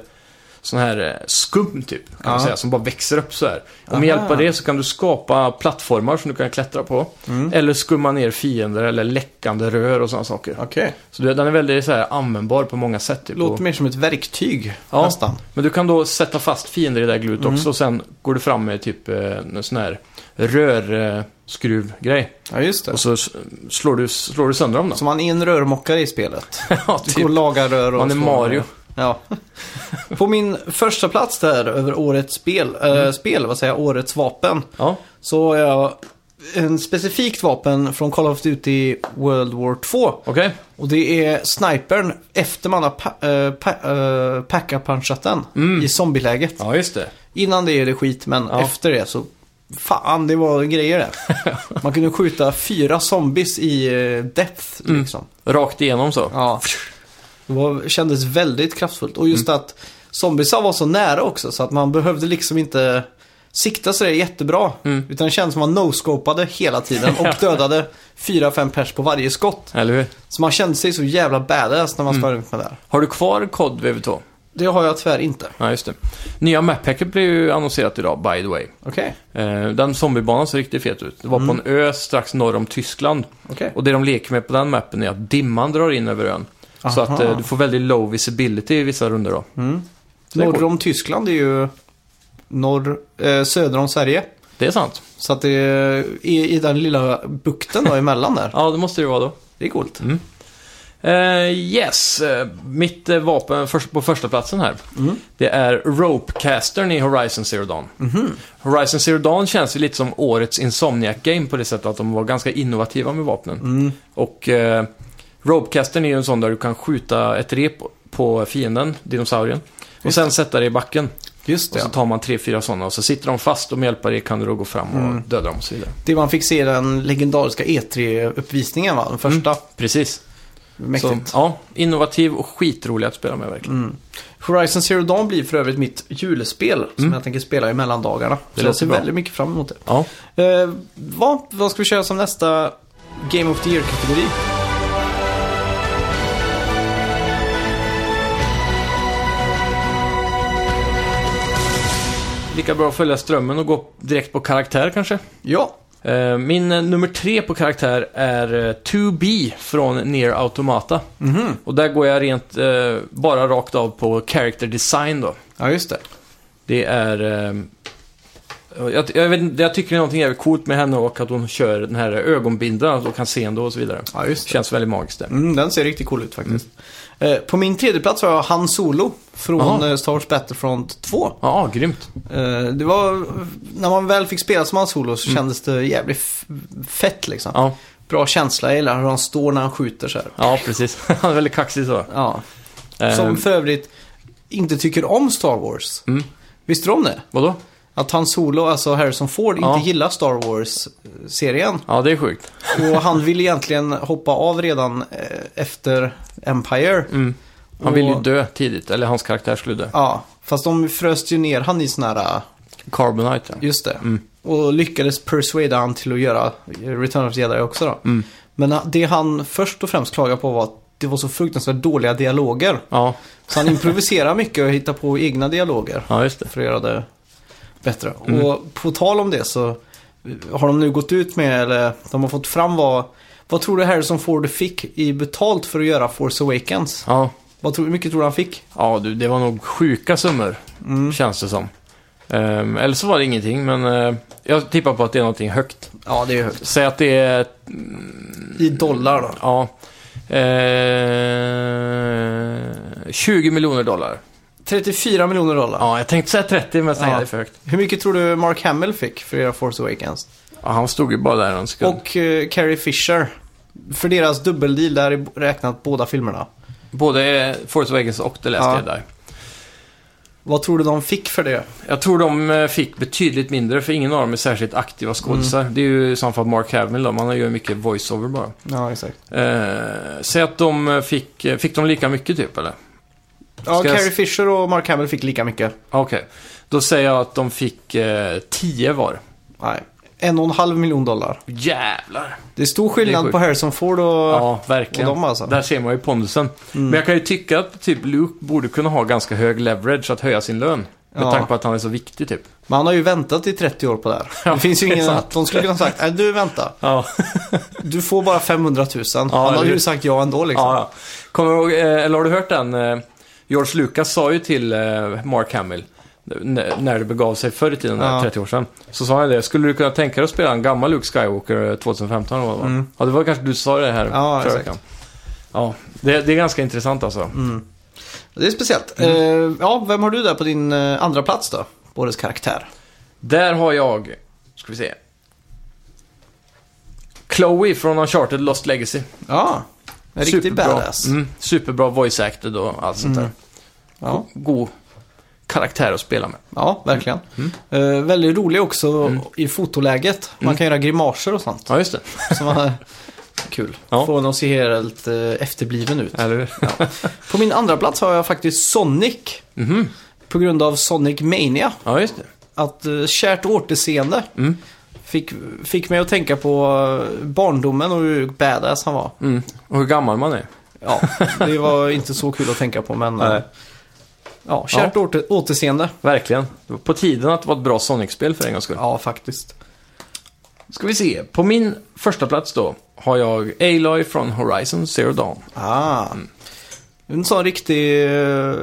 [SPEAKER 1] sån här eh, skum typ, kan man
[SPEAKER 2] Ja.
[SPEAKER 1] säga, som bara växer upp så här. Och
[SPEAKER 2] Aha.
[SPEAKER 1] med hjälp av det så kan du skapa plattformar som du kan klättra på.
[SPEAKER 2] Mm.
[SPEAKER 1] Eller skumma ner fiender eller läckande rör och sådana saker.
[SPEAKER 2] Okej.
[SPEAKER 1] Så det- den är väldigt så här, användbar på många sätt. Typ. Och-
[SPEAKER 2] Låter mer som ett verktyg
[SPEAKER 1] Ja.
[SPEAKER 2] nästan.
[SPEAKER 1] men du kan då sätta fast fiender i det där gluet
[SPEAKER 2] Mm.
[SPEAKER 1] också och sen går du fram med typ eh, en sån här rörskruvgrej.
[SPEAKER 2] Ja, just det.
[SPEAKER 1] Och så s- slår du, slår du sönder dem då.
[SPEAKER 2] Så man är en rörmokare i spelet.
[SPEAKER 1] ja, typ.
[SPEAKER 2] Du går och lagar rör och
[SPEAKER 1] Man är
[SPEAKER 2] slår-
[SPEAKER 1] Mario.
[SPEAKER 2] Ja. På min första plats där över årets spel, eh,
[SPEAKER 1] Mm.
[SPEAKER 2] spel vad säger jag, årets vapen.
[SPEAKER 1] Ja,
[SPEAKER 2] Så har jag en specifikt vapen från Call of Duty World War 2.
[SPEAKER 1] okej.
[SPEAKER 2] Och det är snipern efter man har pa- eh, pa- eh, packa-punchat den
[SPEAKER 1] Mm.
[SPEAKER 2] i zombieläget.
[SPEAKER 1] Ja, just det.
[SPEAKER 2] Innan det är det skit, men
[SPEAKER 1] Ja.
[SPEAKER 2] efter det så... Fan, det var grejer det. Man kunde skjuta fyra zombies i eh, depth
[SPEAKER 1] Mm.
[SPEAKER 2] liksom.
[SPEAKER 1] Rakt igenom så.
[SPEAKER 2] Ja. Det var, kändes väldigt kraftfullt. Och
[SPEAKER 1] Mm.
[SPEAKER 2] just att zombiesar var så nära också så att man behövde liksom inte sikta sig jättebra.
[SPEAKER 1] Mm.
[SPEAKER 2] Utan det kändes som man no-scopade hela tiden och dödade fyra fem pers på varje skott.
[SPEAKER 1] Eller hur?
[SPEAKER 2] Så man kände sig så jävla badass när man
[SPEAKER 1] Mm.
[SPEAKER 2] sprang runt med det här.
[SPEAKER 1] Har du kvar kod VV2?
[SPEAKER 2] Det har jag tyvärr inte.
[SPEAKER 1] Ja, just det. Nya mappacket blev ju annonserat idag, by the way.
[SPEAKER 2] Okej.
[SPEAKER 1] Eh, Den zombiebanan ser riktigt fet ut. Det var
[SPEAKER 2] Mm.
[SPEAKER 1] på en ö strax norr om Tyskland.
[SPEAKER 2] Okej.
[SPEAKER 1] Och det de leker med på den mappen är att dimman drar in över ön. Så
[SPEAKER 2] Aha.
[SPEAKER 1] att eh, du får väldigt low visibility i vissa runder då. Så det är
[SPEAKER 2] Norr
[SPEAKER 1] coolt.
[SPEAKER 2] om Tyskland är ju norr, eh, söder om Sverige.
[SPEAKER 1] Det är sant.
[SPEAKER 2] Så att det är i den lilla bukten då emellan där.
[SPEAKER 1] Ja, det måste det vara då.
[SPEAKER 2] Det är coolt.
[SPEAKER 1] Eh, yes, Eh, mitt eh, vapen först, på första platsen här.
[SPEAKER 2] Mm.
[SPEAKER 1] Det är Ropecastern i Horizon Zero Dawn.
[SPEAKER 2] Mhm.
[SPEAKER 1] Horizon Zero Dawn känns ju lite som årets Insomniac-game på det sättet att de var ganska innovativa med vapnen.
[SPEAKER 2] Mm.
[SPEAKER 1] Och eh, Ropecastern är ju en sån där du kan skjuta ett rep på fienden, dinosaurien. Och
[SPEAKER 2] Just
[SPEAKER 1] sen sätta det i backen.
[SPEAKER 2] Just
[SPEAKER 1] Och så
[SPEAKER 2] det.
[SPEAKER 1] tar man tre, fyra sådana och så sitter de fast och med hjälp av det kan du då gå fram och
[SPEAKER 2] Mm.
[SPEAKER 1] döda dem och så vidare.
[SPEAKER 2] Det man fick se i den legendariska E3-uppvisningen
[SPEAKER 1] Mm.
[SPEAKER 2] va? Den första.
[SPEAKER 1] Precis. Så,
[SPEAKER 2] Mäktigt.
[SPEAKER 1] ja, innovativ och skitrolig att spela med verkligen.
[SPEAKER 2] Mm. Horizon Zero Dawn blir för övrigt mitt julspel som jag tänker spela i mellandagarna. Så jag
[SPEAKER 1] Mm. låter
[SPEAKER 2] ser
[SPEAKER 1] bra.
[SPEAKER 2] väldigt mycket fram emot det.
[SPEAKER 1] Ja.
[SPEAKER 2] Eh, vad, vad ska vi köra som nästa Game of the Year-kategori?
[SPEAKER 1] Lika bra att följa strömmen och gå direkt på karaktär kanske.
[SPEAKER 2] Ja,
[SPEAKER 1] Eh, Min eh, nummer tre på karaktär är eh, 2B från Near Automata.
[SPEAKER 2] Mhm.
[SPEAKER 1] Och där går jag rent eh, bara rakt av på character design då.
[SPEAKER 2] ja just det.
[SPEAKER 1] Det är... eh, Jag, jag, vet, inte, jag tycker det är någonting jävligt coolt med henne och att hon kör den här ögonbindeln och kan se ändå och så vidare.
[SPEAKER 2] Ja, just
[SPEAKER 1] Det känns Mm. väldigt magiskt det.
[SPEAKER 2] Mm, den ser riktigt cool ut faktiskt. Eh, på min tredje plats har jag Han Solo från
[SPEAKER 1] Jaha.
[SPEAKER 2] eh, Star Wars Battlefront 2.
[SPEAKER 1] Ja, grymt.
[SPEAKER 2] Eh, det var, när man väl fick spela som Han Solo så kändes det jävligt f- fett liksom.
[SPEAKER 1] Mm. Ja,
[SPEAKER 2] Bra känsla, jag gillar hur han står när han skjuter så här.
[SPEAKER 1] ja precis. Han är väldigt kaxig så.
[SPEAKER 2] Ja.
[SPEAKER 1] Eh,
[SPEAKER 2] Som för övrigt inte tycker om Star Wars.
[SPEAKER 1] Mm.
[SPEAKER 2] Visste du om det?
[SPEAKER 1] Vadå?
[SPEAKER 2] Att han Solo, alltså Harrison Ford,
[SPEAKER 1] Ja.
[SPEAKER 2] inte gillar Star Wars-serien.
[SPEAKER 1] Ja, det är sjukt.
[SPEAKER 2] Och han vill egentligen hoppa av redan eh, efter Empire.
[SPEAKER 1] Mm. Han vill ju
[SPEAKER 2] Och-
[SPEAKER 1] dö tidigt, eller hans karaktär skulle dö.
[SPEAKER 2] Ja, fast de fröst ju ner han i sån här, eh,
[SPEAKER 1] Carbonite, ja.
[SPEAKER 2] just det.
[SPEAKER 1] Mm.
[SPEAKER 2] Och lyckades persuada han till att göra eh, Return of the Jedi också då.
[SPEAKER 1] Mm.
[SPEAKER 2] Men eh, det han först och främst klagade på var att det var så fruktansvärt dåliga dialoger.
[SPEAKER 1] ja.
[SPEAKER 2] Så han improviserar mycket och hittar på egna dialoger.
[SPEAKER 1] Ja, just det.
[SPEAKER 2] för att göra det bättre. Och på tal om det så har de nu gått ut med, eller de har fått fram vad, vad tror du Harrison Ford fick i betalt för att göra Force Awakens?
[SPEAKER 1] Ja.
[SPEAKER 2] Vad tror, hur mycket tror du han fick?
[SPEAKER 1] Ja, du, det var nog sjuka summor, känns det som. Ehm, eller så var det ingenting, men eh, jag tippar på att det är någonting högt.
[SPEAKER 2] Ja, det är högt.
[SPEAKER 1] Säg att det är,
[SPEAKER 2] I dollar då?
[SPEAKER 1] ja, eh, 20 miljoner dollar.
[SPEAKER 2] 34 miljoner dollar.
[SPEAKER 1] Ja, jag tänkte säga 30, men jag tänkte
[SPEAKER 2] Ja.
[SPEAKER 1] det är för högt.
[SPEAKER 2] Hur mycket tror du Mark Hamill fick för att göra Force Awakens?
[SPEAKER 1] Ja, han stod ju bara där en sekund.
[SPEAKER 2] Och eh, Carrie Fisher. För deras dubbeldeal, där är räknat båda filmerna.
[SPEAKER 1] Både eh, Force Awakens och The Last
[SPEAKER 2] Ja.
[SPEAKER 1] Jedi.
[SPEAKER 2] Vad tror du de fick för det?
[SPEAKER 1] Jag tror de eh, fick betydligt mindre, för ingen av dem är särskilt aktiva skådisar. Det är ju i så fall Mark Hamill då, men han gör ju mycket voiceover bara.
[SPEAKER 2] Ja, exakt.
[SPEAKER 1] Eh, säg att de eh, fick, eh, fick de lika mycket typ, eller?
[SPEAKER 2] Ja,
[SPEAKER 1] Ska jag-
[SPEAKER 2] Carrie Fisher och Mark Hamill
[SPEAKER 1] Ah,
[SPEAKER 2] fick lika mycket.
[SPEAKER 1] Okej, då säger jag att de fick eh, 10 var.
[SPEAKER 2] Nej. en och en halv miljon dollar.
[SPEAKER 1] Jävlar.
[SPEAKER 2] Det är stor
[SPEAKER 1] Det är
[SPEAKER 2] skillnad
[SPEAKER 1] sjukt.
[SPEAKER 2] på Harrison Ford och...
[SPEAKER 1] Ja, verkligen.
[SPEAKER 2] och de Mm. alltså.
[SPEAKER 1] Där ser man ju pondusen. Men jag kan ju tycka att typ Luke borde kunna ha ganska hög leverage att höja sin lön. Med
[SPEAKER 2] Ja.
[SPEAKER 1] tanke på att han är så viktig typ.
[SPEAKER 2] Men han har ju väntat i 30 år på det här.
[SPEAKER 1] Ja,
[SPEAKER 2] det finns ju
[SPEAKER 1] det är
[SPEAKER 2] ingen...
[SPEAKER 1] sant.
[SPEAKER 2] De skulle kunna ha sagt, nej du vänta.
[SPEAKER 1] Ja.
[SPEAKER 2] Du får bara 500 000.
[SPEAKER 1] Ja,
[SPEAKER 2] han hade
[SPEAKER 1] det-
[SPEAKER 2] ju sagt ja ändå liksom.
[SPEAKER 1] Ja, ja. Kommer du ihåg, eh, eller har du hört den? eh, George Lucas sa ju till eh, Mark Hamill, n- när det begav sig förr i tiden,
[SPEAKER 2] Ja.
[SPEAKER 1] 30 år sedan. Så sa han det, skulle du kunna tänka dig att spela en gammal Luke Skywalker eh, 2015? eller vad det var?
[SPEAKER 2] Mm.
[SPEAKER 1] Ja, det var kanske du som sa det här
[SPEAKER 2] Ja,
[SPEAKER 1] förra
[SPEAKER 2] exakt. Mm.
[SPEAKER 1] veckan. Ja, det, det är ganska intressant alltså.
[SPEAKER 2] Det är speciellt.
[SPEAKER 1] Mm.
[SPEAKER 2] Eh, ja, vem har du där på din eh, andra plats då? På årets karaktär.
[SPEAKER 1] Där har jag, ska vi se. Chloe från Uncharted Lost Legacy.
[SPEAKER 2] Ja, en riktig
[SPEAKER 1] Superbra.
[SPEAKER 2] badass. Mm,
[SPEAKER 1] Mm, superbra voice acted och allt sånt där.
[SPEAKER 2] Ja,
[SPEAKER 1] God karaktär att spela med.
[SPEAKER 2] ja, verkligen.
[SPEAKER 1] Mm.
[SPEAKER 2] Eh, väldigt rolig också i fotoläget. Man
[SPEAKER 1] Mm.
[SPEAKER 2] kan göra grimaser och sånt.
[SPEAKER 1] Ja, just det.
[SPEAKER 2] Som var kul.
[SPEAKER 1] Ja.
[SPEAKER 2] Får honom att se helt eh, efterbliven ut.
[SPEAKER 1] Eller hur?
[SPEAKER 2] På min andra plats har jag faktiskt Sonic.
[SPEAKER 1] Mhm.
[SPEAKER 2] På grund av Sonic Mania.
[SPEAKER 1] Ja, just det.
[SPEAKER 2] Att eh, kärt återseende
[SPEAKER 1] Mm.
[SPEAKER 2] fick, fick mig att tänka på eh, barndomen och hur badass han var.
[SPEAKER 1] Mm. Och hur gammal man är.
[SPEAKER 2] Ja, det var inte så kul att tänka på men... eh,
[SPEAKER 1] Nej.
[SPEAKER 2] Ja, kärt Åter, återseende.
[SPEAKER 1] Verkligen. Det var på tiden att det var ett bra Sonic-spel för en gångs skull.
[SPEAKER 2] Ja, faktiskt.
[SPEAKER 1] Ska vi se. På min första plats då har jag Aloy från Horizon Zero Dawn.
[SPEAKER 2] Ah.
[SPEAKER 1] Mm.
[SPEAKER 2] En sån riktig, eh,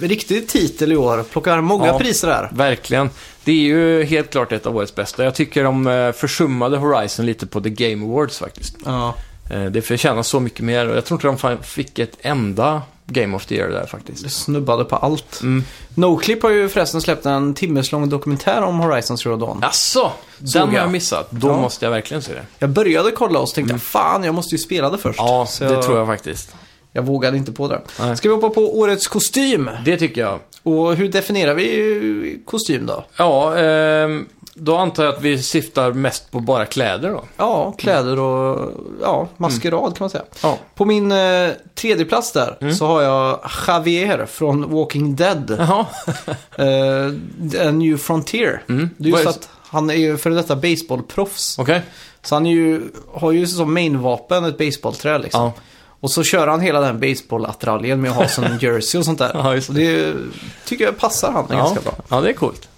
[SPEAKER 2] riktig titel i år. Plockar många
[SPEAKER 1] Ja.
[SPEAKER 2] priser där.
[SPEAKER 1] Verkligen. Det är ju helt klart ett av årets bästa. Jag tycker de eh, försummade Horizon lite på The Game Awards faktiskt.
[SPEAKER 2] Ja.
[SPEAKER 1] Eh, Det förtjänar så mycket mer och jag tror inte de fan fick ett enda Game of the Year där faktiskt.
[SPEAKER 2] Snubbade på allt.
[SPEAKER 1] Mm.
[SPEAKER 2] Noclip har ju förresten släppt en timmeslång dokumentär om Horizon Zero Dawn.
[SPEAKER 1] Jaså?
[SPEAKER 2] Såg
[SPEAKER 1] Den har jag
[SPEAKER 2] jag.
[SPEAKER 1] missat. Då
[SPEAKER 2] Ja.
[SPEAKER 1] måste jag verkligen se det.
[SPEAKER 2] Jag började kolla och så tänkte jag, fan jag måste ju spela det först.
[SPEAKER 1] Mm. Ja,
[SPEAKER 2] så
[SPEAKER 1] det tror jag faktiskt.
[SPEAKER 2] Jag vågade inte på det.
[SPEAKER 1] Nej.
[SPEAKER 2] Ska vi hoppa på årets kostym?
[SPEAKER 1] Det tycker jag.
[SPEAKER 2] Och hur definierar vi kostym då?
[SPEAKER 1] Ja, ehm, då antar jag att vi syftar mest på bara kläder då.
[SPEAKER 2] Ja, kläder och ja, maskerad kan man säga.
[SPEAKER 1] Ja.
[SPEAKER 2] På min eh, tredje plats där
[SPEAKER 1] Mm.
[SPEAKER 2] så har jag Javier från Walking Dead.
[SPEAKER 1] Jaha.
[SPEAKER 2] eh, A New Frontier.
[SPEAKER 1] Mm.
[SPEAKER 2] Det är
[SPEAKER 1] Vad
[SPEAKER 2] ju
[SPEAKER 1] är
[SPEAKER 2] så
[SPEAKER 1] det-
[SPEAKER 2] att han är ju före detta baseballproffs.
[SPEAKER 1] Okej.
[SPEAKER 2] Så han är ju, har ju som mainvapen ett baseballträ liksom.
[SPEAKER 1] Ja.
[SPEAKER 2] Och så kör han hela den baseballattraljen med att ha som en jersey och sånt där.
[SPEAKER 1] Ja, just
[SPEAKER 2] Och det tycker jag passar han
[SPEAKER 1] Ja.
[SPEAKER 2] ganska bra.
[SPEAKER 1] ja, det är Mm. coolt.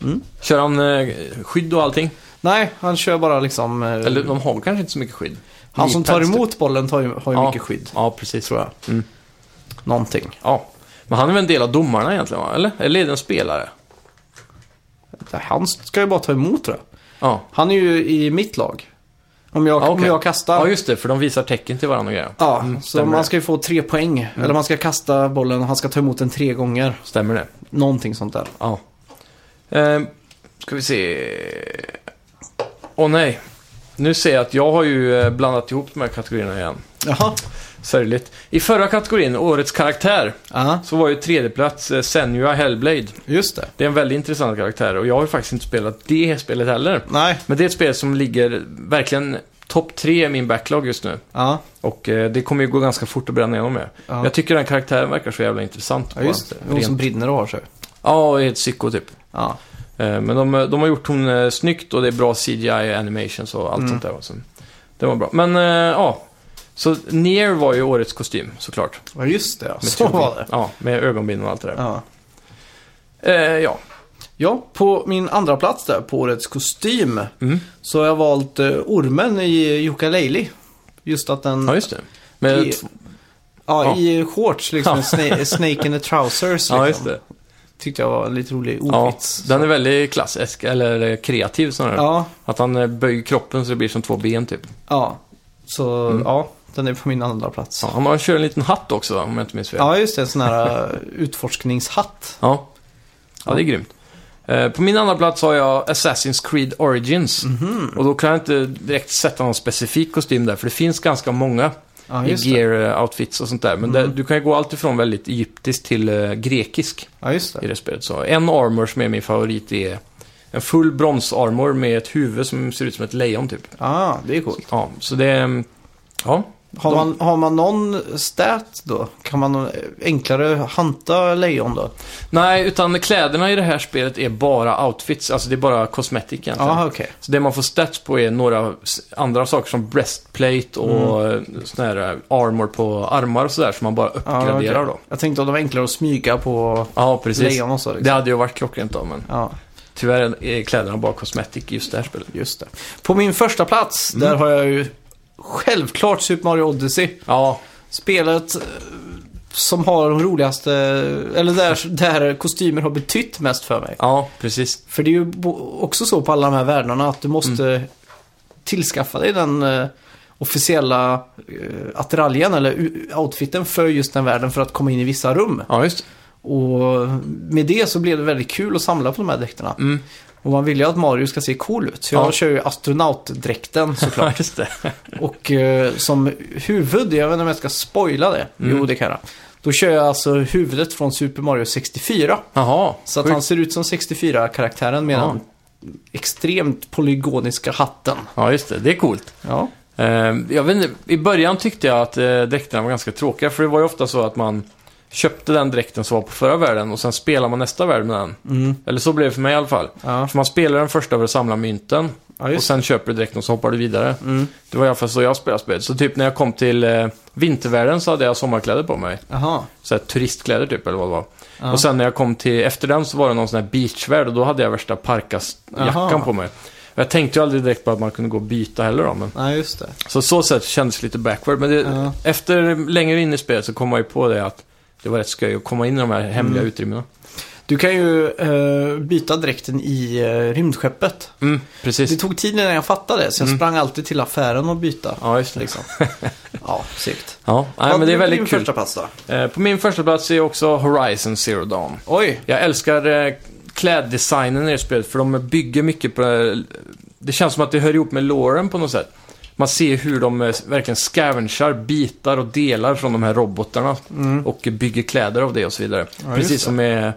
[SPEAKER 1] Kör han eh, skydd och allting?
[SPEAKER 2] Nej, han kör bara liksom... eh,
[SPEAKER 1] Eller de har kanske inte så mycket skydd.
[SPEAKER 2] han som tar
[SPEAKER 1] Knivpads, typ.
[SPEAKER 2] emot bollen tar ju, har ju
[SPEAKER 1] Ja.
[SPEAKER 2] mycket skydd.
[SPEAKER 1] Ja, precis.
[SPEAKER 2] Tror jag.
[SPEAKER 1] Mm.
[SPEAKER 2] Någonting.
[SPEAKER 1] Ja. Men han är väl en del av domarna egentligen, va? eller? Eller är det en spelare?
[SPEAKER 2] Han ska ju bara ta emot tror jag.
[SPEAKER 1] Ja.
[SPEAKER 2] Han är ju i mitt lag. Om jag,
[SPEAKER 1] Ja,
[SPEAKER 2] om
[SPEAKER 1] okej.
[SPEAKER 2] jag kastar.
[SPEAKER 1] Ja, just det, för de visar tecken till varandra och grejer.
[SPEAKER 2] Ja, så
[SPEAKER 1] stämmer det. Mm.
[SPEAKER 2] man ska ju få tre poäng. Eller man ska kasta bollen och han ska ta emot den tre gånger.
[SPEAKER 1] Stämmer det?
[SPEAKER 2] Någonting sånt där.
[SPEAKER 1] Ja. Ehm, ska vi se... Åh nej. Nu ser jag att jag har ju eh, blandat ihop de här kategorierna igen.
[SPEAKER 2] Jaha.
[SPEAKER 1] Sorgligt. I förra kategorin, Årets karaktär,
[SPEAKER 2] Ja,
[SPEAKER 1] så var ju tredjeplats eh, Senua Hellblade.
[SPEAKER 2] just det.
[SPEAKER 1] Det är en väldigt intressant karaktär och jag har ju faktiskt inte spelat det spelet heller.
[SPEAKER 2] Nej.
[SPEAKER 1] Men det är ett spel som ligger verkligen topp tre i min backlog just nu.
[SPEAKER 2] Ja,
[SPEAKER 1] Och eh, det kommer ju gå ganska fort att bränna igenom med.
[SPEAKER 2] Ja.
[SPEAKER 1] Jag tycker den karaktären verkar så jävla intressant.
[SPEAKER 2] ja just det.
[SPEAKER 1] bara.
[SPEAKER 2] Hon som
[SPEAKER 1] Rent-
[SPEAKER 2] brinner och har sig.
[SPEAKER 1] Ja, och är ett psyko typ.
[SPEAKER 2] Ja.
[SPEAKER 1] Eh, Men de, de har gjort hon eh, snyggt och det är bra CGI animations och allt
[SPEAKER 2] Mm.
[SPEAKER 1] sånt där. va. Så det var bra. Men eh, ja, så Nier var ju årets kostym såklart.
[SPEAKER 2] Ja, just det.
[SPEAKER 1] Med
[SPEAKER 2] Så
[SPEAKER 1] tuben.
[SPEAKER 2] var det.
[SPEAKER 1] Ja, med ögonbindel och allt det där.
[SPEAKER 2] Ja.
[SPEAKER 1] Eh, ja.
[SPEAKER 2] ja, på min andra plats där på årets kostym
[SPEAKER 1] Mm.
[SPEAKER 2] så har jag valt eh, ormen i Jukka Just att den...
[SPEAKER 1] ja, just det. Med
[SPEAKER 2] I,
[SPEAKER 1] tv-
[SPEAKER 2] ja,
[SPEAKER 1] ja.
[SPEAKER 2] i shorts liksom.
[SPEAKER 1] Ja.
[SPEAKER 2] Sna- snake in the trousers. Liksom.
[SPEAKER 1] ja, just det.
[SPEAKER 2] Tyckte jag var en lite rolig
[SPEAKER 1] Ja,
[SPEAKER 2] ordvits.
[SPEAKER 1] den är väldigt klassisk, eller eh, kreativ snarare.
[SPEAKER 2] Ja,
[SPEAKER 1] Att han eh, böjer kroppen så det blir som två ben typ.
[SPEAKER 2] ja. Så ja, den är på min andra plats.
[SPEAKER 1] Mm. Ja,
[SPEAKER 2] Ja.
[SPEAKER 1] han har kör en liten hatt också va, om jag inte minns fel.
[SPEAKER 2] just det. En sån här eh, utforskningshatt.
[SPEAKER 1] Ja, ja det är grymt. Eh, På min andra plats har jag Assassin's Creed Origins.
[SPEAKER 2] Mhm.
[SPEAKER 1] Och då kan jag inte direkt sätta någon specifik kostym där, för det finns ganska många
[SPEAKER 2] Ja,
[SPEAKER 1] i
[SPEAKER 2] just det. Mhm.
[SPEAKER 1] gear-outfits och sånt där. Men det, du kan ju gå allt ifrån väldigt egyptisk till eh, grekisk
[SPEAKER 2] Ja, just
[SPEAKER 1] i
[SPEAKER 2] det.
[SPEAKER 1] det spelet. Så en armor som är min favorit är en full bronsarmor med ett huvud som ser ut som ett lejon typ.
[SPEAKER 2] Ja, ah, det är coolt.
[SPEAKER 1] mm, Ja, så det... Ja,
[SPEAKER 2] Har,
[SPEAKER 1] De-
[SPEAKER 2] man, har man någon stat då? Kan man enklare hanta lejon då?
[SPEAKER 1] Nej, utan kläderna i det här spelet är bara outfits, alltså det är bara cosmetic egentligen.
[SPEAKER 2] Ja, okej.
[SPEAKER 1] Så det man får stats på är några s- andra saker som breastplate och mm. sån här armor på armar och sådär som man bara uppgraderar
[SPEAKER 2] Ja, okej.
[SPEAKER 1] då.
[SPEAKER 2] Jag tänkte att det var enklare att smyga på
[SPEAKER 1] Ja, precis.
[SPEAKER 2] lejon och så. Liksom.
[SPEAKER 1] Det hade ju varit klockrent då, men
[SPEAKER 2] Ja,
[SPEAKER 1] tyvärr är kläderna bara cosmetic i just det här spelet.
[SPEAKER 2] just det. På min första plats,
[SPEAKER 1] Mm.
[SPEAKER 2] där har jag ju självklart Super Mario Odyssey.
[SPEAKER 1] Ja,
[SPEAKER 2] Spelet eh, som har de roligaste, eller där, där kostymer har betytt mest för mig.
[SPEAKER 1] ja, precis.
[SPEAKER 2] För det är ju bo- också så på alla de här världarna att du måste
[SPEAKER 1] Mm.
[SPEAKER 2] tillskaffa dig den eh, officiella eh, attiraljen eller u- outfiten för just den världen för att komma in i vissa rum.
[SPEAKER 1] Ja, just
[SPEAKER 2] Och med det så blev det väldigt kul att samla på de här dräkterna.
[SPEAKER 1] Mm.
[SPEAKER 2] Och man vill ju att Mario ska se cool ut. Så jag
[SPEAKER 1] Ja.
[SPEAKER 2] kör ju astronautdräkten såklart.
[SPEAKER 1] Ja, just det.
[SPEAKER 2] Och eh, som huvud, jag vet inte om jag ska spoila det.
[SPEAKER 1] Mm.
[SPEAKER 2] Jo, det kan jag. Då kör jag alltså huvudet från Super Mario 64.
[SPEAKER 1] Jaha,
[SPEAKER 2] Så att
[SPEAKER 1] sjukt.
[SPEAKER 2] han ser ut som 64-karaktären med
[SPEAKER 1] Ja.
[SPEAKER 2] den extremt polygoniska hatten.
[SPEAKER 1] Ja, just det. Det är coolt.
[SPEAKER 2] Ja,
[SPEAKER 1] Eh, jag vet inte, I början tyckte jag att eh, dräkterna var ganska tråkiga, för det var ju ofta så att man köpte den dräkten som var på förra världen och sen spelar man nästa värld med den.
[SPEAKER 2] mm.
[SPEAKER 1] Eller så blev det för mig i alla fall.
[SPEAKER 2] ja.
[SPEAKER 1] För man spelar den första för att samla mynten
[SPEAKER 2] ja
[SPEAKER 1] och
[SPEAKER 2] just
[SPEAKER 1] sen köper du dräkten och så hoppar du vidare.
[SPEAKER 2] det. Mm.
[SPEAKER 1] Det var i alla fall så jag spelade spelet. Så typ när jag kom till eh, vintervärlden så hade jag sommarkläder på mig.
[SPEAKER 2] Aha.
[SPEAKER 1] Så här, turistkläder typ, eller vad det var.
[SPEAKER 2] Ja.
[SPEAKER 1] Och sen när jag kom till, efter den så var det någon sån här beachvärld och då hade jag värsta parkasjackan
[SPEAKER 2] Aha.
[SPEAKER 1] på mig. Jag tänkte ju aldrig direkt på att man kunde gå och byta heller då, men...
[SPEAKER 2] Ja, just det.
[SPEAKER 1] Så så sätt kändes det lite backward. Men det,
[SPEAKER 2] Ja.
[SPEAKER 1] efter längre in i spelet så kom man ju på det att det var rätt skoj att komma in i de här hemliga
[SPEAKER 2] Mm.
[SPEAKER 1] utrymmena.
[SPEAKER 2] Du kan ju eh, byta dräkten i eh, rymdskeppet.
[SPEAKER 1] Mm, precis.
[SPEAKER 2] Det tog tid innan jag fattade det, så jag
[SPEAKER 1] Mm.
[SPEAKER 2] sprang alltid till affären och byta.
[SPEAKER 1] Ja, just det.
[SPEAKER 2] Liksom. ja, segt.
[SPEAKER 1] Ja, nej, men det är väldigt kul.
[SPEAKER 2] första pass då?
[SPEAKER 1] Eh, På min första plats är också Horizon Zero Dawn.
[SPEAKER 2] Oj!
[SPEAKER 1] Jag älskar eh, kläddesignen i det spelet för de bygger mycket på... eh, Det känns som att det hör ihop med loren på något sätt. Man ser hur de eh, verkligen scavengar bitar och delar från de här robotarna
[SPEAKER 2] Mm.
[SPEAKER 1] och bygger kläder av det och så vidare.
[SPEAKER 2] Ja, just
[SPEAKER 1] Precis
[SPEAKER 2] det.
[SPEAKER 1] som med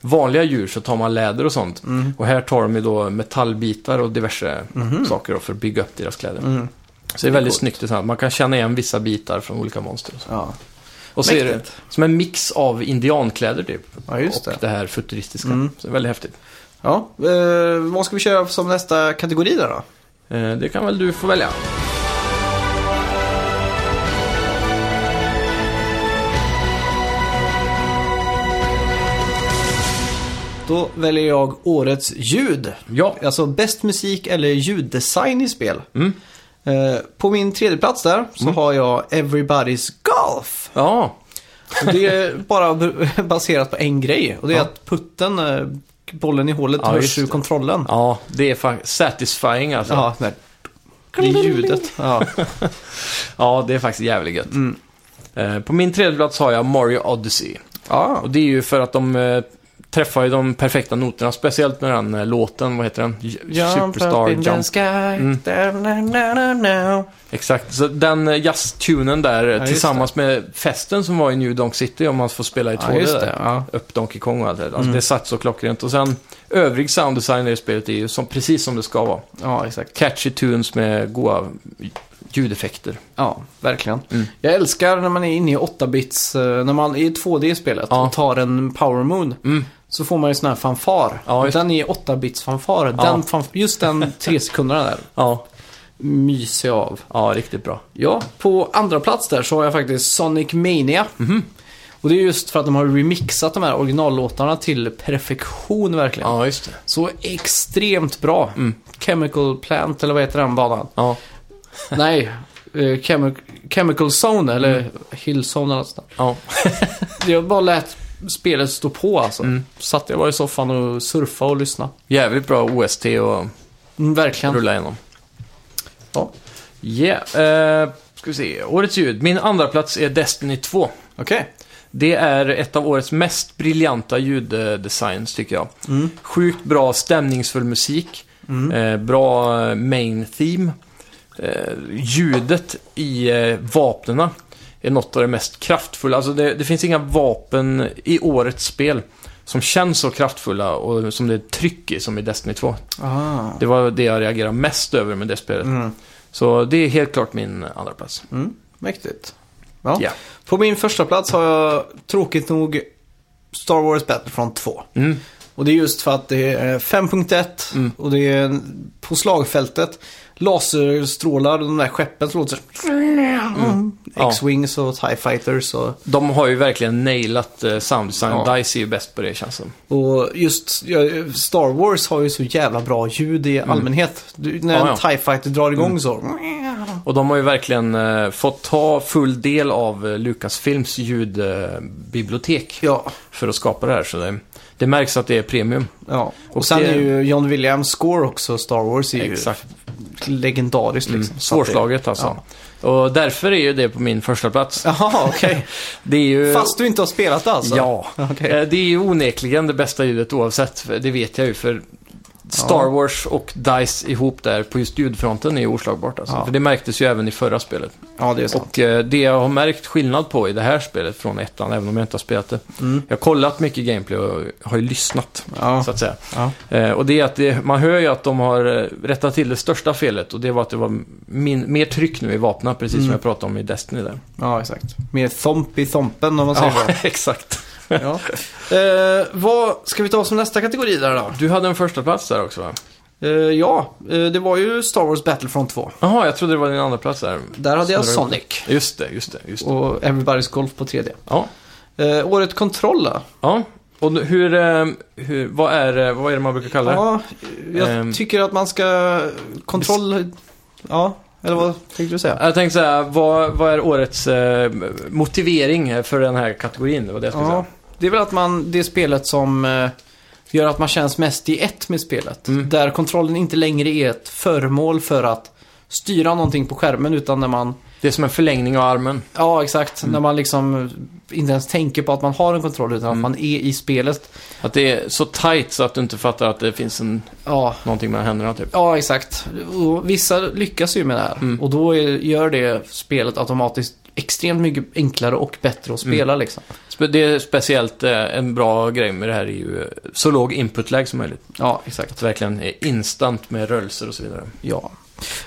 [SPEAKER 1] vanliga djur så tar man läder och sånt.
[SPEAKER 2] Mm.
[SPEAKER 1] Och här tar de ju då metallbitar och diverse
[SPEAKER 2] Mhm.
[SPEAKER 1] saker då för att bygga upp deras kläder.
[SPEAKER 2] Mm.
[SPEAKER 1] Så det är väldigt
[SPEAKER 2] coolt.
[SPEAKER 1] snyggt design. Man kan känna igen vissa bitar från olika monster. Och så,
[SPEAKER 2] Ja.
[SPEAKER 1] och så är det
[SPEAKER 2] Mäktigt.
[SPEAKER 1] som en mix av indiankläder typ.
[SPEAKER 2] ja, just
[SPEAKER 1] och
[SPEAKER 2] det.
[SPEAKER 1] det. här futuristiska.
[SPEAKER 2] Mm.
[SPEAKER 1] Så det är väldigt häftigt.
[SPEAKER 2] Ja, eh, vad ska vi köra som nästa kategori där då?
[SPEAKER 1] Eh, det kan väl du få välja.
[SPEAKER 2] Då väljer jag årets ljud.
[SPEAKER 1] Ja,
[SPEAKER 2] Alltså bäst musik eller ljuddesign i spel.
[SPEAKER 1] Mm.
[SPEAKER 2] Eh, på min tredje plats där så har jag Everybody's Golf.
[SPEAKER 1] ja.
[SPEAKER 2] Och det är bara b- baserat på en grej och det är
[SPEAKER 1] Ja.
[SPEAKER 2] att putten, eh, bollen i hålet,
[SPEAKER 1] Ja, just
[SPEAKER 2] hörs ur
[SPEAKER 1] det.
[SPEAKER 2] kontrollen.
[SPEAKER 1] ja det är fan satisfying alltså. Ja.
[SPEAKER 2] Ja, det det är ljudet. Ja.
[SPEAKER 1] det är faktiskt jävligt gött.
[SPEAKER 2] Mm.
[SPEAKER 1] Eh, på min tredje plats har jag Mario Odyssey.
[SPEAKER 2] ja.
[SPEAKER 1] Och det är ju för att de eh, träffar ju de perfekta noterna, speciellt med den eh, låten, vad heter den? J- Superstar
[SPEAKER 2] up in the
[SPEAKER 1] Jump. Mm.
[SPEAKER 2] sky. Da, na, na, na, na.
[SPEAKER 1] Exakt, så den eh, jazztunen där eh,
[SPEAKER 2] just
[SPEAKER 1] tillsammans med festen som var i New Donk City, om man får spela i två
[SPEAKER 2] Ja, just det. Ja.
[SPEAKER 1] Upp Donkey Kong och allt det där. Alltså, Det satt så klockrent. Och sen övrig sounddesign i det spelet är ju som, precis som det ska vara.
[SPEAKER 2] ja, exakt.
[SPEAKER 1] Catchy tunes med goa ljudeffekter.
[SPEAKER 2] Ja, verkligen.
[SPEAKER 1] Mm.
[SPEAKER 2] Jag älskar när man är inne i 8-bits, eh, när man är i 2D i spelet
[SPEAKER 1] Ja.
[SPEAKER 2] och tar en power moon.
[SPEAKER 1] Mm.
[SPEAKER 2] Så får man ju sån här fanfar.
[SPEAKER 1] Ja, just-
[SPEAKER 2] den är 8-bits fanfar.
[SPEAKER 1] Ja.
[SPEAKER 2] Den fanf- just den tre sekunderna där
[SPEAKER 1] Ja,
[SPEAKER 2] myser jag av.
[SPEAKER 1] ja riktigt bra.
[SPEAKER 2] Ja, på andra plats där så har jag faktiskt Sonic Mania.
[SPEAKER 1] Mhm.
[SPEAKER 2] Och det är just för att de har remixat de här originallåtarna till perfektion verkligen.
[SPEAKER 1] Ja, Mm. just det.
[SPEAKER 2] Så extremt bra. Chemical Plant, eller vad heter den banan?
[SPEAKER 1] Ja,
[SPEAKER 2] Nej, eh, Chemi- Chemical Zone eller Hillzone eller något sånt där.
[SPEAKER 1] ja.
[SPEAKER 2] Jag bara lät spelet stå på alltså.
[SPEAKER 1] Mm.
[SPEAKER 2] Satt jag bara i soffan och surfa och lyssna.
[SPEAKER 1] Jävligt bra OST och
[SPEAKER 2] Mm, verkligen.
[SPEAKER 1] rulla igenom.
[SPEAKER 2] Ja.
[SPEAKER 1] Yeah, eh, ska vi se. Årets ljud. Min andra plats är Destiny 2.
[SPEAKER 2] Okej.
[SPEAKER 1] Det är ett av årets mest briljanta ljuddesigns tycker jag.
[SPEAKER 2] Mm.
[SPEAKER 1] Sjukt bra stämningsfull musik. Eh, bra eh, main theme. Eh, ljudet i eh, vapnena är något av det mest kraftfulla. Alltså det, det finns inga vapen i årets spel som känns så kraftfulla och som det är tryck i som i Destiny 2.
[SPEAKER 2] Ah.
[SPEAKER 1] Det var det jag reagerade mest över med det spelet.
[SPEAKER 2] Mm.
[SPEAKER 1] Så det är helt klart min andra plats.
[SPEAKER 2] Mm. Mäktigt. Ja.
[SPEAKER 1] Ja.
[SPEAKER 2] På min första plats har jag tråkigt nog Star Wars Battlefront 2.
[SPEAKER 1] Mm.
[SPEAKER 2] Och det är just för att det är 5.1
[SPEAKER 1] Mm.
[SPEAKER 2] och det är en- på slagfältet laserstrålar och de där skeppen som låter så Mm.
[SPEAKER 1] Ja.
[SPEAKER 2] X-Wings och TIE Fighters och,
[SPEAKER 1] De har ju verkligen nailat eh, sounddesign.
[SPEAKER 2] Ja.
[SPEAKER 1] DICE är ju bäst på det känns som.
[SPEAKER 2] och just ja, Star Wars har ju så jävla bra ljud i allmänhet. Du, när
[SPEAKER 1] Mm. Ja, Mm.
[SPEAKER 2] en
[SPEAKER 1] ja.
[SPEAKER 2] TIE Fighter drar igång så.
[SPEAKER 1] Och de har ju verkligen eh, fått ta full del av eh, Lucasfilms ljudbibliotek
[SPEAKER 2] Ja,
[SPEAKER 1] eh, för att skapa det här. Så det, det märks att det är premium.
[SPEAKER 2] ja. Och,
[SPEAKER 1] Och
[SPEAKER 2] sen
[SPEAKER 1] det-
[SPEAKER 2] är ju John Williams score också, Star Wars, är ju
[SPEAKER 1] Exakt.
[SPEAKER 2] legendariskt liksom.
[SPEAKER 1] Mm.
[SPEAKER 2] Så att det-
[SPEAKER 1] Svårslaget alltså. Och därför är ju det på min första plats.
[SPEAKER 2] Jaha, okej.
[SPEAKER 1] Det är ju...
[SPEAKER 2] Fast du inte har spelat det alltså?
[SPEAKER 1] Eh, Ja.
[SPEAKER 2] Okej.
[SPEAKER 1] Eh, Det är ju onekligen det bästa ljudet oavsett. för Det vet jag ju för Star
[SPEAKER 2] Ja.
[SPEAKER 1] Wars och DICE ihop där på just ljudfronten är ju oslagbart alltså.
[SPEAKER 2] Ja.
[SPEAKER 1] För det märktes ju även i förra spelet.
[SPEAKER 2] Ja, det är sant.
[SPEAKER 1] Och eh, det jag har märkt skillnad på i det här spelet från ettan, även om jag inte har spelat det.
[SPEAKER 2] Mm.
[SPEAKER 1] Jag har kollat mycket gameplay och har ju lyssnat,
[SPEAKER 2] Ja.
[SPEAKER 1] så att säga.
[SPEAKER 2] Ja.
[SPEAKER 1] Eh, och det är att det, man hör ju att de har eh, rättat till det största felet och det var att det var min, mer tryck nu i vapnen, precis som
[SPEAKER 2] Mm.
[SPEAKER 1] jag pratade om i Destiny där.
[SPEAKER 2] ja, exakt. Mer thomp i thompen om man säger
[SPEAKER 1] Ja, exakt.
[SPEAKER 2] så. Ja. Eh, vad ska vi ta som nästa kategori där då?
[SPEAKER 1] Du hade en första plats där också va?
[SPEAKER 2] Eh, ja, eh, det var ju Star Wars Battlefront 2.
[SPEAKER 1] Jaha, jag trodde det var din andra plats där.
[SPEAKER 2] Där hade jag
[SPEAKER 1] Snurrar
[SPEAKER 2] Sonic
[SPEAKER 1] Just det, just det. Just det.
[SPEAKER 2] och Everybody's Golf på 3D.
[SPEAKER 1] Ja.
[SPEAKER 2] Eh, året Control då?
[SPEAKER 1] ja. Och nu- hur, eh, hur, vad, är, det- vad är det man brukar kalla det?
[SPEAKER 2] Ja, jag
[SPEAKER 1] Ehm.
[SPEAKER 2] tycker att man ska... Kontroll... Ja, eller vad tänkte du säga?
[SPEAKER 1] Jag tänkte säga, vad, vad är årets eh, motivering för den här kategorin? Det var det jag skulle
[SPEAKER 2] Ja,
[SPEAKER 1] säga.
[SPEAKER 2] det är väl att man... Det är spelet som eh, gör att man känns mest i ett med spelet.
[SPEAKER 1] Mm.
[SPEAKER 2] Där kontrollen inte längre är ett föremål för att styra någonting på skärmen utan när man
[SPEAKER 1] Det är som en förlängning av armen.
[SPEAKER 2] Ja, exakt.
[SPEAKER 1] Mm.
[SPEAKER 2] När man liksom inte ens tänker på att man har en kontroll utan
[SPEAKER 1] Mm.
[SPEAKER 2] att man är i spelet.
[SPEAKER 1] Att det är så tight så att du inte fattar att det finns en,
[SPEAKER 2] Ja,
[SPEAKER 1] någonting mellan händerna typ.
[SPEAKER 2] ja exakt. Och vissa lyckas ju med det här.
[SPEAKER 1] Mm.
[SPEAKER 2] Och då är, gör det spelet automatiskt extremt mycket enklare och bättre att spela liksom.
[SPEAKER 1] Spe- Det är speciellt eh, en bra grej med det här är ju eh, så låg input lag som möjligt.
[SPEAKER 2] Ja, exakt.
[SPEAKER 1] Att det verkligen är instant med rörelser och så vidare.
[SPEAKER 2] Ja.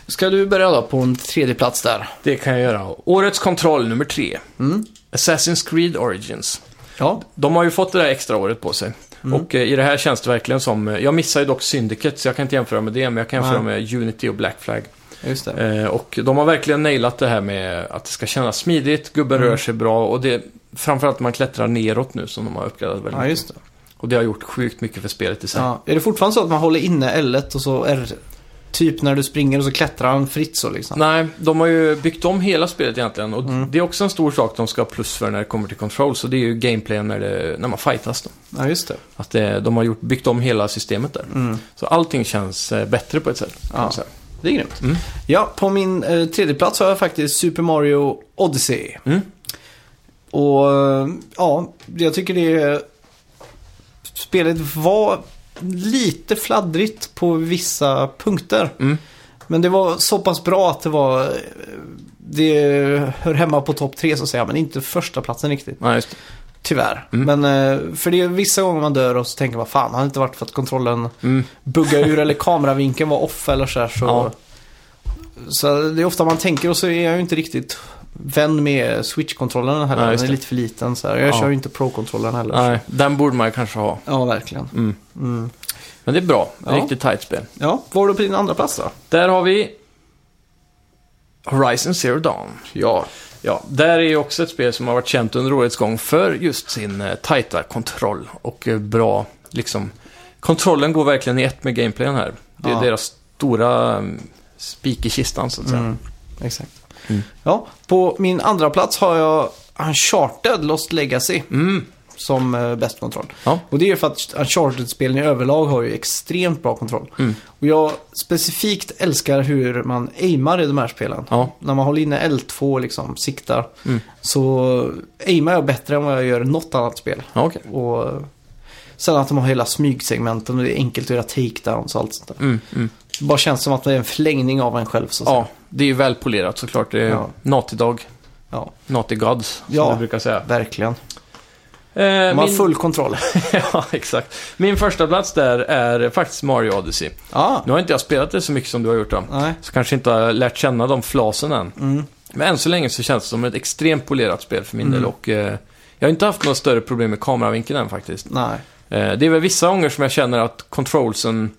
[SPEAKER 2] Ska du börja då på en tredje plats där?
[SPEAKER 1] Det kan jag göra. Årets kontroll nummer tre.
[SPEAKER 2] Mm.
[SPEAKER 1] Assassin's Creed Origins.
[SPEAKER 2] Ja.
[SPEAKER 1] De har ju fått det där extra året på sig. Och eh, i det här känns det verkligen som, eh, jag missar ju dock Syndicate så jag kan inte jämföra med det, men jag kan jämföra med Unity och Black Flag.
[SPEAKER 2] Just det.
[SPEAKER 1] Eh, och de har verkligen nailat det här med att det ska kännas smidigt, gubben
[SPEAKER 2] Mm.
[SPEAKER 1] rör sig bra och det, framförallt man klättrar neråt nu som de har uppgradat väldigt
[SPEAKER 2] Ja, just det.
[SPEAKER 1] mycket. Och det har gjort sjukt mycket för spelet i sig.
[SPEAKER 2] Ja. Är det fortfarande så att man håller inne l och så är typ när du springer och så klättrar han fritt så liksom?
[SPEAKER 1] Nej, de har ju byggt om hela spelet egentligen och
[SPEAKER 2] Mm.
[SPEAKER 1] det är också en stor sak de ska ha plus för när det kommer till control, så det är ju gameplayen när, det, när man fightas då.
[SPEAKER 2] Ja, just det.
[SPEAKER 1] Att det, de har gjort, byggt om hela systemet där.
[SPEAKER 2] Mm.
[SPEAKER 1] Så allting känns eh, bättre på ett sätt. kan
[SPEAKER 2] Ja.
[SPEAKER 1] man säga.
[SPEAKER 2] Det är grymt.
[SPEAKER 1] Mm.
[SPEAKER 2] Ja, på min eh, tredje plats har jag faktiskt Super Mario Odyssey.
[SPEAKER 1] Mm.
[SPEAKER 2] Och eh, ja, jag tycker det... Spelet var lite fladdrigt på vissa punkter.
[SPEAKER 1] Mm.
[SPEAKER 2] Men det var så pass bra att det var... eh, Det hör hemma på topp tre så att säga, men inte första platsen riktigt.
[SPEAKER 1] Ja, just det.
[SPEAKER 2] Tyvärr.
[SPEAKER 1] Mm.
[SPEAKER 2] Men eh, för det är vissa gånger man dör och så tänker man fan, hade det inte varit för att kontrollen
[SPEAKER 1] Mm.
[SPEAKER 2] bugga ur eller kameravinkeln var off eller så här, så...
[SPEAKER 1] Ja.
[SPEAKER 2] Så det är ofta man tänker och så är jag ju inte riktigt vän med switch-kontrollen
[SPEAKER 1] Nej,
[SPEAKER 2] heller.
[SPEAKER 1] just
[SPEAKER 2] den är
[SPEAKER 1] det.
[SPEAKER 2] lite för liten så här. Jag
[SPEAKER 1] Ja.
[SPEAKER 2] kör ju inte pro-kontrollen heller.
[SPEAKER 1] Nej, den borde man ju kanske ha.
[SPEAKER 2] Ja, verkligen.
[SPEAKER 1] Mm.
[SPEAKER 2] Mm.
[SPEAKER 1] Men det är bra.
[SPEAKER 2] Ja.
[SPEAKER 1] Riktigt tight spel.
[SPEAKER 2] Ja, vad har du på din andra plats då?
[SPEAKER 1] Där har vi Horizon Zero Dawn.
[SPEAKER 2] Ja.
[SPEAKER 1] Ja, där är ju också ett spel som har varit känt under årets gång för just sin eh, tajta kontroll och eh, bra, liksom. Kontrollen går verkligen i ett med gameplayen här. Det är
[SPEAKER 2] Ja.
[SPEAKER 1] deras stora eh, spik i kistan, så att säga.
[SPEAKER 2] Mm. Exakt.
[SPEAKER 1] Mm.
[SPEAKER 2] Ja, på min andra plats har jag Uncharted Lost Legacy
[SPEAKER 1] Mm.
[SPEAKER 2] som eh, bäst kontroll.
[SPEAKER 1] Ja.
[SPEAKER 2] Och det är ju för att Uncharted-spelen i överlag har ju extremt bra kontroll.
[SPEAKER 1] Mm.
[SPEAKER 2] Och jag specifikt älskar hur man aimar i de här spelen.
[SPEAKER 1] Ja.
[SPEAKER 2] När man håller inne L2 och liksom siktar
[SPEAKER 1] Mm.
[SPEAKER 2] så aimar jag bättre än vad jag gör i något annat spel.
[SPEAKER 1] ja, okej.
[SPEAKER 2] Och sen att de har hela smygsegmenten och det är enkelt att göra takedowns och allt sånt där.
[SPEAKER 1] Mm, mm.
[SPEAKER 2] Det bara känns som att det är en förlängning av en själv så att
[SPEAKER 1] Ja, det är ju välpolerat såklart. Det är
[SPEAKER 2] Ja.
[SPEAKER 1] Naughty Dog,
[SPEAKER 2] säga. ja
[SPEAKER 1] Naughty Gods, som
[SPEAKER 2] Ja.
[SPEAKER 1] du brukar säga.
[SPEAKER 2] verkligen.
[SPEAKER 1] Eh,
[SPEAKER 2] De har
[SPEAKER 1] Äh, min...
[SPEAKER 2] full kontroll.
[SPEAKER 1] ja, exakt. Min första plats där är faktiskt Mario Odyssey.
[SPEAKER 2] ja.
[SPEAKER 1] Nu har inte jag spelat det så mycket som du har gjort då.
[SPEAKER 2] Nej.
[SPEAKER 1] Så kanske inte har lärt känna de flasen än.
[SPEAKER 2] Mm.
[SPEAKER 1] Men än så länge så känns det som ett extremt polerat spel för min
[SPEAKER 2] Mm.
[SPEAKER 1] del och eh, jag har inte haft några större problem med kameravinkeln än faktiskt.
[SPEAKER 2] Nej.
[SPEAKER 1] Eh, det är väl vissa gånger som jag känner att controlsen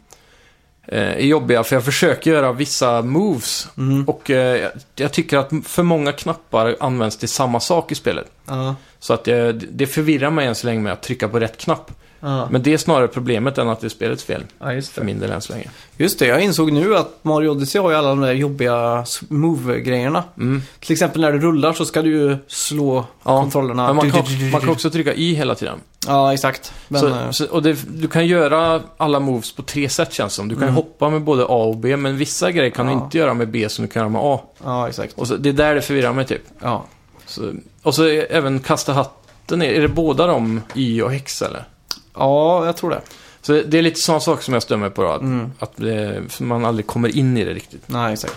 [SPEAKER 1] eh, är jobbiga för jag försöker göra vissa moves
[SPEAKER 2] Mm.
[SPEAKER 1] och eh, jag- jag tycker att för många knappar används till samma sak i spelet.
[SPEAKER 2] Ja.
[SPEAKER 1] Så att eh, det förvirrar mig än så länge med att trycka på rätt knapp.
[SPEAKER 2] Ja.
[SPEAKER 1] Men det är snarare problemet än att det är spelets fel.
[SPEAKER 2] ja, just
[SPEAKER 1] För min del än så länge.
[SPEAKER 2] Just det, jag insåg nu att Mario Odyssey har ju alla de där jobbiga s- move-grejerna.
[SPEAKER 1] Mm.
[SPEAKER 2] Till exempel när du rullar så ska du ju slå
[SPEAKER 1] Ja,
[SPEAKER 2] kontrollerna.
[SPEAKER 1] Men man kan,
[SPEAKER 2] Du- du- du- du-
[SPEAKER 1] man kan också trycka Y hela tiden.
[SPEAKER 2] Ja, exakt. Men, eh,
[SPEAKER 1] så, så, och det, du kan göra alla moves på tre sätt känns det som. Du kan ju
[SPEAKER 2] Mm.
[SPEAKER 1] hoppa med både A och B, men vissa grejer kan du
[SPEAKER 2] Ja.
[SPEAKER 1] inte göra med B som du kan göra med A.
[SPEAKER 2] ja, exakt.
[SPEAKER 1] Och så, det är där det förvirrar mig typ.
[SPEAKER 2] Ja.
[SPEAKER 1] Så, och så är, även kasta hatten, är, är det båda de Y och X eller?
[SPEAKER 2] ja, jag tror det.
[SPEAKER 1] Så det, det är lite sådana saker som jag stömer på då. Att,
[SPEAKER 2] Mm.
[SPEAKER 1] att det, för man aldrig kommer in i det riktigt.
[SPEAKER 2] Nej, exakt.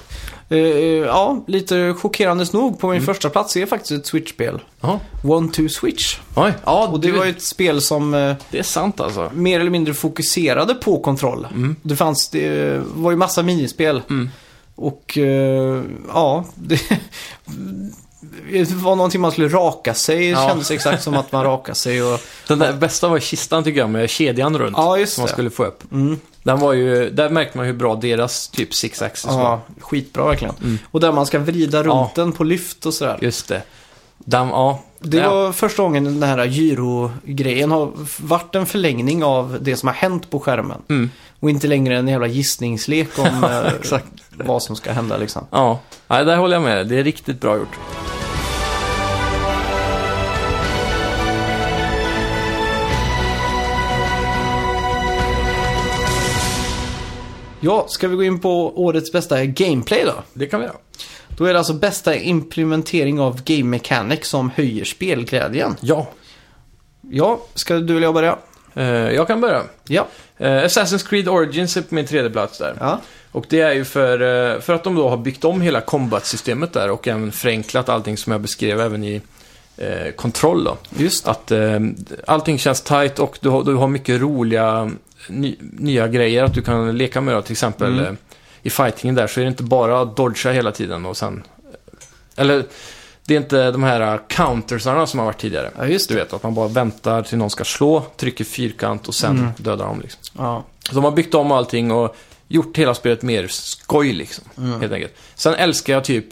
[SPEAKER 2] Eh, eh, ja, lite chockerande nog på min första plats är faktiskt ett Switch-spel.
[SPEAKER 1] Jaha.
[SPEAKER 2] One Two Switch.
[SPEAKER 1] Oj. Ja,
[SPEAKER 2] Och det var ju ett spel som eh,
[SPEAKER 1] det är sant alltså.
[SPEAKER 2] mer eller mindre fokuserade på kontroll.
[SPEAKER 1] Mm.
[SPEAKER 2] Det fanns, det var ju massa minispel.
[SPEAKER 1] Mm.
[SPEAKER 2] Och eh, ja, det, det var någonting man skulle raka sig. Det
[SPEAKER 1] Ja.
[SPEAKER 2] kändes exakt som att man rakade sig. Och,
[SPEAKER 1] Den där bästa var kistan tycker jag med kedjan runt.
[SPEAKER 2] ja, just
[SPEAKER 1] som man
[SPEAKER 2] det.
[SPEAKER 1] skulle få upp.
[SPEAKER 2] Mm.
[SPEAKER 1] Den var ju, där märkte man hur bra deras typ six axis var.
[SPEAKER 2] Ja, skitbra verkligen.
[SPEAKER 1] Mm.
[SPEAKER 2] Och där man ska vrida runt
[SPEAKER 1] Ja.
[SPEAKER 2] den på lyft och sådär.
[SPEAKER 1] Just det. Den, ja.
[SPEAKER 2] Det
[SPEAKER 1] ja.
[SPEAKER 2] var första gången den här gyrogrejen har varit en förlängning av det som har hänt på skärmen.
[SPEAKER 1] Mm.
[SPEAKER 2] Och inte längre en jävla gissningslek om eh,
[SPEAKER 1] Exakt.
[SPEAKER 2] vad som ska hända liksom.
[SPEAKER 1] Ja. Nej, där håller jag med. Det är riktigt bra gjort.
[SPEAKER 2] Ja, ska vi gå in på årets bästa gameplay då?
[SPEAKER 1] Det kan vi göra.
[SPEAKER 2] Då är det alltså bästa implementering av game mechanic som höjer spelglädjen.
[SPEAKER 1] Ja.
[SPEAKER 2] Ja, ska du vilja börja?
[SPEAKER 1] Eh, jag kan börja.
[SPEAKER 2] Ja.
[SPEAKER 1] Eh, Assassin's Creed Origins är på min tredje plats där.
[SPEAKER 2] Ja.
[SPEAKER 1] Och det är ju för, eh, för att de då har byggt om hela combat-systemet där och även förenklat allting som jag beskrev även i eh, kontroll då.
[SPEAKER 2] Just det.
[SPEAKER 1] Att eh, allting känns tight och du har, du har mycket roliga ny, nya grejer att du kan leka med. Då. Till exempel
[SPEAKER 2] Mm.
[SPEAKER 1] eh, i fightingen där så är det inte bara att dodga hela tiden och sen... eh, Eller det är inte de här eh, countersarna som har varit tidigare.
[SPEAKER 2] Ja, just
[SPEAKER 1] Du
[SPEAKER 2] det.
[SPEAKER 1] vet, att man bara väntar till någon ska slå, trycker fyrkant och sen
[SPEAKER 2] Mm.
[SPEAKER 1] dödar dem. Liksom.
[SPEAKER 2] Ja.
[SPEAKER 1] Så de har byggt om allting och gjort hela spelet mer skoj liksom.
[SPEAKER 2] Mm.
[SPEAKER 1] Helt enkelt. Sen älskar jag typ,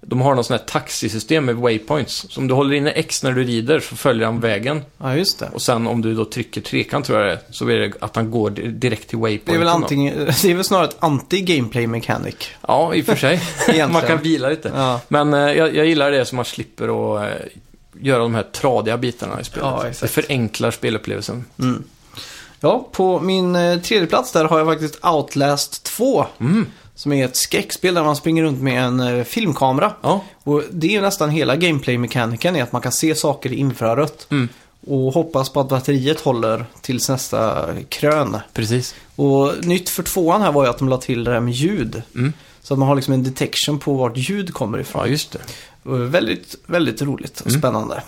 [SPEAKER 1] de har något sånt här taxisystem med waypoints. Så om du håller inne X när du rider så följer han vägen.
[SPEAKER 2] ja, just det.
[SPEAKER 1] Och sen om du då trycker trekant tror jag det är, så blir det att han går di- direkt till waypointen.
[SPEAKER 2] Det är väl,
[SPEAKER 1] då.
[SPEAKER 2] antingen, det är väl snarare ett anti-gameplay mechanic.
[SPEAKER 1] Ja, i och för sig.
[SPEAKER 2] Egentligen.
[SPEAKER 1] man kan vila lite.
[SPEAKER 2] Ja,
[SPEAKER 1] Men eh, jag, jag gillar det som man slipper att eh, göra de här tradiga bitarna i spelet.
[SPEAKER 2] Ja,
[SPEAKER 1] det
[SPEAKER 2] exakt.
[SPEAKER 1] förenklar spelupplevelsen.
[SPEAKER 2] mm. ja på min eh, tredje plats där har jag faktiskt Outlast 2.
[SPEAKER 1] Mm.
[SPEAKER 2] Som är ett skräckspel där man springer runt med en eh, filmkamera.
[SPEAKER 1] Ja.
[SPEAKER 2] Och det är ju nästan hela gameplay-mekaniken är att man kan se saker i infrarött.
[SPEAKER 1] Mm.
[SPEAKER 2] Och hoppas på att batteriet håller tills nästa krön.
[SPEAKER 1] Precis.
[SPEAKER 2] Och nytt för tvåan här var ju att de la till det här med ljud.
[SPEAKER 1] Mm.
[SPEAKER 2] Så att man har liksom en detection på vart ljud kommer ifrån.
[SPEAKER 1] Ja, Mm. just det.
[SPEAKER 2] Och väldigt, väldigt roligt och spännande.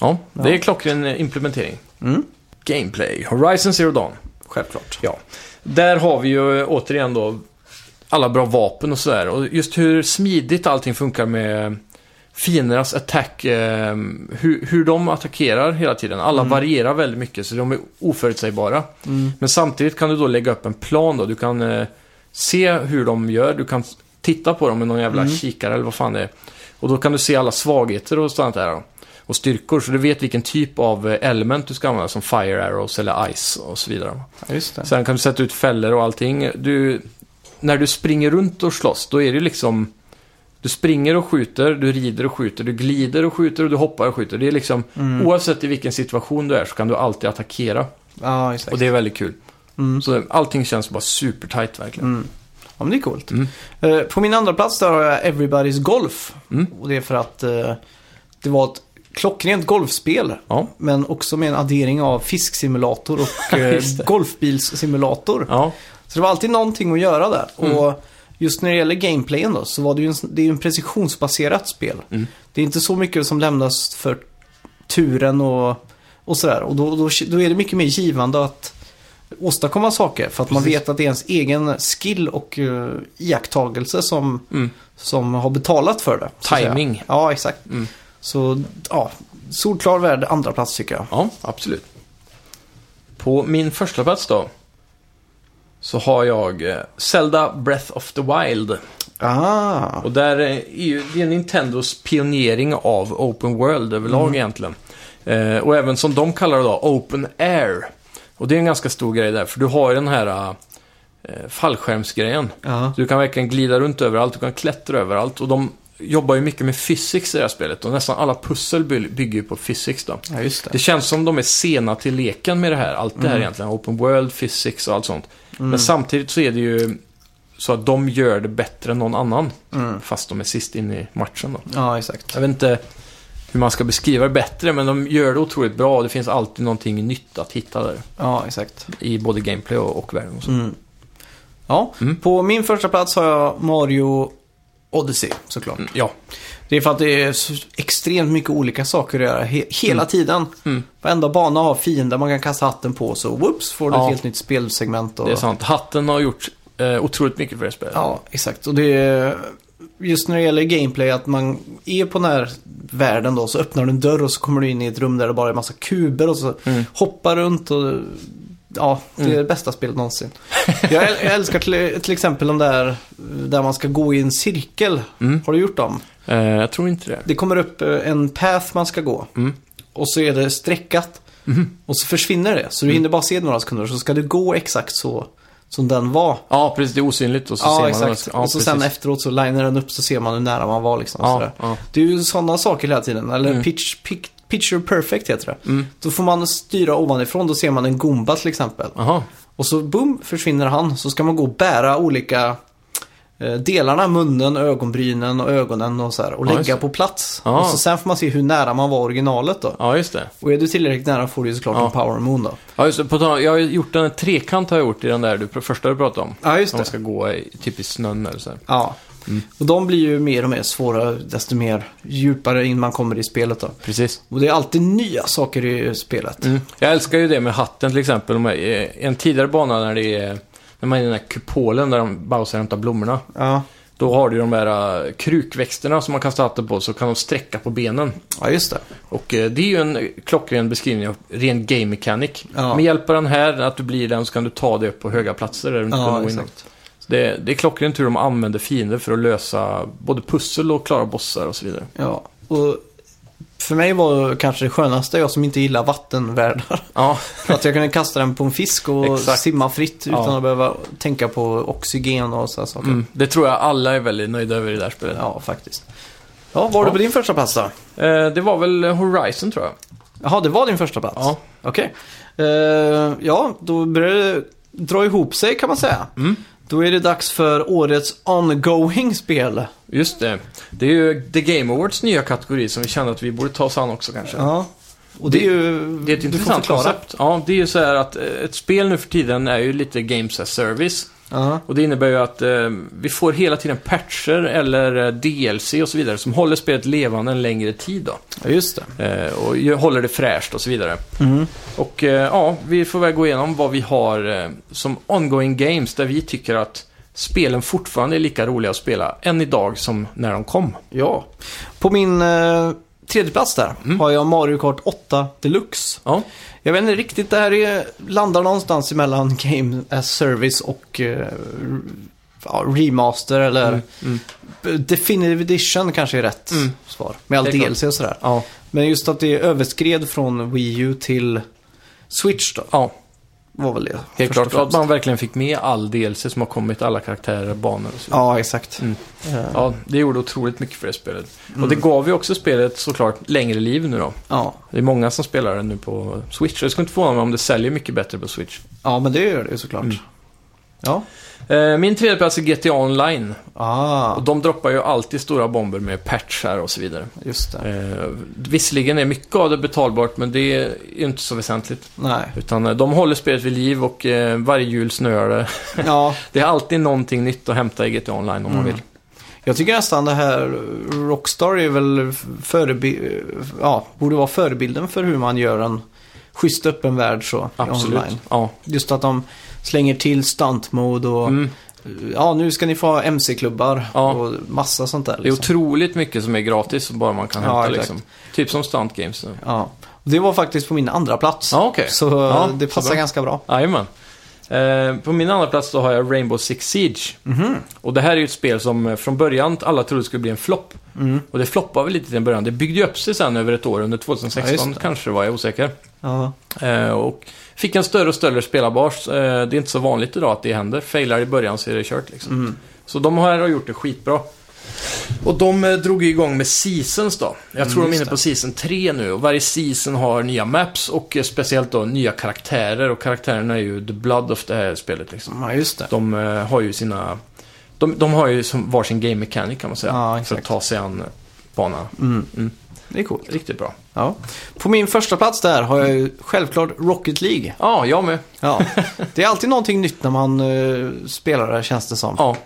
[SPEAKER 1] Ja, det
[SPEAKER 2] Ja.
[SPEAKER 1] är klockren eh, implementering.
[SPEAKER 2] Mm.
[SPEAKER 1] Gameplay. Horizon Zero Dawn.
[SPEAKER 2] Självklart.
[SPEAKER 1] Ja. Där har vi ju eh, återigen då alla bra vapen och sådär. Och just hur smidigt allting funkar med fiendernas attack. Eh, hur, hur de attackerar hela tiden. Alla varierar väldigt mycket så de är oförutsägbara.
[SPEAKER 2] Mm.
[SPEAKER 1] Men samtidigt kan du då lägga upp en plan då. Du kan eh, se hur de gör. Du kan s- titta på dem med någon jävla
[SPEAKER 2] Mm.
[SPEAKER 1] kikare eller vad fan det är. Och då kan du se alla svagheter och sånt där. då. Och styrkor. Så du vet vilken typ av eh, element du ska använda. Som fire arrows eller ice och så vidare.
[SPEAKER 2] Ja, just det.
[SPEAKER 1] Sen kan du sätta ut fällor och allting. Du, när du springer runt och slåss, då är det liksom... Du springer och skjuter, du rider och skjuter, du glider och skjuter och du hoppar och skjuter. Det är liksom...
[SPEAKER 2] Mm.
[SPEAKER 1] Oavsett i vilken situation du är så kan du alltid attackera.
[SPEAKER 2] Ja, exakt.
[SPEAKER 1] Och det är väldigt kul.
[SPEAKER 2] Mm.
[SPEAKER 1] Så allting känns bara supertight verkligen.
[SPEAKER 2] Mm. Ja, men det är coolt.
[SPEAKER 1] Mm.
[SPEAKER 2] Eh, på min andra plats där har jag Everybody's Golf.
[SPEAKER 1] Mm.
[SPEAKER 2] Och det är för att eh, det var ett klockrent golfspel.
[SPEAKER 1] Ja.
[SPEAKER 2] Men också med en addering av fisksimulator och eh,
[SPEAKER 1] Just det.
[SPEAKER 2] golfbilssimulator.
[SPEAKER 1] Ja,
[SPEAKER 2] Så det var alltid någonting att göra där.
[SPEAKER 1] Mm.
[SPEAKER 2] Och just när det gäller gameplayen då, så var det ju en, det är ju en precisionsbaserat spel.
[SPEAKER 1] Mm.
[SPEAKER 2] Det är inte så mycket som lämnas för turen och, och sådär. Och då, då, då är det mycket mer givande att åstadkomma saker. För att man
[SPEAKER 1] Precis.
[SPEAKER 2] vet att det är ens egen skill och eh, iakttagelse som,
[SPEAKER 1] Mm.
[SPEAKER 2] som har betalat för det. så att säga.
[SPEAKER 1] Timing.
[SPEAKER 2] Ja, exakt.
[SPEAKER 1] Mm.
[SPEAKER 2] Så ja, solklar värld, andra plats tycker jag.
[SPEAKER 1] Ja, absolut. På min första plats då. Så har jag eh, Zelda Breath of the Wild.
[SPEAKER 2] Ah,
[SPEAKER 1] Och där eh, är ju, det är Nintendos pionering av Open World överlag egentligen. Eh, och även som de kallar det då, Open Air. Och det är en ganska stor grej där, för du har ju den här eh, fallskärmsgrejen.
[SPEAKER 2] ja.
[SPEAKER 1] Du kan verkligen glida runt överallt, du kan klättra överallt. Och de jobbar ju mycket med physics i det här spelet. Och nästan alla pussel by- bygger ju på physics då.
[SPEAKER 2] ja, just det. Mm.
[SPEAKER 1] Det känns som de är sena till leken med det här. Allt det här egentligen. Open world, physics och allt sånt. Men samtidigt så är det ju så att de gör det bättre än någon annan.
[SPEAKER 2] Mm.
[SPEAKER 1] Fast de är sist in i matchen då.
[SPEAKER 2] Ja, exakt.
[SPEAKER 1] Jag vet inte hur man ska beskriva det bättre, men de gör det otroligt bra. Och det finns alltid någonting nytt att hitta där.
[SPEAKER 2] Ja, exakt.
[SPEAKER 1] I både gameplay och, och världen och så.
[SPEAKER 2] Mm. Ja,
[SPEAKER 1] Mm.
[SPEAKER 2] på min första plats har jag Mario Odyssey såklart.
[SPEAKER 1] Mm, Ja,
[SPEAKER 2] Det är för att det är så extremt mycket olika saker att göra he- hela tiden.
[SPEAKER 1] Mm.
[SPEAKER 2] Varenda bana har fiender man kan kasta hatten på så whoops får du
[SPEAKER 1] Ja.
[SPEAKER 2] ett helt nytt spelsegment. Och...
[SPEAKER 1] det är sant. Hatten har gjort eh, otroligt mycket för det spelet.
[SPEAKER 2] Ja, exakt. Och det är just när det gäller gameplay att man är på den här världen då så öppnar du en dörr och så kommer du in i ett rum där det bara är massa kuber och så
[SPEAKER 1] Mm.
[SPEAKER 2] hoppar runt och ja, det är
[SPEAKER 1] Mm.
[SPEAKER 2] det bästa spelet någonsin. jag, äl- jag älskar till, till exempel de där eh, där man ska gå i en cirkel.
[SPEAKER 1] Mm.
[SPEAKER 2] Har du gjort dem?
[SPEAKER 1] Eh, jag tror inte det.
[SPEAKER 2] Det kommer upp eh, en path man ska gå
[SPEAKER 1] Mm.
[SPEAKER 2] och så är det streckat och så försvinner det.
[SPEAKER 1] Mm.
[SPEAKER 2] Så du hinner bara se några sekunder så ska du gå exakt så som den var.
[SPEAKER 1] Ja, precis. Det är osynligt och så ser
[SPEAKER 2] Ja,
[SPEAKER 1] man
[SPEAKER 2] exakt.
[SPEAKER 1] den.
[SPEAKER 2] och så sen efteråt så linar den upp så ser man hur nära man var liksom. och
[SPEAKER 1] Ja,
[SPEAKER 2] sådär.
[SPEAKER 1] ja.
[SPEAKER 2] Det är ju sådana saker hela tiden. Eller
[SPEAKER 1] Mm.
[SPEAKER 2] pitch, pic- picture perfect heter det.
[SPEAKER 1] Mm.
[SPEAKER 2] Då får man styra ovanifrån, då ser man en Goomba till exempel.
[SPEAKER 1] Aha.
[SPEAKER 2] Och så boom, försvinner han. Så ska man gå och bära olika eh, delarna, munnen, ögonbrynen och ögonen och så här. Och
[SPEAKER 1] Ja, just
[SPEAKER 2] lägga
[SPEAKER 1] det.
[SPEAKER 2] på plats.
[SPEAKER 1] Ja.
[SPEAKER 2] Och så sen får man se hur nära man var originalet då.
[SPEAKER 1] Ja, just det.
[SPEAKER 2] Och är du tillräckligt nära får du ju såklart
[SPEAKER 1] Ja.
[SPEAKER 2] en power moon då.
[SPEAKER 1] Ja, just det. På tal, jag har ju gjort en trekant har jag gjort i den där du, första du pratade om.
[SPEAKER 2] Ja, just
[SPEAKER 1] När man ska gå i, typ i snön eller så här.
[SPEAKER 2] Ja.
[SPEAKER 1] Mm.
[SPEAKER 2] Och de blir ju mer och mer svåra desto mer djupare in man kommer i spelet då.
[SPEAKER 1] Precis.
[SPEAKER 2] Och det är alltid nya saker i spelet.
[SPEAKER 1] Mm. Jag älskar ju det med hatten till exempel. Om jag- eh, En tidigare bana när det är, när man är i den där kupolen där de Bowser hämtar blommorna.
[SPEAKER 2] Ja.
[SPEAKER 1] Då har du ju de där eh, krukväxterna som man kastar hatten på så kan de sträcka på benen.
[SPEAKER 2] ja, just det.
[SPEAKER 1] Och eh, det är ju en eh, klockren beskrivning av ren game mechanic.
[SPEAKER 2] Ja.
[SPEAKER 1] Med hjälp av den här, att du blir den, så kan du ta dig upp på höga platser där du inte kunde
[SPEAKER 2] Ja,
[SPEAKER 1] gå innan.
[SPEAKER 2] exakt.
[SPEAKER 1] Det, det är klockrent hur de använder fiender för att lösa både pussel och klara bossar och så vidare.
[SPEAKER 2] Ja. Och för mig var kanske det skönaste, jag som inte gillar vattenvärldar,
[SPEAKER 1] Ja,
[SPEAKER 2] att jag kunde kasta den på en fisk och
[SPEAKER 1] Exakt.
[SPEAKER 2] simma fritt
[SPEAKER 1] Ja.
[SPEAKER 2] utan att behöva tänka på oxygen och sådana saker.
[SPEAKER 1] mm. det tror jag alla är väldigt nöjda över i det här spelet.
[SPEAKER 2] Ja, faktiskt. Ja, vad var
[SPEAKER 1] Ja.
[SPEAKER 2] det på din första plats då?
[SPEAKER 1] Eh, det var väl Horizon tror jag.
[SPEAKER 2] Jaha, det var din första plats?
[SPEAKER 1] Ja.
[SPEAKER 2] Okej. Eh, ja, då börjar det dra ihop sig kan man säga.
[SPEAKER 1] Mm.
[SPEAKER 2] Då är det dags för årets ongoing spel.
[SPEAKER 1] Just det. Det är ju The Game Awards nya kategori som vi kände att vi borde ta oss an också kanske.
[SPEAKER 2] Ja. Och det, är ju...
[SPEAKER 1] Det är ett
[SPEAKER 2] du får
[SPEAKER 1] intressant
[SPEAKER 2] förklara.
[SPEAKER 1] koncept. Ja, det är ju så här att eh, ett spel nu för tiden är ju lite games as service.
[SPEAKER 2] Ja.
[SPEAKER 1] Och det innebär ju att eh, vi får hela tiden patcher eller eh, DLC och så vidare som håller spelet levande en längre tid då.
[SPEAKER 2] Ja, just det.
[SPEAKER 1] Eh, och ju- håller det fräscht och så vidare. Och eh, ja, vi får väl gå igenom vad vi har eh, som ongoing games där vi tycker att spelen fortfarande är lika roliga att spela än idag som när de kom.
[SPEAKER 2] Ja. På min eh, tredje plats där
[SPEAKER 1] Mm.
[SPEAKER 2] har jag Mario Kart 8 Deluxe.
[SPEAKER 1] Ja,
[SPEAKER 2] Jag vet inte riktigt, det här är, landar någonstans emellan Game as Service och eh, ja, Remaster eller
[SPEAKER 1] mm.
[SPEAKER 2] Definitive Edition kanske är rätt
[SPEAKER 1] Mm.
[SPEAKER 2] svar. Med all
[SPEAKER 1] Det är klart.
[SPEAKER 2] DLC och sådär.
[SPEAKER 1] ja,
[SPEAKER 2] Men just att det överskred från Wii U till Switch då,
[SPEAKER 1] ja
[SPEAKER 2] var väl det.
[SPEAKER 1] helt
[SPEAKER 2] först och
[SPEAKER 1] klart. Att
[SPEAKER 2] främst.
[SPEAKER 1] man verkligen fick med all DLC som har kommit, alla karaktärer, banor och så vidare.
[SPEAKER 2] Ja, exakt.
[SPEAKER 1] Mm.
[SPEAKER 2] Eh,
[SPEAKER 1] Ja, det gjorde otroligt mycket för det spelet. Och det gav ju också spelet såklart längre liv nu då.
[SPEAKER 2] ja.
[SPEAKER 1] Det är många som spelar det nu på Switch. Jag skulle inte förvåna mig om det säljer mycket bättre på Switch.
[SPEAKER 2] ja, men det gör det ju såklart.
[SPEAKER 1] Mm.
[SPEAKER 2] Ja.
[SPEAKER 1] Eh, Min tredje plats är GTA Online.
[SPEAKER 2] Ah,
[SPEAKER 1] Och de droppar ju alltid stora bomber med patchar och så vidare.
[SPEAKER 2] just det.
[SPEAKER 1] Eh, visserligen är mycket av det betalbart, men det är ju inte så väsentligt.
[SPEAKER 2] Nej.
[SPEAKER 1] Utan eh, de håller spelet vid liv och eh, varje jul snöar det.
[SPEAKER 2] Ja,
[SPEAKER 1] Det är alltid någonting nytt att hämta i GTA Online om man
[SPEAKER 2] Mm.
[SPEAKER 1] vill.
[SPEAKER 2] jag tycker nästan det här eh, Rockstar är väl förebi- eh, ja, borde vara förebilden för hur man gör en schysst öppen värld så.
[SPEAKER 1] Absolut.
[SPEAKER 2] Online.
[SPEAKER 1] Ja.
[SPEAKER 2] Just att de slänger till stunt mode och
[SPEAKER 1] Mm.
[SPEAKER 2] ja, nu ska ni få ha MC-klubbar
[SPEAKER 1] Ja.
[SPEAKER 2] och massa sånt där.
[SPEAKER 1] Det är
[SPEAKER 2] Liksom.
[SPEAKER 1] otroligt mycket som är gratis, bara man kan
[SPEAKER 2] Ja,
[SPEAKER 1] hämta
[SPEAKER 2] exakt.
[SPEAKER 1] liksom. Typ som Stunt Games. nu.
[SPEAKER 2] Ja. Och Det var faktiskt på min andra plats.
[SPEAKER 1] Ja, okej.
[SPEAKER 2] Så eh,
[SPEAKER 1] Ja,
[SPEAKER 2] det
[SPEAKER 1] så
[SPEAKER 2] passar
[SPEAKER 1] bra.
[SPEAKER 2] ganska bra.
[SPEAKER 1] Jajamän. Eh, på min andra plats då har jag Rainbow Six Siege.
[SPEAKER 2] Mhm.
[SPEAKER 1] Och det här är ju ett spel som eh, från början alla trodde skulle bli en flopp. Och det floppade väl lite till en början. Det byggde ju upp sig sen över ett år, under
[SPEAKER 2] Mm. Ja,
[SPEAKER 1] 2016
[SPEAKER 2] just det.
[SPEAKER 1] kanske var jag osäker.
[SPEAKER 2] Ja.
[SPEAKER 1] Eh, och fick en större och större spelarbars. Eh, det är inte så vanligt idag att det händer. Failar i början så är det kört liksom.
[SPEAKER 2] Mm.
[SPEAKER 1] Så de här har gjort det skitbra. Och de eh, drog ju igång med Seasons då. Jag tror
[SPEAKER 2] Mm,
[SPEAKER 1] de är
[SPEAKER 2] just
[SPEAKER 1] inne på Season 3 nu och varje Season har nya maps och eh, speciellt då nya karaktärer och karaktärerna är ju the blood of det här spelet liksom.
[SPEAKER 2] ja, just det.
[SPEAKER 1] De eh, har ju sina... De, de har ju som varsin game mechanic kan man säga.
[SPEAKER 2] Ja,
[SPEAKER 1] för att
[SPEAKER 2] exakt.
[SPEAKER 1] ta sig an eh, banan.
[SPEAKER 2] Mm.
[SPEAKER 1] Mm.
[SPEAKER 2] Det är coolt.
[SPEAKER 1] Riktigt bra.
[SPEAKER 2] Ja. På min första plats där har jag ju självklart Rocket League.
[SPEAKER 1] Ja, jag med.
[SPEAKER 2] Ja. Det är alltid någonting nytt när man eh, spelar det här, känns det som.
[SPEAKER 1] Ja.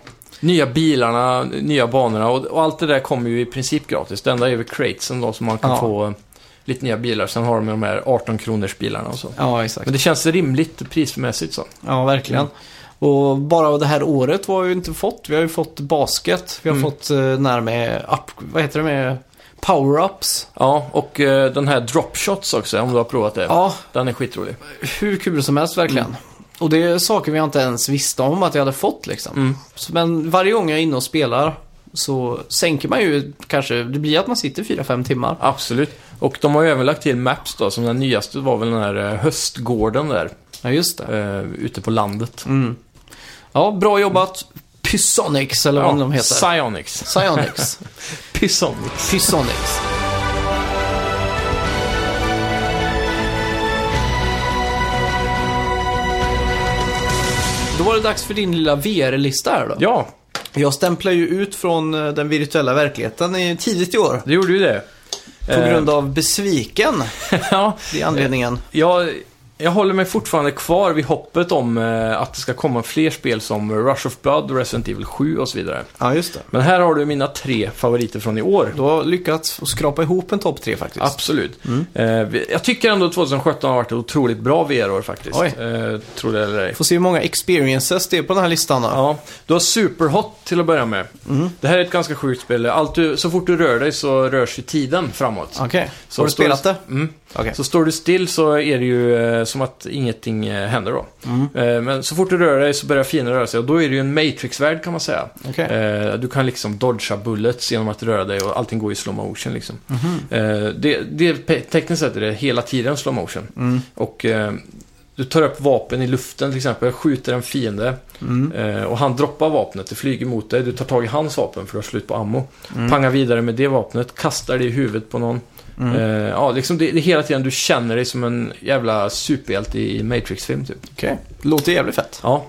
[SPEAKER 1] Nya bilarna, nya banorna och, och allt det där kommer ju i princip gratis. Det enda är väl cratesen då som man kan
[SPEAKER 2] Ja.
[SPEAKER 1] få eh, lite nya bilar. Sen har de ju de här 18 kronors bilarna och så.
[SPEAKER 2] Ja, exakt.
[SPEAKER 1] Men det känns rimligt prismässigt så.
[SPEAKER 2] Ja, verkligen. Och bara det här året var ju inte fått. Vi har ju fått basket. Vi har
[SPEAKER 1] Mm.
[SPEAKER 2] fått eh, den här med, up, vad heter det med, power-ups.
[SPEAKER 1] Ja, och eh, den här dropshots också, om du har provat det.
[SPEAKER 2] Ja,
[SPEAKER 1] Den är skitrolig.
[SPEAKER 2] hur kul som helst verkligen. Och det är saker vi inte ens visste om att jag hade fått liksom.
[SPEAKER 1] Mm.
[SPEAKER 2] Så, men varje gång jag är inne och spelar så sänker man ju kanske, det blir att man sitter 4-5 timmar.
[SPEAKER 1] Absolut. Och de har ju även lagt till Maps då, som den nyaste var väl den här eh, höstgården där,
[SPEAKER 2] Ja, just det.
[SPEAKER 1] eh, ute på landet.
[SPEAKER 2] Mm. Ja, bra jobbat. Pysonics eller vad de heter.
[SPEAKER 1] Psionics.
[SPEAKER 2] Psionics.
[SPEAKER 1] Pysonics.
[SPEAKER 2] Pysonics. Då var det dags för din lilla VR-lista här då.
[SPEAKER 1] Ja,
[SPEAKER 2] Jag stämplade ju ut från eh, den virtuella verkligheten i, tidigt i år.
[SPEAKER 1] det gjorde ju det.
[SPEAKER 2] På
[SPEAKER 1] Eh.
[SPEAKER 2] grund av besviken.
[SPEAKER 1] ja,
[SPEAKER 2] Det är anledningen.
[SPEAKER 1] Jag, jag håller mig fortfarande kvar vid hoppet om eh, att det ska komma fler spel som Rush of Blood, Resident Evil 7 och så vidare.
[SPEAKER 2] Ja, just det.
[SPEAKER 1] Men här har du mina tre favoriter från i år.
[SPEAKER 2] Du har lyckats att skrapa ihop en topp tre faktiskt.
[SPEAKER 1] Absolut.
[SPEAKER 2] Mm.
[SPEAKER 1] Eh, vi- jag tycker ändå 2017 har varit ett otroligt bra VR-år faktiskt.
[SPEAKER 2] Oj.
[SPEAKER 1] Eh, tror det eller ej.
[SPEAKER 2] Får se hur många experiences det är på den här listan då.
[SPEAKER 1] Ja, du har Superhot till att börja med.
[SPEAKER 2] Mm.
[SPEAKER 1] Det här är ett ganska sjukt spel. Allt du, så fort du rör dig så rör sig tiden framåt.
[SPEAKER 2] Okej.
[SPEAKER 1] Så
[SPEAKER 2] Har du
[SPEAKER 1] står
[SPEAKER 2] spelat det?
[SPEAKER 1] Mm.
[SPEAKER 2] Okej.
[SPEAKER 1] Så står du still så är det ju eh, som att ingenting eh, händer då. Eh, men så fort du rör dig så börjar fienden röra sig och då är det ju en matrix-värld kan man säga.
[SPEAKER 2] Okej.
[SPEAKER 1] Eh, du kan liksom dodga bullets genom att röra dig och allting går i slow motion liksom.
[SPEAKER 2] Mhm.
[SPEAKER 1] Eh, det, det, pe- tekniskt sett är det hela tiden slow motion.
[SPEAKER 2] Mm.
[SPEAKER 1] Och eh, du tar upp vapen i luften till exempel, skjuter en fiende
[SPEAKER 2] Mm.
[SPEAKER 1] eh, och han droppar vapnet, det flyger mot dig, du tar tag i hans vapen för du har slut på ammo. Pangar vidare med det vapnet, kastar det i huvudet på någon.
[SPEAKER 2] Mm.
[SPEAKER 1] Eh, ja, liksom det, det är hela tiden du känner dig som en jävla superhjälte i Matrix-film typ.
[SPEAKER 2] Okej. Låter jävligt fett.
[SPEAKER 1] Ja.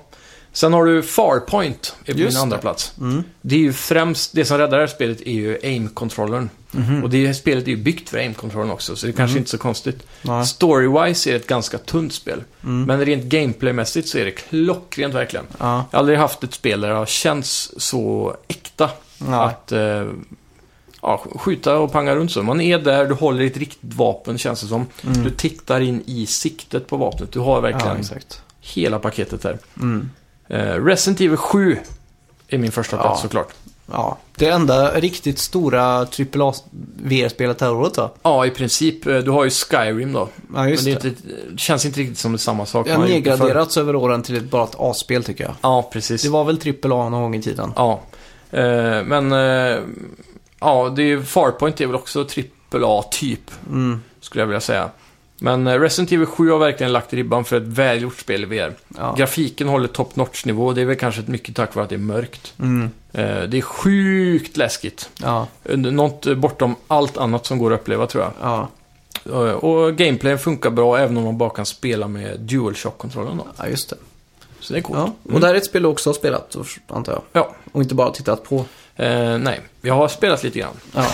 [SPEAKER 1] Sen har du Farpoint, är på
[SPEAKER 2] Just
[SPEAKER 1] min andra
[SPEAKER 2] det.
[SPEAKER 1] plats.
[SPEAKER 2] Mm.
[SPEAKER 1] Det är ju främst, det som räddar det här spelet är ju aim-kontrollern.
[SPEAKER 2] Mhm.
[SPEAKER 1] Och det här spelet är ju byggt för aim-kontrollen också, så det är kanske inte så konstigt.
[SPEAKER 2] Nej.
[SPEAKER 1] Storywise är det ett ganska tunt spel.
[SPEAKER 2] Mm.
[SPEAKER 1] Men rent gameplaymässigt så är det klockrent verkligen.
[SPEAKER 2] Ja.
[SPEAKER 1] Jag har aldrig haft ett spel där det har känts så äkta.
[SPEAKER 2] Ja.
[SPEAKER 1] Att eh, ja, skjuta och panga runt så. Man är där, du håller i ett riktigt vapen känns det som.
[SPEAKER 2] Mm.
[SPEAKER 1] Du tittar in i siktet på vapnet. Du har
[SPEAKER 2] ja,
[SPEAKER 1] verkligen
[SPEAKER 2] exakt.
[SPEAKER 1] hela paketet här.
[SPEAKER 2] Mm.
[SPEAKER 1] Eh, Resident Evil 7 är min första plats
[SPEAKER 2] Ja.
[SPEAKER 1] såklart.
[SPEAKER 2] Ja. Det enda riktigt stora AAA VR-spelet det här året då.
[SPEAKER 1] Ja, i princip. eh, Du har ju Skyrim då.
[SPEAKER 2] Ja, just
[SPEAKER 1] men
[SPEAKER 2] det.
[SPEAKER 1] det, är inte, känns inte riktigt som det är samma sak.
[SPEAKER 2] Det har
[SPEAKER 1] man har gjort det förr.
[SPEAKER 2] nedgraderats över åren till ett, bara ett A-spel tycker jag.
[SPEAKER 1] Ja, precis.
[SPEAKER 2] Det var väl AAA någon gång i tiden?
[SPEAKER 1] Ja. Eh, men, eh, ja, det är ju Farpoint är väl också AAA typ,
[SPEAKER 2] Mm.
[SPEAKER 1] skulle jag vilja säga. Men eh, Resident Evil 7 har verkligen lagt ribban för ett välgjort spel i VR.
[SPEAKER 2] Ja.
[SPEAKER 1] Grafiken håller top notch nivå, det är väl kanske mycket tack vare att det är mörkt.
[SPEAKER 2] Mm.
[SPEAKER 1] Eh, det är sjukt läskigt.
[SPEAKER 2] Ja,
[SPEAKER 1] Eh, Något eh, bortom allt annat som går att uppleva tror jag.
[SPEAKER 2] ja,
[SPEAKER 1] Eh, och gameplayen funkar bra även om man bara kan spela med DualShock-kontrollen då.
[SPEAKER 2] ja, just det.
[SPEAKER 1] Så det är coolt. Mm.
[SPEAKER 2] Ja. Och det här är ett spel du också har spelat, då, antar jag.
[SPEAKER 1] Ja.
[SPEAKER 2] Och inte bara tittat på.
[SPEAKER 1] Eh, nej, jag har spelat lite grann.
[SPEAKER 2] Ja.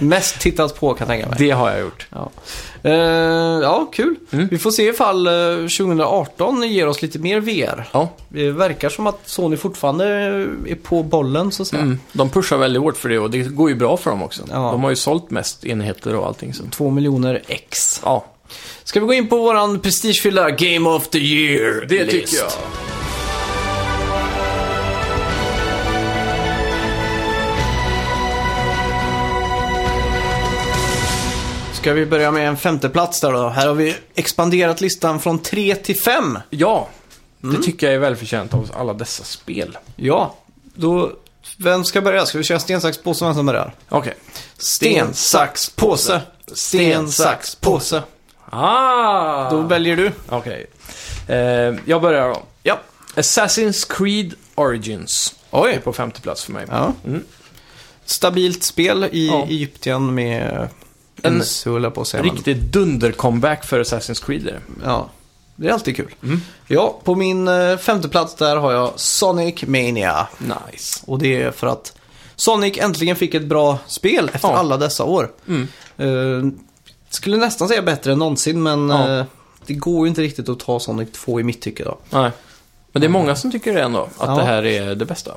[SPEAKER 2] Mest tittat på kan jag tänka mig.
[SPEAKER 1] Det har jag gjort.
[SPEAKER 2] Ja, Eh, ja kul.
[SPEAKER 1] Mm.
[SPEAKER 2] Vi får se ifall eh, 2018 ger oss lite mer VR.
[SPEAKER 1] Ja.
[SPEAKER 2] Det verkar som att Sony fortfarande är på bollen så att säga.
[SPEAKER 1] Mm. De pushar väldigt hårt för det och det går ju bra för dem också.
[SPEAKER 2] Ja.
[SPEAKER 1] De har ju sålt mest enheter och allting. Så.
[SPEAKER 2] Två miljoner ex.
[SPEAKER 1] Ja,
[SPEAKER 2] Ska vi gå in på våran prestigefyllda Game of the Year?
[SPEAKER 1] Det
[SPEAKER 2] list?
[SPEAKER 1] tycker jag.
[SPEAKER 2] Ska vi börja med en femteplats där då? Här har vi expanderat listan från tre till fem.
[SPEAKER 1] Ja,
[SPEAKER 2] Mm.
[SPEAKER 1] det tycker jag är välförtjänt av alla dessa spel.
[SPEAKER 2] Ja, då... Vem ska börja? Ska vi köra sten, sax, påse vem som börjar?
[SPEAKER 1] Okej.
[SPEAKER 2] Sten, sax, påse. Sten, sax, påse.
[SPEAKER 1] Ah!
[SPEAKER 2] Då väljer du.
[SPEAKER 1] Okej. Eh, jag börjar då.
[SPEAKER 2] Ja.
[SPEAKER 1] Assassin's Creed Origins är
[SPEAKER 2] Oj.
[SPEAKER 1] på femte plats för mig.
[SPEAKER 2] Ja.
[SPEAKER 1] Mm.
[SPEAKER 2] Stabilt spel i
[SPEAKER 1] Ja.
[SPEAKER 2] Egypten med...
[SPEAKER 1] En
[SPEAKER 2] En sula på sig. men-
[SPEAKER 1] Riktigt dunder-comeback för Assassin's Creed är det.
[SPEAKER 2] Ja, det är alltid kul. Ja, på min eh, femte plats där har jag Sonic Mania.
[SPEAKER 1] Nice.
[SPEAKER 2] Och det är för att Sonic äntligen fick ett bra spel efter
[SPEAKER 1] Ja.
[SPEAKER 2] alla dessa år.
[SPEAKER 1] Mm.
[SPEAKER 2] Eh, skulle nästan säga bättre än någonsin men
[SPEAKER 1] Ja.
[SPEAKER 2] eh, det går ju inte riktigt att ta Sonic 2 i mitt tycke då.
[SPEAKER 1] Nej. Men det är många som tycker det ändå, att
[SPEAKER 2] Ja.
[SPEAKER 1] det här är det bästa.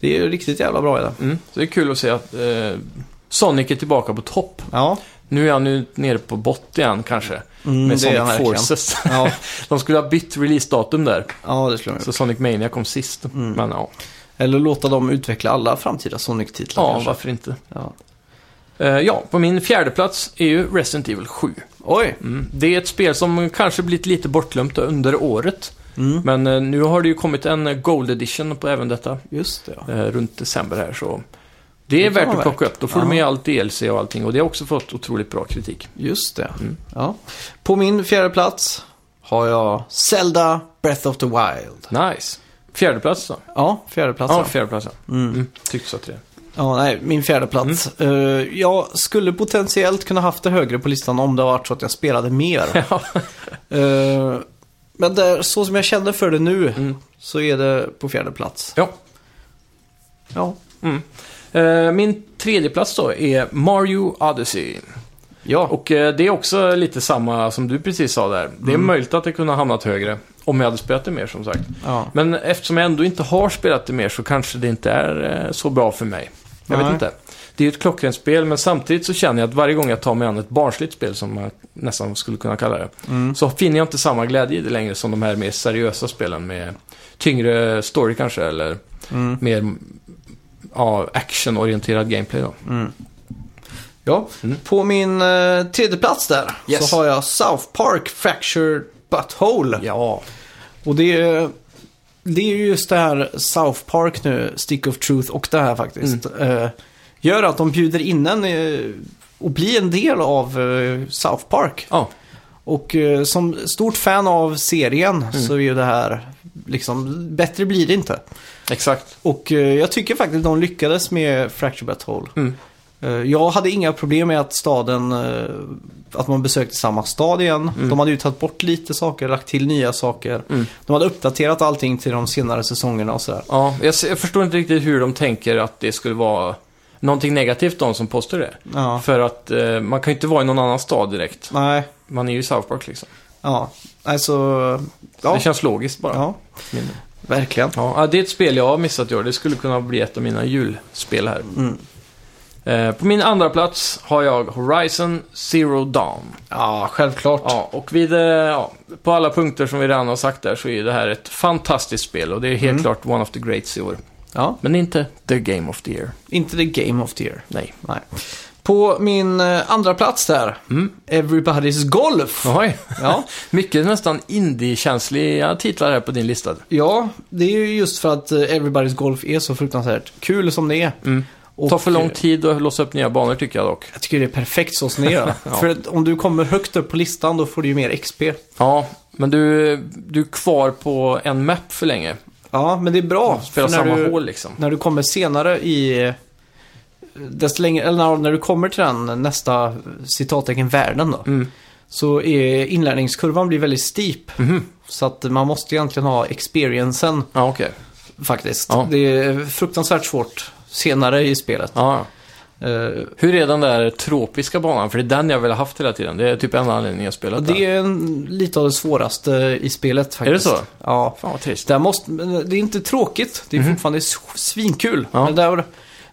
[SPEAKER 2] Det är ju riktigt jävla bra i det.
[SPEAKER 1] Mm. Så det är kul att se att eh, Sonic är tillbaka på topp.
[SPEAKER 2] Ja,
[SPEAKER 1] Nu är han ju nere på bott igen kanske.
[SPEAKER 2] mm,
[SPEAKER 1] med
[SPEAKER 2] det är han
[SPEAKER 1] Sonic
[SPEAKER 2] verkligen.
[SPEAKER 1] Forces.
[SPEAKER 2] Ja,
[SPEAKER 1] De skulle ha bytt releasedatum där.
[SPEAKER 2] ja, det skulle jag
[SPEAKER 1] Typ. Så Sonic Mania kom sist.
[SPEAKER 2] Mm.
[SPEAKER 1] Men ja,
[SPEAKER 2] Eller låta dem utveckla alla framtida Sonic-titlar
[SPEAKER 1] ja
[SPEAKER 2] kanske.
[SPEAKER 1] varför inte?
[SPEAKER 2] Ja.
[SPEAKER 1] Eh, ja, på min fjärde plats är ju Resident Evil 7.
[SPEAKER 2] Oj!
[SPEAKER 1] Mm. Det är ett spel som kanske blivit lite bortglömt under året.
[SPEAKER 2] Mm.
[SPEAKER 1] Men eh, nu har det ju kommit en eh, Gold Edition på även detta.
[SPEAKER 2] Just det, ja.
[SPEAKER 1] eh, runt december här så det är
[SPEAKER 2] kan
[SPEAKER 1] värt
[SPEAKER 2] vara
[SPEAKER 1] att plocka upp. Då får
[SPEAKER 2] Ja.
[SPEAKER 1] du med allt DLC och allting och det har också fått otroligt bra kritik.
[SPEAKER 2] Just det.
[SPEAKER 1] Mm.
[SPEAKER 2] Ja. På min fjärde plats har jag Zelda Breath of the Wild.
[SPEAKER 1] Nice. Fjärde plats då?
[SPEAKER 2] Ja, fjärde plats.
[SPEAKER 1] Ja,
[SPEAKER 2] ja.
[SPEAKER 1] fjärde plats. ja.
[SPEAKER 2] Alltså. Mm.
[SPEAKER 1] Mm. Tyckte så att det.
[SPEAKER 2] Ja, nej, min fjärde plats.
[SPEAKER 1] Mm.
[SPEAKER 2] Eh, jag skulle potentiellt kunna haft det högre på listan om det varit så att jag spelade mer.
[SPEAKER 1] Ja.
[SPEAKER 2] Eh, men där, så som jag känner för det nu
[SPEAKER 1] Mm.
[SPEAKER 2] så är det på fjärde plats.
[SPEAKER 1] Ja.
[SPEAKER 2] Ja,
[SPEAKER 1] Mm. Eh, Min tredje plats då är Mario Odyssey.
[SPEAKER 2] ja.
[SPEAKER 1] Och eh, det är också lite samma som du precis sa där. Det är
[SPEAKER 2] Mm.
[SPEAKER 1] möjligt att det kunde ha hamnat högre. Om jag hade spelat det mer som sagt.
[SPEAKER 2] ja.
[SPEAKER 1] Men eftersom jag ändå inte har spelat det mer så kanske det inte är eh, så bra för mig. Jag
[SPEAKER 2] Nej.
[SPEAKER 1] vet inte. Det är ju ett klockrent spel men samtidigt så känner jag att varje gång jag tar mig an ett barnsligt spel som man nästan skulle kunna kalla det.
[SPEAKER 2] Mm.
[SPEAKER 1] Så finner jag inte samma glädje i det längre som de här mer seriösa spelen med tyngre story kanske eller
[SPEAKER 2] Mm.
[SPEAKER 1] mer ja, actionorienterad gameplay då.
[SPEAKER 2] Mm. ja.
[SPEAKER 1] Mm.
[SPEAKER 2] På min eh, tredje plats där
[SPEAKER 1] Yes.
[SPEAKER 2] så har jag South Park Fracture Butthole.
[SPEAKER 1] Ja.
[SPEAKER 2] Och det är, det är ju just det här South Park nu, Stick of Truth och det här faktiskt. eh, gör att de bjuder in en eh, och blir en del av eh, South Park.
[SPEAKER 1] Ja.
[SPEAKER 2] Och eh, som stort fan av serien så är ju det här liksom, bättre blir det inte.
[SPEAKER 1] Exakt.
[SPEAKER 2] Och eh, jag tycker faktiskt de lyckades med Fracture Battle.
[SPEAKER 1] Mm.
[SPEAKER 2] Eh, Jag hade inga problem med att staden, eh, att man besökte samma stad igen. De hade ju tagit bort lite saker, lagt till nya saker.
[SPEAKER 1] Mm.
[SPEAKER 2] De hade uppdaterat allting till de senare säsongerna och sådär.
[SPEAKER 1] Ja, jag, se- jag förstår inte riktigt hur de tänker att det skulle vara någonting negativt de som påstår det.
[SPEAKER 2] Ja.
[SPEAKER 1] För att eh, man kan ju inte vara i någon annan stad direkt.
[SPEAKER 2] Nej,
[SPEAKER 1] Man är ju i South Park liksom.
[SPEAKER 2] ja. Alltså, ja.
[SPEAKER 1] Det känns Mm. logiskt bara.
[SPEAKER 2] ja. Verkligen.
[SPEAKER 1] Ja, ah, det är ett spel jag har missat i år. Det skulle kunna bli ett av mina julspel här.
[SPEAKER 2] Mm.
[SPEAKER 1] Eh, på min andra plats har jag Horizon Zero Dawn.
[SPEAKER 2] Ja, självklart.
[SPEAKER 1] Ja, och vid, eh, ja, på alla punkter som vi redan har sagt där så är det här ett fantastiskt spel och det är helt
[SPEAKER 2] Mm.
[SPEAKER 1] klart one of the greats i år.
[SPEAKER 2] Ja.
[SPEAKER 1] Men inte the game of the year.
[SPEAKER 2] Inte the game of the year.
[SPEAKER 1] Nej.
[SPEAKER 2] Nej. På min eh, andra plats där,
[SPEAKER 1] Mm.
[SPEAKER 2] Everybody's Golf.
[SPEAKER 1] Oj,
[SPEAKER 2] Ja.
[SPEAKER 1] mycket nästan indie-känsliga titlar här på din lista.
[SPEAKER 2] Ja, det är ju just för att eh, Everybody's Golf är så fruktansvärt kul som det är.
[SPEAKER 1] Mm.
[SPEAKER 2] Och,
[SPEAKER 1] Tar för lång
[SPEAKER 2] eh,
[SPEAKER 1] tid att låsa upp nya banor tycker jag dock.
[SPEAKER 2] Jag tycker det är perfekt så som det är.
[SPEAKER 1] Ja.
[SPEAKER 2] För att om du kommer högt upp på listan då får du ju mer XP.
[SPEAKER 1] Ja, men du, du är kvar på en map för länge.
[SPEAKER 2] Ja, men det är bra.
[SPEAKER 1] Spelar
[SPEAKER 2] för när
[SPEAKER 1] Mm, samma
[SPEAKER 2] du,
[SPEAKER 1] hål liksom.
[SPEAKER 2] När du kommer senare i... eh, Desto längre, eller när, när du kommer till den nästa eh, citattecken världen då.
[SPEAKER 1] Mm.
[SPEAKER 2] Så är inlärningskurvan blir väldigt steep.
[SPEAKER 1] Mhm.
[SPEAKER 2] Så att man måste egentligen ha experiencen
[SPEAKER 1] Ja, okej.
[SPEAKER 2] faktiskt.
[SPEAKER 1] Ja.
[SPEAKER 2] Det är fruktansvärt svårt senare i spelet.
[SPEAKER 1] Ja, ja.
[SPEAKER 2] Eh,
[SPEAKER 1] Hur är den där tropiska banan? För det är den jag vill ha haft hela tiden. Det är typ enda anledningen jag spelat
[SPEAKER 2] Det
[SPEAKER 1] den.
[SPEAKER 2] är en, lite av det svåraste i spelet faktiskt.
[SPEAKER 1] Är det så?
[SPEAKER 2] Ja.
[SPEAKER 1] Fan vad trist.
[SPEAKER 2] Där måste, men det är inte tråkigt, det är fortfarande s- svinkul.
[SPEAKER 1] Mhm. Ja.
[SPEAKER 2] Men där,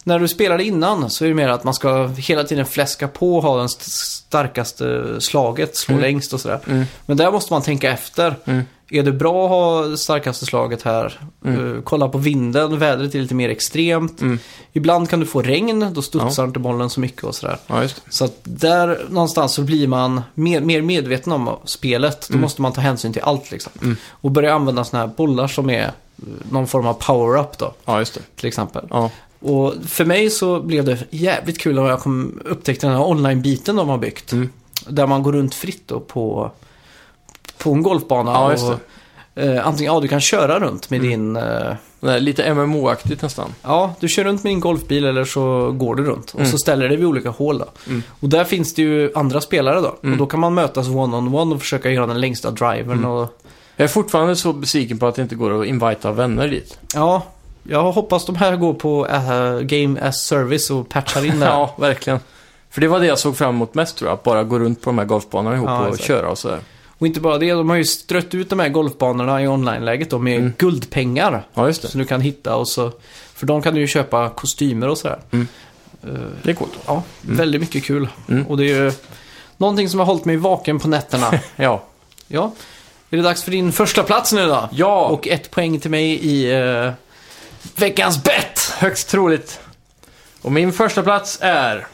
[SPEAKER 2] när du spelar det innan så är det mer att man ska hela tiden fläska på och ha den st- starkaste slaget, slå
[SPEAKER 1] Mm.
[SPEAKER 2] längst och sådär.
[SPEAKER 1] Mm.
[SPEAKER 2] Men där måste man tänka efter.
[SPEAKER 1] Mm.
[SPEAKER 2] Är det bra att ha det starkaste slaget här?
[SPEAKER 1] Mm.
[SPEAKER 2] Eh, kolla på vinden, vädret är lite mer extremt.
[SPEAKER 1] Mm.
[SPEAKER 2] Ibland kan du få regn, då studsar inte bollen så mycket och sådär.
[SPEAKER 1] Ja, just det.
[SPEAKER 2] Så att där någonstans så blir man mer, mer medveten om spelet. Då
[SPEAKER 1] Mm.
[SPEAKER 2] måste man ta hänsyn till allt liksom.
[SPEAKER 1] Mm.
[SPEAKER 2] Och börja använda sådana här bollar som är eh, någon form av power-up då,
[SPEAKER 1] Ja, just det.
[SPEAKER 2] till exempel.
[SPEAKER 1] Ja.
[SPEAKER 2] Och för mig så blev det jävligt kul när jag kom, upptäckte den här online-biten de har byggt.
[SPEAKER 1] Mm.
[SPEAKER 2] Där man går runt fritt då på, på en golfbana.
[SPEAKER 1] Ja, just Mm.
[SPEAKER 2] och, eh, antingen, ja, du kan köra runt med din... Eh,
[SPEAKER 1] Nej, lite MMO-aktigt nästan.
[SPEAKER 2] Ja, du kör runt med din golfbil eller så går du runt. Och
[SPEAKER 1] Mm.
[SPEAKER 2] så ställer du dig vid olika hål då.
[SPEAKER 1] Mm.
[SPEAKER 2] Och där finns det ju andra spelare då.
[SPEAKER 1] Mm.
[SPEAKER 2] Och då kan man mötas one-on-one och försöka göra den längsta drivern.
[SPEAKER 1] Mm.
[SPEAKER 2] Och,
[SPEAKER 1] Jag är fortfarande så besviken på att det inte går att invita vänner dit.
[SPEAKER 2] ja, jag hoppas de här går på eh, Game as Service och patchar in det här.
[SPEAKER 1] Ja, verkligen. För det var det jag såg fram emot mest tror jag. Att bara gå runt på de här golfbanorna ihop
[SPEAKER 2] Ja,
[SPEAKER 1] och
[SPEAKER 2] exakt.
[SPEAKER 1] köra och sådär.
[SPEAKER 2] Och inte bara det, de har ju strött ut de här golfbanorna i online-läget då med
[SPEAKER 1] Mm.
[SPEAKER 2] guldpengar.
[SPEAKER 1] Ja, just det.
[SPEAKER 2] Som du kan hitta och så... För de kan du ju köpa kostymer och sådär.
[SPEAKER 1] Mm.
[SPEAKER 2] Eh,
[SPEAKER 1] Det är coolt.
[SPEAKER 2] ja, väldigt mycket kul.
[SPEAKER 1] Mm.
[SPEAKER 2] Och det är ju någonting som har hållit mig vaken på nätterna.
[SPEAKER 1] Ja.
[SPEAKER 2] Ja. Är det dags för din första plats nu då?
[SPEAKER 1] Ja, och
[SPEAKER 2] Och ett poäng till mig i eh, veckans bett!
[SPEAKER 1] högst troligt. Och min första plats är...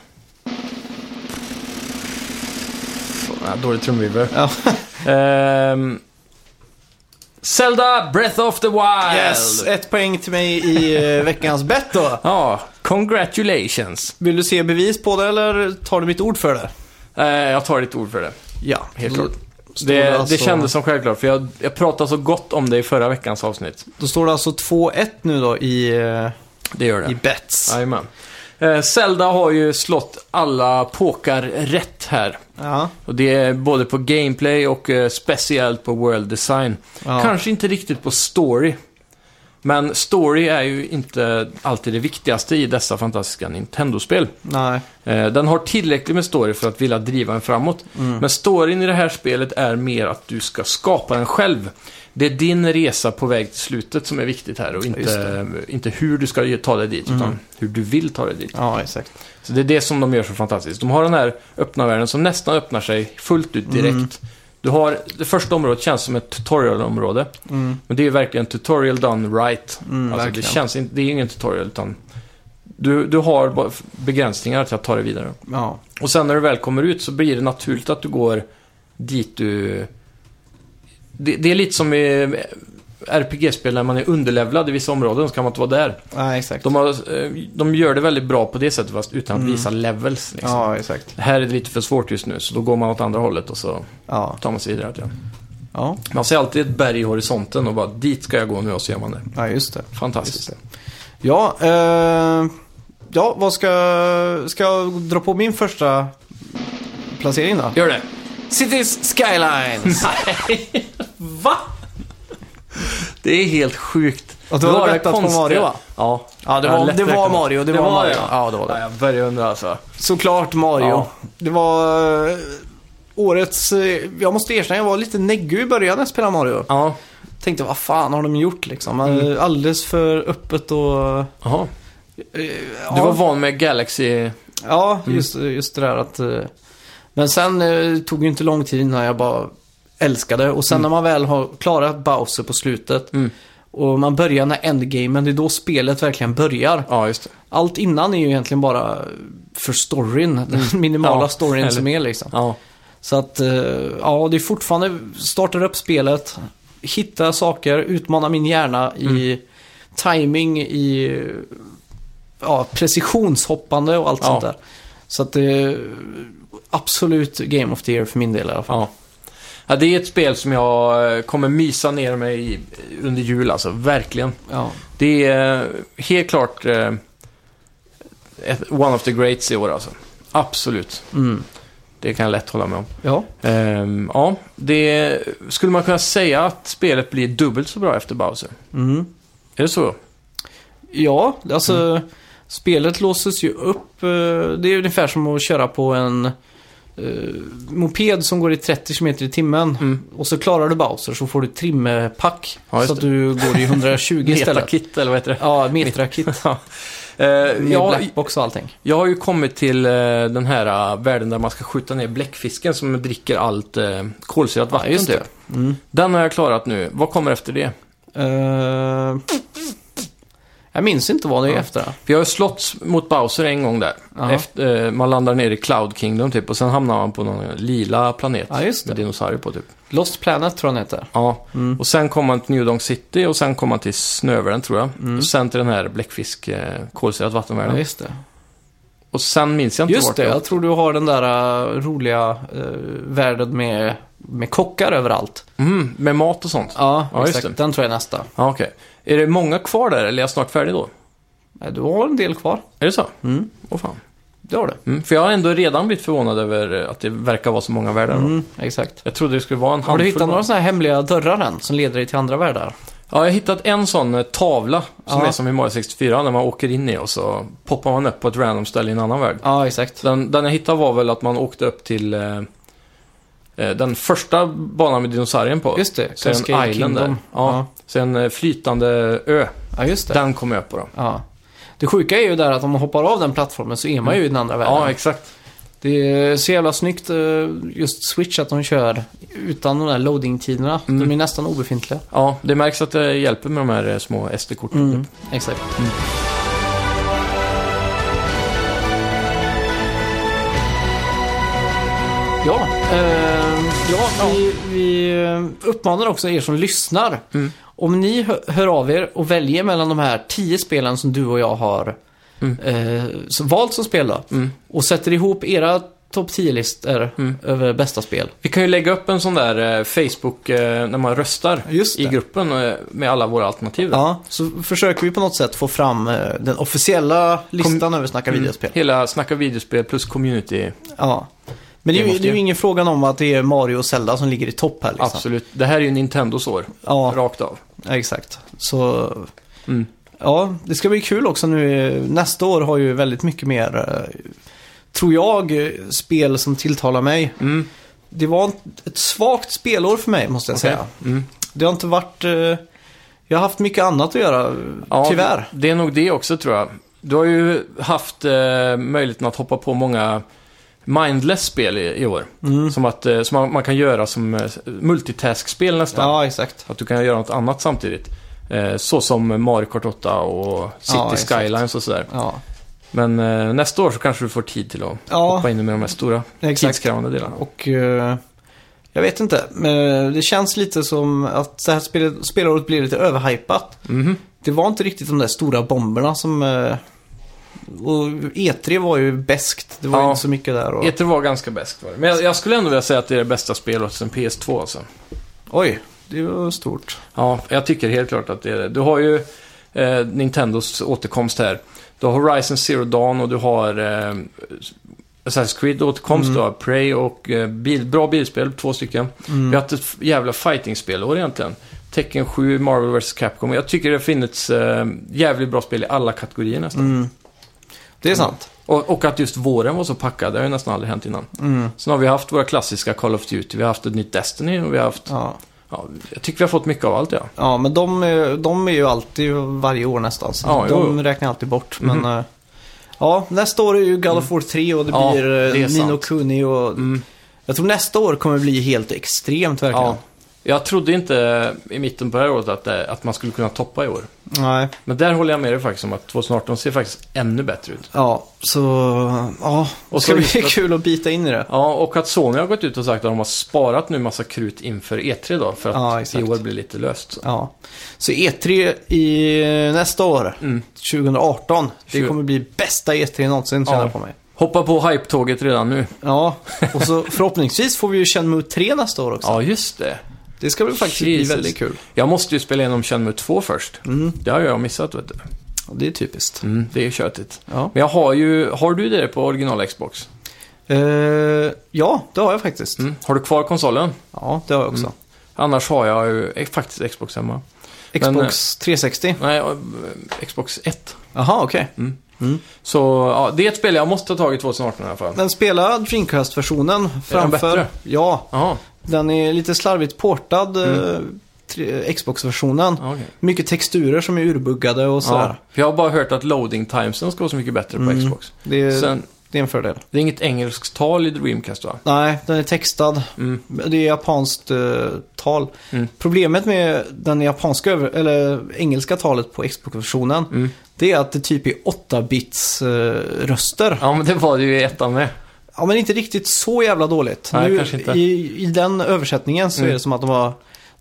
[SPEAKER 1] Ja, dålig trumvirvel.
[SPEAKER 2] Ja.
[SPEAKER 1] Ehm... Zelda Breath of the Wild!
[SPEAKER 2] Yes, ett poäng till mig i eh, veckans bett då.
[SPEAKER 1] Ja, congratulations.
[SPEAKER 2] Vill du se bevis på det eller tar du mitt ord för det?
[SPEAKER 1] Eh, jag tar ditt ord för det.
[SPEAKER 2] Ja,
[SPEAKER 1] Helt
[SPEAKER 2] då,
[SPEAKER 1] klart.
[SPEAKER 2] Står
[SPEAKER 1] Det,
[SPEAKER 2] det, alltså,
[SPEAKER 1] det kändes som självklart, för jag, jag pratade så gott om det i förra veckans avsnitt.
[SPEAKER 2] Då står det alltså 2-1 nu då i, eh,
[SPEAKER 1] Det gör
[SPEAKER 2] i
[SPEAKER 1] det.
[SPEAKER 2] bets.
[SPEAKER 1] Jajamän. Eh, Zelda har ju slått alla påkar rätt här.
[SPEAKER 2] Ja.
[SPEAKER 1] Och det är både på gameplay och eh, speciellt på world design.
[SPEAKER 2] Ja.
[SPEAKER 1] Kanske inte riktigt på story. Men story är ju inte alltid det viktigaste i dessa fantastiska Nintendo-spel.
[SPEAKER 2] Nej.
[SPEAKER 1] Eh, Den har tillräckligt med story för att vilja driva en framåt.
[SPEAKER 2] Mm.
[SPEAKER 1] Men storyn i det här spelet är mer att du ska skapa den själv. Det är din resa på väg till slutet som är viktigt här och
[SPEAKER 2] Just Mm.
[SPEAKER 1] inte, inte hur du ska ta dig dit, utan hur du vill ta dig dit.
[SPEAKER 2] Ja, exakt.
[SPEAKER 1] Så det är det som de gör så fantastiskt. De har den här öppna världen som nästan öppnar sig fullt ut direkt.
[SPEAKER 2] Mm.
[SPEAKER 1] Du har, det första området känns som ett tutorial-område.
[SPEAKER 2] Mm,
[SPEAKER 1] Men det är ju verkligen tutorial done right.
[SPEAKER 2] mm,
[SPEAKER 1] alltså det
[SPEAKER 2] verkligen.
[SPEAKER 1] känns inte, det är ingen tutorial utan du, du har bara begränsningar till att ta dig vidare.
[SPEAKER 2] Ja.
[SPEAKER 1] Och sen när du väl kommer ut så blir det naturligt att du går dit du... Det, det är lite som i RPG-spel när man är underlevlad i vissa områden så kan man inte vara där.
[SPEAKER 2] Nej, exakt.
[SPEAKER 1] De, har, eh, de gör det väldigt bra på det sättet fast utan att
[SPEAKER 2] Mm.
[SPEAKER 1] visa levels. Liksom.
[SPEAKER 2] Ja, exakt.
[SPEAKER 1] Här är det lite för svårt just nu så då går man åt andra hållet och så
[SPEAKER 2] Ja.
[SPEAKER 1] tar man sig vidare. igen.
[SPEAKER 2] Ja.
[SPEAKER 1] Man ser alltid ett berg i horisonten och bara dit ska jag gå nu och så gör man det.
[SPEAKER 2] ja, just det.
[SPEAKER 1] Fantastiskt.
[SPEAKER 2] Ja, eh, ja vad ska, ska jag dra på min första placering då?
[SPEAKER 1] Gör det.
[SPEAKER 2] Cities Skylines!
[SPEAKER 1] Nej, va? Det är helt sjukt.
[SPEAKER 2] Och du har
[SPEAKER 1] Det var det
[SPEAKER 2] bettat på
[SPEAKER 1] konstiga-
[SPEAKER 2] Mario, va?
[SPEAKER 1] Ja.
[SPEAKER 2] Ja, det
[SPEAKER 1] Jag har
[SPEAKER 2] var,
[SPEAKER 1] lätt
[SPEAKER 2] det var
[SPEAKER 1] räknat.
[SPEAKER 2] Mario. Det, var, Mario.
[SPEAKER 1] det.
[SPEAKER 2] Ja, det var
[SPEAKER 1] Ja,
[SPEAKER 2] det.
[SPEAKER 1] jag börjar undra alltså.
[SPEAKER 2] Såklart Mario.
[SPEAKER 1] Ja.
[SPEAKER 2] Det var eh, årets... eh, Jag måste erkänna, jag var lite neggu i början när jag spelade Mario.
[SPEAKER 1] Ja.
[SPEAKER 2] Tänkte, vad fan har de gjort liksom? Eh, Alldeles för öppet och... eh,
[SPEAKER 1] Jaha. Du
[SPEAKER 2] ja.
[SPEAKER 1] var van med Galaxy...
[SPEAKER 2] Ja,
[SPEAKER 1] Mm.
[SPEAKER 2] just, just det där att... eh, Men sen eh, tog ju inte lång tid innan jag bara älskade. Och sen när man väl har klarat Bowser på slutet
[SPEAKER 1] Mm.
[SPEAKER 2] och man börjar när endgamen, det är då spelet verkligen börjar.
[SPEAKER 1] Ja, just det.
[SPEAKER 2] Allt innan är ju egentligen bara för storyn, den minimala
[SPEAKER 1] Mm. Ja,
[SPEAKER 2] storyn
[SPEAKER 1] eller-
[SPEAKER 2] som är liksom.
[SPEAKER 1] Ja.
[SPEAKER 2] Så att, eh, ja, det är fortfarande, startar upp spelet, hitta saker, utmana min hjärna i timing, i ja, precisionshoppande och allt
[SPEAKER 1] Ja.
[SPEAKER 2] sånt där. Så att det är absolut Game of the Year för min del i alla fall.
[SPEAKER 1] ja. Ja, det är ett spel som jag eh, kommer mysa ner mig i under jul alltså. Verkligen.
[SPEAKER 2] Ja,
[SPEAKER 1] Det är eh, helt klart eh, ett- one of the greats i år alltså. Absolut.
[SPEAKER 2] mm.
[SPEAKER 1] Det kan jag lätt hålla med om.
[SPEAKER 2] ja.
[SPEAKER 1] Ehm, ja, det skulle man kunna säga att spelet blir dubbelt så bra efter Bowser.
[SPEAKER 2] Mm.
[SPEAKER 1] Är det så?
[SPEAKER 2] ja alltså spelet låses ju upp. eh, Det är ungefär som att köra på en eh, moped som går i 30 km i timmen.
[SPEAKER 1] Mm.
[SPEAKER 2] Och så klarar du Bowser så får du trimmepack.
[SPEAKER 1] Ja, just
[SPEAKER 2] så att du går i 120 istället.
[SPEAKER 1] Metakit, eller vad heter det?
[SPEAKER 2] Ja, metrakit.
[SPEAKER 1] Eh,
[SPEAKER 2] Med
[SPEAKER 1] ja,
[SPEAKER 2] blackbox och allting.
[SPEAKER 1] jag har ju kommit till eh, den här eh, världen där man ska skjuta ner bläckfisken som dricker allt eh, kolsyrat vatten.
[SPEAKER 2] just det.
[SPEAKER 1] Typ.
[SPEAKER 2] Mm.
[SPEAKER 1] Den har jag klarat nu. Vad kommer efter det?
[SPEAKER 2] Eh, jag minns inte vad det är
[SPEAKER 1] Ja.
[SPEAKER 2] efter.
[SPEAKER 1] För jag har slått mot Bowser en gång där.
[SPEAKER 2] Ja.
[SPEAKER 1] Efter, eh, man landar ner i Cloud Kingdom typ och sen hamnar man på någon lila planet
[SPEAKER 2] Ja, just
[SPEAKER 1] med
[SPEAKER 2] det.
[SPEAKER 1] dinosaurier på typ.
[SPEAKER 2] Lost Planet tror jag den heter.
[SPEAKER 1] Ja.
[SPEAKER 2] Mm.
[SPEAKER 1] Och sen kom man till New Donk City och sen kom man till Snövärlden tror jag.
[SPEAKER 2] Mm.
[SPEAKER 1] Och sen till den här bläckfisk eh, kolsyrat
[SPEAKER 2] Ja,
[SPEAKER 1] vattenvärlden.
[SPEAKER 2] just det.
[SPEAKER 1] och sen minns jag inte
[SPEAKER 2] Just
[SPEAKER 1] vart
[SPEAKER 2] det,
[SPEAKER 1] jag-
[SPEAKER 2] jag tror du har den där eh, roliga eh, världen med, med kockar överallt.
[SPEAKER 1] Mm, med mat och sånt.
[SPEAKER 2] Ja,
[SPEAKER 1] Ja, just
[SPEAKER 2] exakt.
[SPEAKER 1] det.
[SPEAKER 2] Den tror jag är nästa.
[SPEAKER 1] Ja, okej. Är det många kvar där eller är jag snart färdig då?
[SPEAKER 2] Nej, Du har en del kvar.
[SPEAKER 1] Är det så?
[SPEAKER 2] Mm,
[SPEAKER 1] Åh fan.
[SPEAKER 2] det har du.
[SPEAKER 1] Mm, för jag har ändå redan blivit förvånad över eh, att det verkar vara så många världar. då.
[SPEAKER 2] Mm, exakt.
[SPEAKER 1] Jag trodde det skulle vara en handfull.
[SPEAKER 2] Har du hittat
[SPEAKER 1] bara.
[SPEAKER 2] några sådana här hemliga dörrar än som leder dig till andra världar?
[SPEAKER 1] Ja, jag har hittat en sån eh, tavla som
[SPEAKER 2] Ja.
[SPEAKER 1] är som i Mario 64 när man åker in i och så poppar man upp på ett random ställe i en annan värld.
[SPEAKER 2] Ja, exakt.
[SPEAKER 1] Den, den jag hittade var väl att man åkte upp till eh, eh, den första banan med dinosaurien på.
[SPEAKER 2] Just det,
[SPEAKER 1] så är det en
[SPEAKER 2] Cascade
[SPEAKER 1] island där.
[SPEAKER 2] Kingdom.
[SPEAKER 1] Ja.
[SPEAKER 2] Ja.
[SPEAKER 1] Så en eh, flytande ö.
[SPEAKER 2] ja, just det.
[SPEAKER 1] Den kom jag upp på då.
[SPEAKER 2] Ja. Det sjuka är ju där att om man hoppar av den plattformen så är man ju i den andra världen.
[SPEAKER 1] Ja, exakt.
[SPEAKER 2] Det är så jävla snyggt eh, just Switch att de kör utan de där loading-tiderna.
[SPEAKER 1] Mm.
[SPEAKER 2] De är nästan obefintliga.
[SPEAKER 1] Ja, det märks att det hjälper med de här eh, små SD-korten.
[SPEAKER 2] Mm, exakt. Ja, eh, ja, Vi, vi eh, uppmanar också er som lyssnar.
[SPEAKER 1] Mm.
[SPEAKER 2] Om ni hö- hör av er och väljer mellan de här tio spelen som du och jag har
[SPEAKER 1] Mm.
[SPEAKER 2] eh, som valt som spel då,
[SPEAKER 1] Mm.
[SPEAKER 2] och sätter ihop era topp 10-listor
[SPEAKER 1] Mm.
[SPEAKER 2] över bästa spel.
[SPEAKER 1] Vi kan ju lägga upp en sån där eh, Facebook eh, när man röstar
[SPEAKER 2] Just
[SPEAKER 1] i gruppen eh, med alla våra alternativ. där.
[SPEAKER 2] Ja, så försöker vi på något sätt få fram eh, den officiella listan över Snacka videospel.
[SPEAKER 1] Mm. Hela Snacka videospel plus community.
[SPEAKER 2] Ja. Men det,
[SPEAKER 1] Det
[SPEAKER 2] är ju,
[SPEAKER 1] måste
[SPEAKER 2] det är
[SPEAKER 1] ju-
[SPEAKER 2] ju ingen frågan om att det är Mario och Zelda som ligger i topp här liksom.
[SPEAKER 1] Absolut. Det här är ju Nintendos år.
[SPEAKER 2] Ja,
[SPEAKER 1] Rakt av.
[SPEAKER 2] exakt. Så,
[SPEAKER 1] Mm.
[SPEAKER 2] ja, det ska bli kul också nu. Nästa år har ju väldigt mycket mer, eh, tror jag, eh, spel som tilltalar mig.
[SPEAKER 1] Mm.
[SPEAKER 2] Det var ett- ett svagt spelår för mig, måste jag säga.
[SPEAKER 1] Mm.
[SPEAKER 2] Det har inte varit... eh, Jag har haft mycket annat att göra, eh,
[SPEAKER 1] Ja,
[SPEAKER 2] tyvärr.
[SPEAKER 1] Det är nog det också tror jag. Du har ju haft eh, möjligheten att hoppa på många mindless spel i, i år.
[SPEAKER 2] Mm.
[SPEAKER 1] Som, att, eh, som man, man kan göra som eh, multitask-spel nästan.
[SPEAKER 2] Ja, exakt.
[SPEAKER 1] Att du kan göra något annat samtidigt. Eh, så som Mario Kart 8 och City
[SPEAKER 2] Ja, exakt.
[SPEAKER 1] Skylines och sådär.
[SPEAKER 2] Ja,
[SPEAKER 1] Men eh, nästa år så kanske du får tid till att
[SPEAKER 2] ja
[SPEAKER 1] hoppa in med de här stora
[SPEAKER 2] exakt.
[SPEAKER 1] tidskrävande delarna.
[SPEAKER 2] Och eh, jag vet inte. Men eh, det känns lite som att det här spelet, spelåret blir lite överhypat.
[SPEAKER 1] Mhm.
[SPEAKER 2] Det var inte riktigt de där stora bomberna som... eh, och E3 var ju bäst. Det var
[SPEAKER 1] Ja.
[SPEAKER 2] ju inte så mycket där. Och...
[SPEAKER 1] E3 E var ganska bäst var det. Men jag, jag skulle ändå vilja säga att det är det bästa spelet sen PS2 alltså.
[SPEAKER 2] Oj, det var stort.
[SPEAKER 1] Ja, jag tycker helt klart att det är det. Du har ju eh, Nintendos återkomst här. Du har Horizon Zero Dawn och du har eh, Assassin's Creed återkomst.
[SPEAKER 2] Mm.
[SPEAKER 1] Du har Prey och eh, bil, bra bilspel, två stycken.
[SPEAKER 2] Mm.
[SPEAKER 1] Vi har haft ett f- jävla fighting-spelår egentligen. Tekken 7, Marvel vs Capcom. Jag tycker det finns eh, jävligt bra spel i alla kategorier nästan.
[SPEAKER 2] Mm. Det är sant.
[SPEAKER 1] Och, och att just våren var så packad, det har ju nästan aldrig hänt innan.
[SPEAKER 2] Mm.
[SPEAKER 1] Sen har vi haft våra klassiska Call of Duty, vi har haft ett nytt Destiny och vi har haft...
[SPEAKER 2] Ja.
[SPEAKER 1] Ja, jag tycker vi har fått mycket av allt, ja.
[SPEAKER 2] ja, men de, är- de är ju alltid varje år nästan. Så
[SPEAKER 1] Ja,
[SPEAKER 2] de
[SPEAKER 1] jo.
[SPEAKER 2] räknar alltid bort.
[SPEAKER 1] Mhm. Mm.
[SPEAKER 2] Men eh, ja, nästa år är ju God of War 3 och det
[SPEAKER 1] Ja,
[SPEAKER 2] blir eh,
[SPEAKER 1] det är
[SPEAKER 2] Nino
[SPEAKER 1] sant. Mm.
[SPEAKER 2] Kuni och Jag tror nästa år kommer bli helt extremt verkligen.
[SPEAKER 1] Ja. Jag trodde inte i mitten på det här året att, det, att man skulle kunna toppa i år.
[SPEAKER 2] Nej.
[SPEAKER 1] Men där håller jag med dig faktiskt om att 2018 ser faktiskt ännu bättre ut.
[SPEAKER 2] Ja, så... Ja.
[SPEAKER 1] Och
[SPEAKER 2] Och
[SPEAKER 1] så
[SPEAKER 2] ska bli
[SPEAKER 1] just att-
[SPEAKER 2] kul att bita in i det.
[SPEAKER 1] Ja, och att Sony har gått ut och sagt att de har sparat nu massa krut inför E3 då, för
[SPEAKER 2] Ja,
[SPEAKER 1] att i
[SPEAKER 2] exakt.
[SPEAKER 1] år blir lite löst.
[SPEAKER 2] Ja. Så E3 i nästa år,
[SPEAKER 1] Mm.
[SPEAKER 2] 2018. Det
[SPEAKER 1] Tjugo-
[SPEAKER 2] kommer bli bästa E3 någonsin, känner
[SPEAKER 1] Ja.
[SPEAKER 2] jag på mig.
[SPEAKER 1] Hoppa på hype-tåget redan nu.
[SPEAKER 2] Ja, och så förhoppningsvis får vi ju Shenmue 3 nästa år också.
[SPEAKER 1] Ja, just det.
[SPEAKER 2] Det ska väl faktiskt
[SPEAKER 1] Jesus.
[SPEAKER 2] bli väldigt kul.
[SPEAKER 1] Jag måste ju spela igenom Shenmue 2 först.
[SPEAKER 2] Mm.
[SPEAKER 1] Det har jag missat, vet du.
[SPEAKER 2] och Det är typiskt.
[SPEAKER 1] Mm, det är tjötigt.
[SPEAKER 2] Ja.
[SPEAKER 1] Men jag har ju... Har du det på original Xbox?
[SPEAKER 2] Eh, ja, det har jag faktiskt.
[SPEAKER 1] Mm. Har du kvar konsolen?
[SPEAKER 2] Ja, det har jag också.
[SPEAKER 1] Annars har jag ju eh, faktiskt Xbox hemma. Men,
[SPEAKER 2] Xbox 360.
[SPEAKER 1] Nej, eh, Xbox 1.
[SPEAKER 2] Jaha, okej.
[SPEAKER 1] Mm.
[SPEAKER 2] Mm.
[SPEAKER 1] Så ja, det är ett spel jag måste ta tag i 2018 i alla fall.
[SPEAKER 2] Men spela Dreamcast-versionen framför...
[SPEAKER 1] bättre?
[SPEAKER 2] Ja,
[SPEAKER 1] Jaha,
[SPEAKER 2] den är lite slarvigt portad, eh, tre- Xbox-versionen.
[SPEAKER 1] Mm. ja, okej.
[SPEAKER 2] Mycket texturer som är urbuggade och
[SPEAKER 1] Ja,
[SPEAKER 2] sådär.
[SPEAKER 1] för jag har bara hört att loading timesen ska vara så mycket bättre på
[SPEAKER 2] Mm.
[SPEAKER 1] Xbox.
[SPEAKER 2] Det, är,
[SPEAKER 1] Sen,
[SPEAKER 2] det är en fördel.
[SPEAKER 1] det är inget engelskt tal i Dreamcast va?
[SPEAKER 2] Nej, den är textad.
[SPEAKER 1] Mm.
[SPEAKER 2] Det är japanskt eh, tal.
[SPEAKER 1] Mm.
[SPEAKER 2] Problemet med den japanska, över- eller engelska talet på Xbox-versionen,
[SPEAKER 1] Mm.
[SPEAKER 2] det är att det typ är 8-bits eh, röster.
[SPEAKER 1] Ja, men det var det ju i ettan med.
[SPEAKER 2] Ja, men inte riktigt så jävla dåligt.
[SPEAKER 1] Nej, kanske inte.
[SPEAKER 2] I, I den översättningen så
[SPEAKER 1] Mm.
[SPEAKER 2] är det som att de har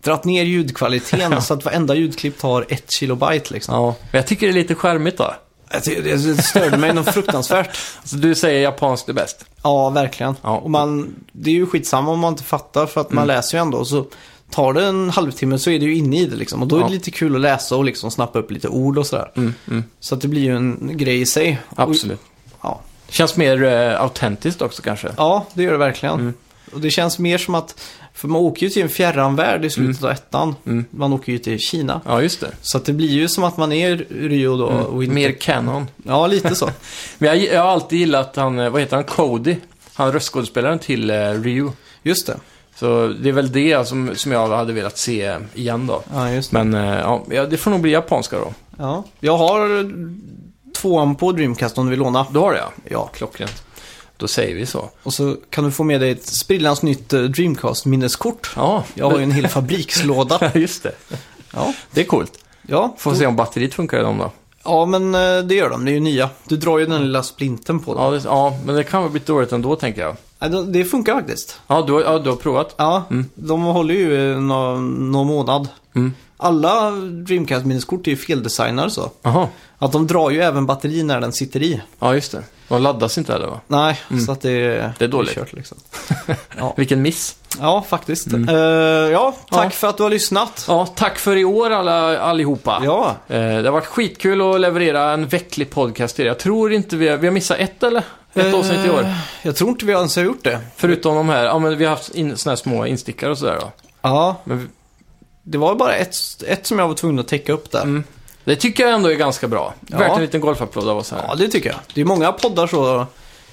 [SPEAKER 2] dratt ner ljudkvaliteten så att varenda ljudklipp tar ett kilobyte liksom.
[SPEAKER 1] Ja, men jag tycker det är lite charmigt då.
[SPEAKER 2] Jag tycker Det, det störde mig något fruktansvärt.
[SPEAKER 1] Så du säger japanskt är bäst?
[SPEAKER 2] Ja, verkligen.
[SPEAKER 1] Ja. Mm.
[SPEAKER 2] Och man, det är ju skitsamma om man inte fattar för att man läser ju ändå. Så tar det en halvtimme så är det ju inne i det liksom. Och då är
[SPEAKER 1] Ja.
[SPEAKER 2] det lite kul att läsa och liksom snappa upp lite ord och sådär.
[SPEAKER 1] Mm, mm.
[SPEAKER 2] Så att det blir ju en grej i sig.
[SPEAKER 1] Absolut.
[SPEAKER 2] Och, ja.
[SPEAKER 1] Känns mer eh, autentiskt också kanske.
[SPEAKER 2] ja, det gör det verkligen.
[SPEAKER 1] Mm.
[SPEAKER 2] Och det känns mer som att, för man åker ju till en fjärran värld i slutet av ettan.
[SPEAKER 1] Mm.
[SPEAKER 2] Man åker ju till Kina.
[SPEAKER 1] Ja, just det.
[SPEAKER 2] Så att det blir ju som att man är i Rio då. Och inte...
[SPEAKER 1] Mm. Mer canon.
[SPEAKER 2] Ja, lite så.
[SPEAKER 1] Men jag, jag har alltid gillat han, eh, vad heter han, Cody? Han röstskådespelaren till eh, Ryu.
[SPEAKER 2] Just det.
[SPEAKER 1] Så det är väl det som, som jag hade velat se eh, igen då.
[SPEAKER 2] Ja, just det.
[SPEAKER 1] Men eh, ja, ja, det får nog bli japanska då.
[SPEAKER 2] Ja. Jag har tvåan på Dreamcast om du vill låna.
[SPEAKER 1] Då har jag.
[SPEAKER 2] Ja.
[SPEAKER 1] Klockrent. Då säger vi så.
[SPEAKER 2] Och så kan du få med dig ett sprillans nytt eh, Dreamcast-minneskort.
[SPEAKER 1] Ja,
[SPEAKER 2] Jag har ju en hel fabrikslåda.
[SPEAKER 1] just det.
[SPEAKER 2] Ja,
[SPEAKER 1] Det är coolt.
[SPEAKER 2] ja.
[SPEAKER 1] Får se om batteriet funkar i dem då.
[SPEAKER 2] ja men eh, det gör de. Det är ju nya. Du drar ju den lilla splinten på dem.
[SPEAKER 1] Ja, det, ja men det kan väl bli dåligt ändå tänker jag.
[SPEAKER 2] Ja. de- Det funkar faktiskt.
[SPEAKER 1] Ja, du, har- ja, du har provat?
[SPEAKER 2] Ja, de håller ju eh, nå- någon månad.
[SPEAKER 1] Mm.
[SPEAKER 2] Alla Dreamcast-minneskort är ju feldesignade så.
[SPEAKER 1] Jaha.
[SPEAKER 2] Att de drar ju även batteri när den sitter i.
[SPEAKER 1] Ja, just det. De laddas inte heller va?
[SPEAKER 2] Nej, så att det, är-
[SPEAKER 1] Mm. Det är dåligt.
[SPEAKER 2] kört liksom.
[SPEAKER 1] Vilken miss.
[SPEAKER 2] Ja, faktiskt. Eh, ja, tack
[SPEAKER 1] Mm. Ja.
[SPEAKER 2] för att du har lyssnat.
[SPEAKER 1] Ja, tack för i år alla, allihopa.
[SPEAKER 2] Ja,
[SPEAKER 1] Eh, Det har varit skitkul att leverera en vecklig podcast till er. Jag tror inte vi har, vi har missat ett eller? Ett
[SPEAKER 2] Eh.
[SPEAKER 1] avsnitt i år.
[SPEAKER 2] jag tror inte vi ens har gjort det.
[SPEAKER 1] Förutom de här, ja men vi har haft in, såna här små instickare och sådär då.
[SPEAKER 2] Ja,
[SPEAKER 1] Men vi-
[SPEAKER 2] Det var bara ett, ett som jag var tvungen att täcka upp där.
[SPEAKER 1] Mm. det tycker jag ändå är ganska bra.
[SPEAKER 2] Ja.
[SPEAKER 1] Värt en liten golfapplåd av oss här.
[SPEAKER 2] Ja, det tycker jag. Det är många poddar så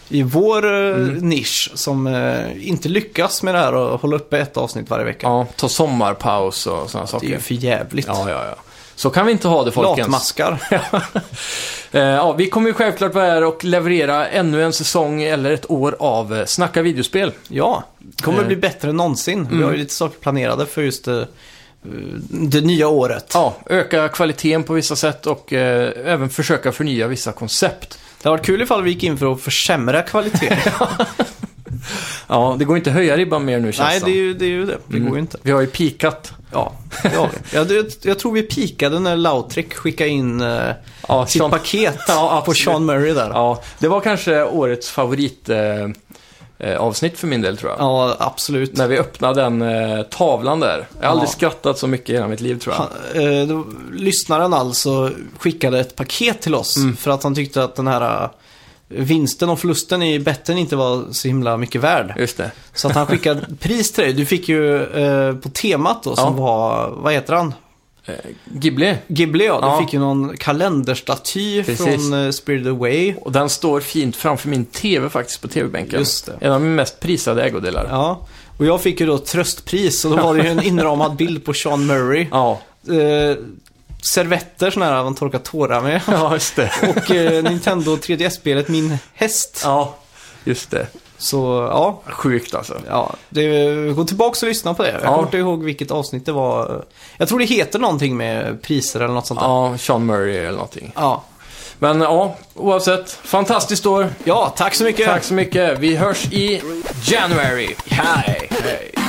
[SPEAKER 2] i vår eh,
[SPEAKER 1] Mm.
[SPEAKER 2] nisch som eh, inte lyckas med det här att hålla uppe ett avsnitt varje vecka.
[SPEAKER 1] Ja, ta sommarpaus och sådana
[SPEAKER 2] det
[SPEAKER 1] saker.
[SPEAKER 2] är ju för jävligt.
[SPEAKER 1] Ja, ja, ja. Så kan vi inte ha det folkens.
[SPEAKER 2] Latmaskar.
[SPEAKER 1] Eh, ja, vi kommer ju självklart vara här och leverera ännu en säsong eller ett år av eh, Snacka videospel.
[SPEAKER 2] Ja, det kommer
[SPEAKER 1] Eh. Mm.
[SPEAKER 2] bli bättre än någonsin. Vi har ju lite saker planerade för just eh, det nya året.
[SPEAKER 1] Ja, öka kvaliteten på vissa sätt och eh, även försöka förnya vissa koncept.
[SPEAKER 2] Det hade varit kul ifall vi gick in för att försämra kvaliteten.
[SPEAKER 1] Ja, det går inte att höja ribban mer nu känns
[SPEAKER 2] Nej, det
[SPEAKER 1] som.
[SPEAKER 2] är ju det. Är ju det. det
[SPEAKER 1] Mm.
[SPEAKER 2] går ju inte.
[SPEAKER 1] Vi har ju pikat.
[SPEAKER 2] Ja, det har vi. jag, det- jag tror vi pikade när Lautrec skickade in eh,
[SPEAKER 1] Ja,
[SPEAKER 2] sitt
[SPEAKER 1] Sean-
[SPEAKER 2] paket
[SPEAKER 1] Ja,
[SPEAKER 2] på
[SPEAKER 1] absolut.
[SPEAKER 2] Sean Murray där.
[SPEAKER 1] ja, det var kanske årets favorit eh, eh, avsnitt för min del tror jag.
[SPEAKER 2] Ja, absolut.
[SPEAKER 1] När vi öppnade den eh, tavlan där. Jag har aldrig
[SPEAKER 2] Ja.
[SPEAKER 1] skrattat så mycket i hela mitt liv tror jag.
[SPEAKER 2] Han, eh, då, lyssnaren alltså skickade ett paket till oss
[SPEAKER 1] Mm.
[SPEAKER 2] för att han tyckte att den här eh, vinsten och förlusten i betten inte var så himla mycket värd.
[SPEAKER 1] Just det.
[SPEAKER 2] Så att han skickade ett pris till dig. Du fick ju eh, på temat då som
[SPEAKER 1] Ja.
[SPEAKER 2] var, vad heter han?
[SPEAKER 1] Eh, Ghibli.
[SPEAKER 2] Ghibli ja. Du
[SPEAKER 1] Ja.
[SPEAKER 2] fick ju någon kalenderstaty
[SPEAKER 1] Precis.
[SPEAKER 2] från eh, Spirited Away.
[SPEAKER 1] Och den står fint framför min TV faktiskt på TV-bänken.
[SPEAKER 2] Just det.
[SPEAKER 1] En av mina mest prisade ägodelar. Ja.
[SPEAKER 2] Ja. Och jag fick ju då tröstpris och då var det ju en inramad bild på Sean Murray.
[SPEAKER 1] Ja,
[SPEAKER 2] Eh, servetter sådana här man torkar tårar med.
[SPEAKER 1] just det.
[SPEAKER 2] Och eh, Nintendo 3DS-spelet Min Häst.
[SPEAKER 1] ja, just det.
[SPEAKER 2] Så ja,
[SPEAKER 1] Sjukt alltså.
[SPEAKER 2] ja det, gå tillbaka och lyssna på det. Jag
[SPEAKER 1] Ja.
[SPEAKER 2] kommer inte ihåg vilket avsnitt det var. Jag tror det heter någonting med priser eller något sånt där. Ja,
[SPEAKER 1] Ja, Sean Murray eller någonting.
[SPEAKER 2] ja.
[SPEAKER 1] Men ja, oavsett. Fantastiskt år.
[SPEAKER 2] tack så mycket.
[SPEAKER 1] Tack så mycket. Vi hörs i January. Hej! Hej.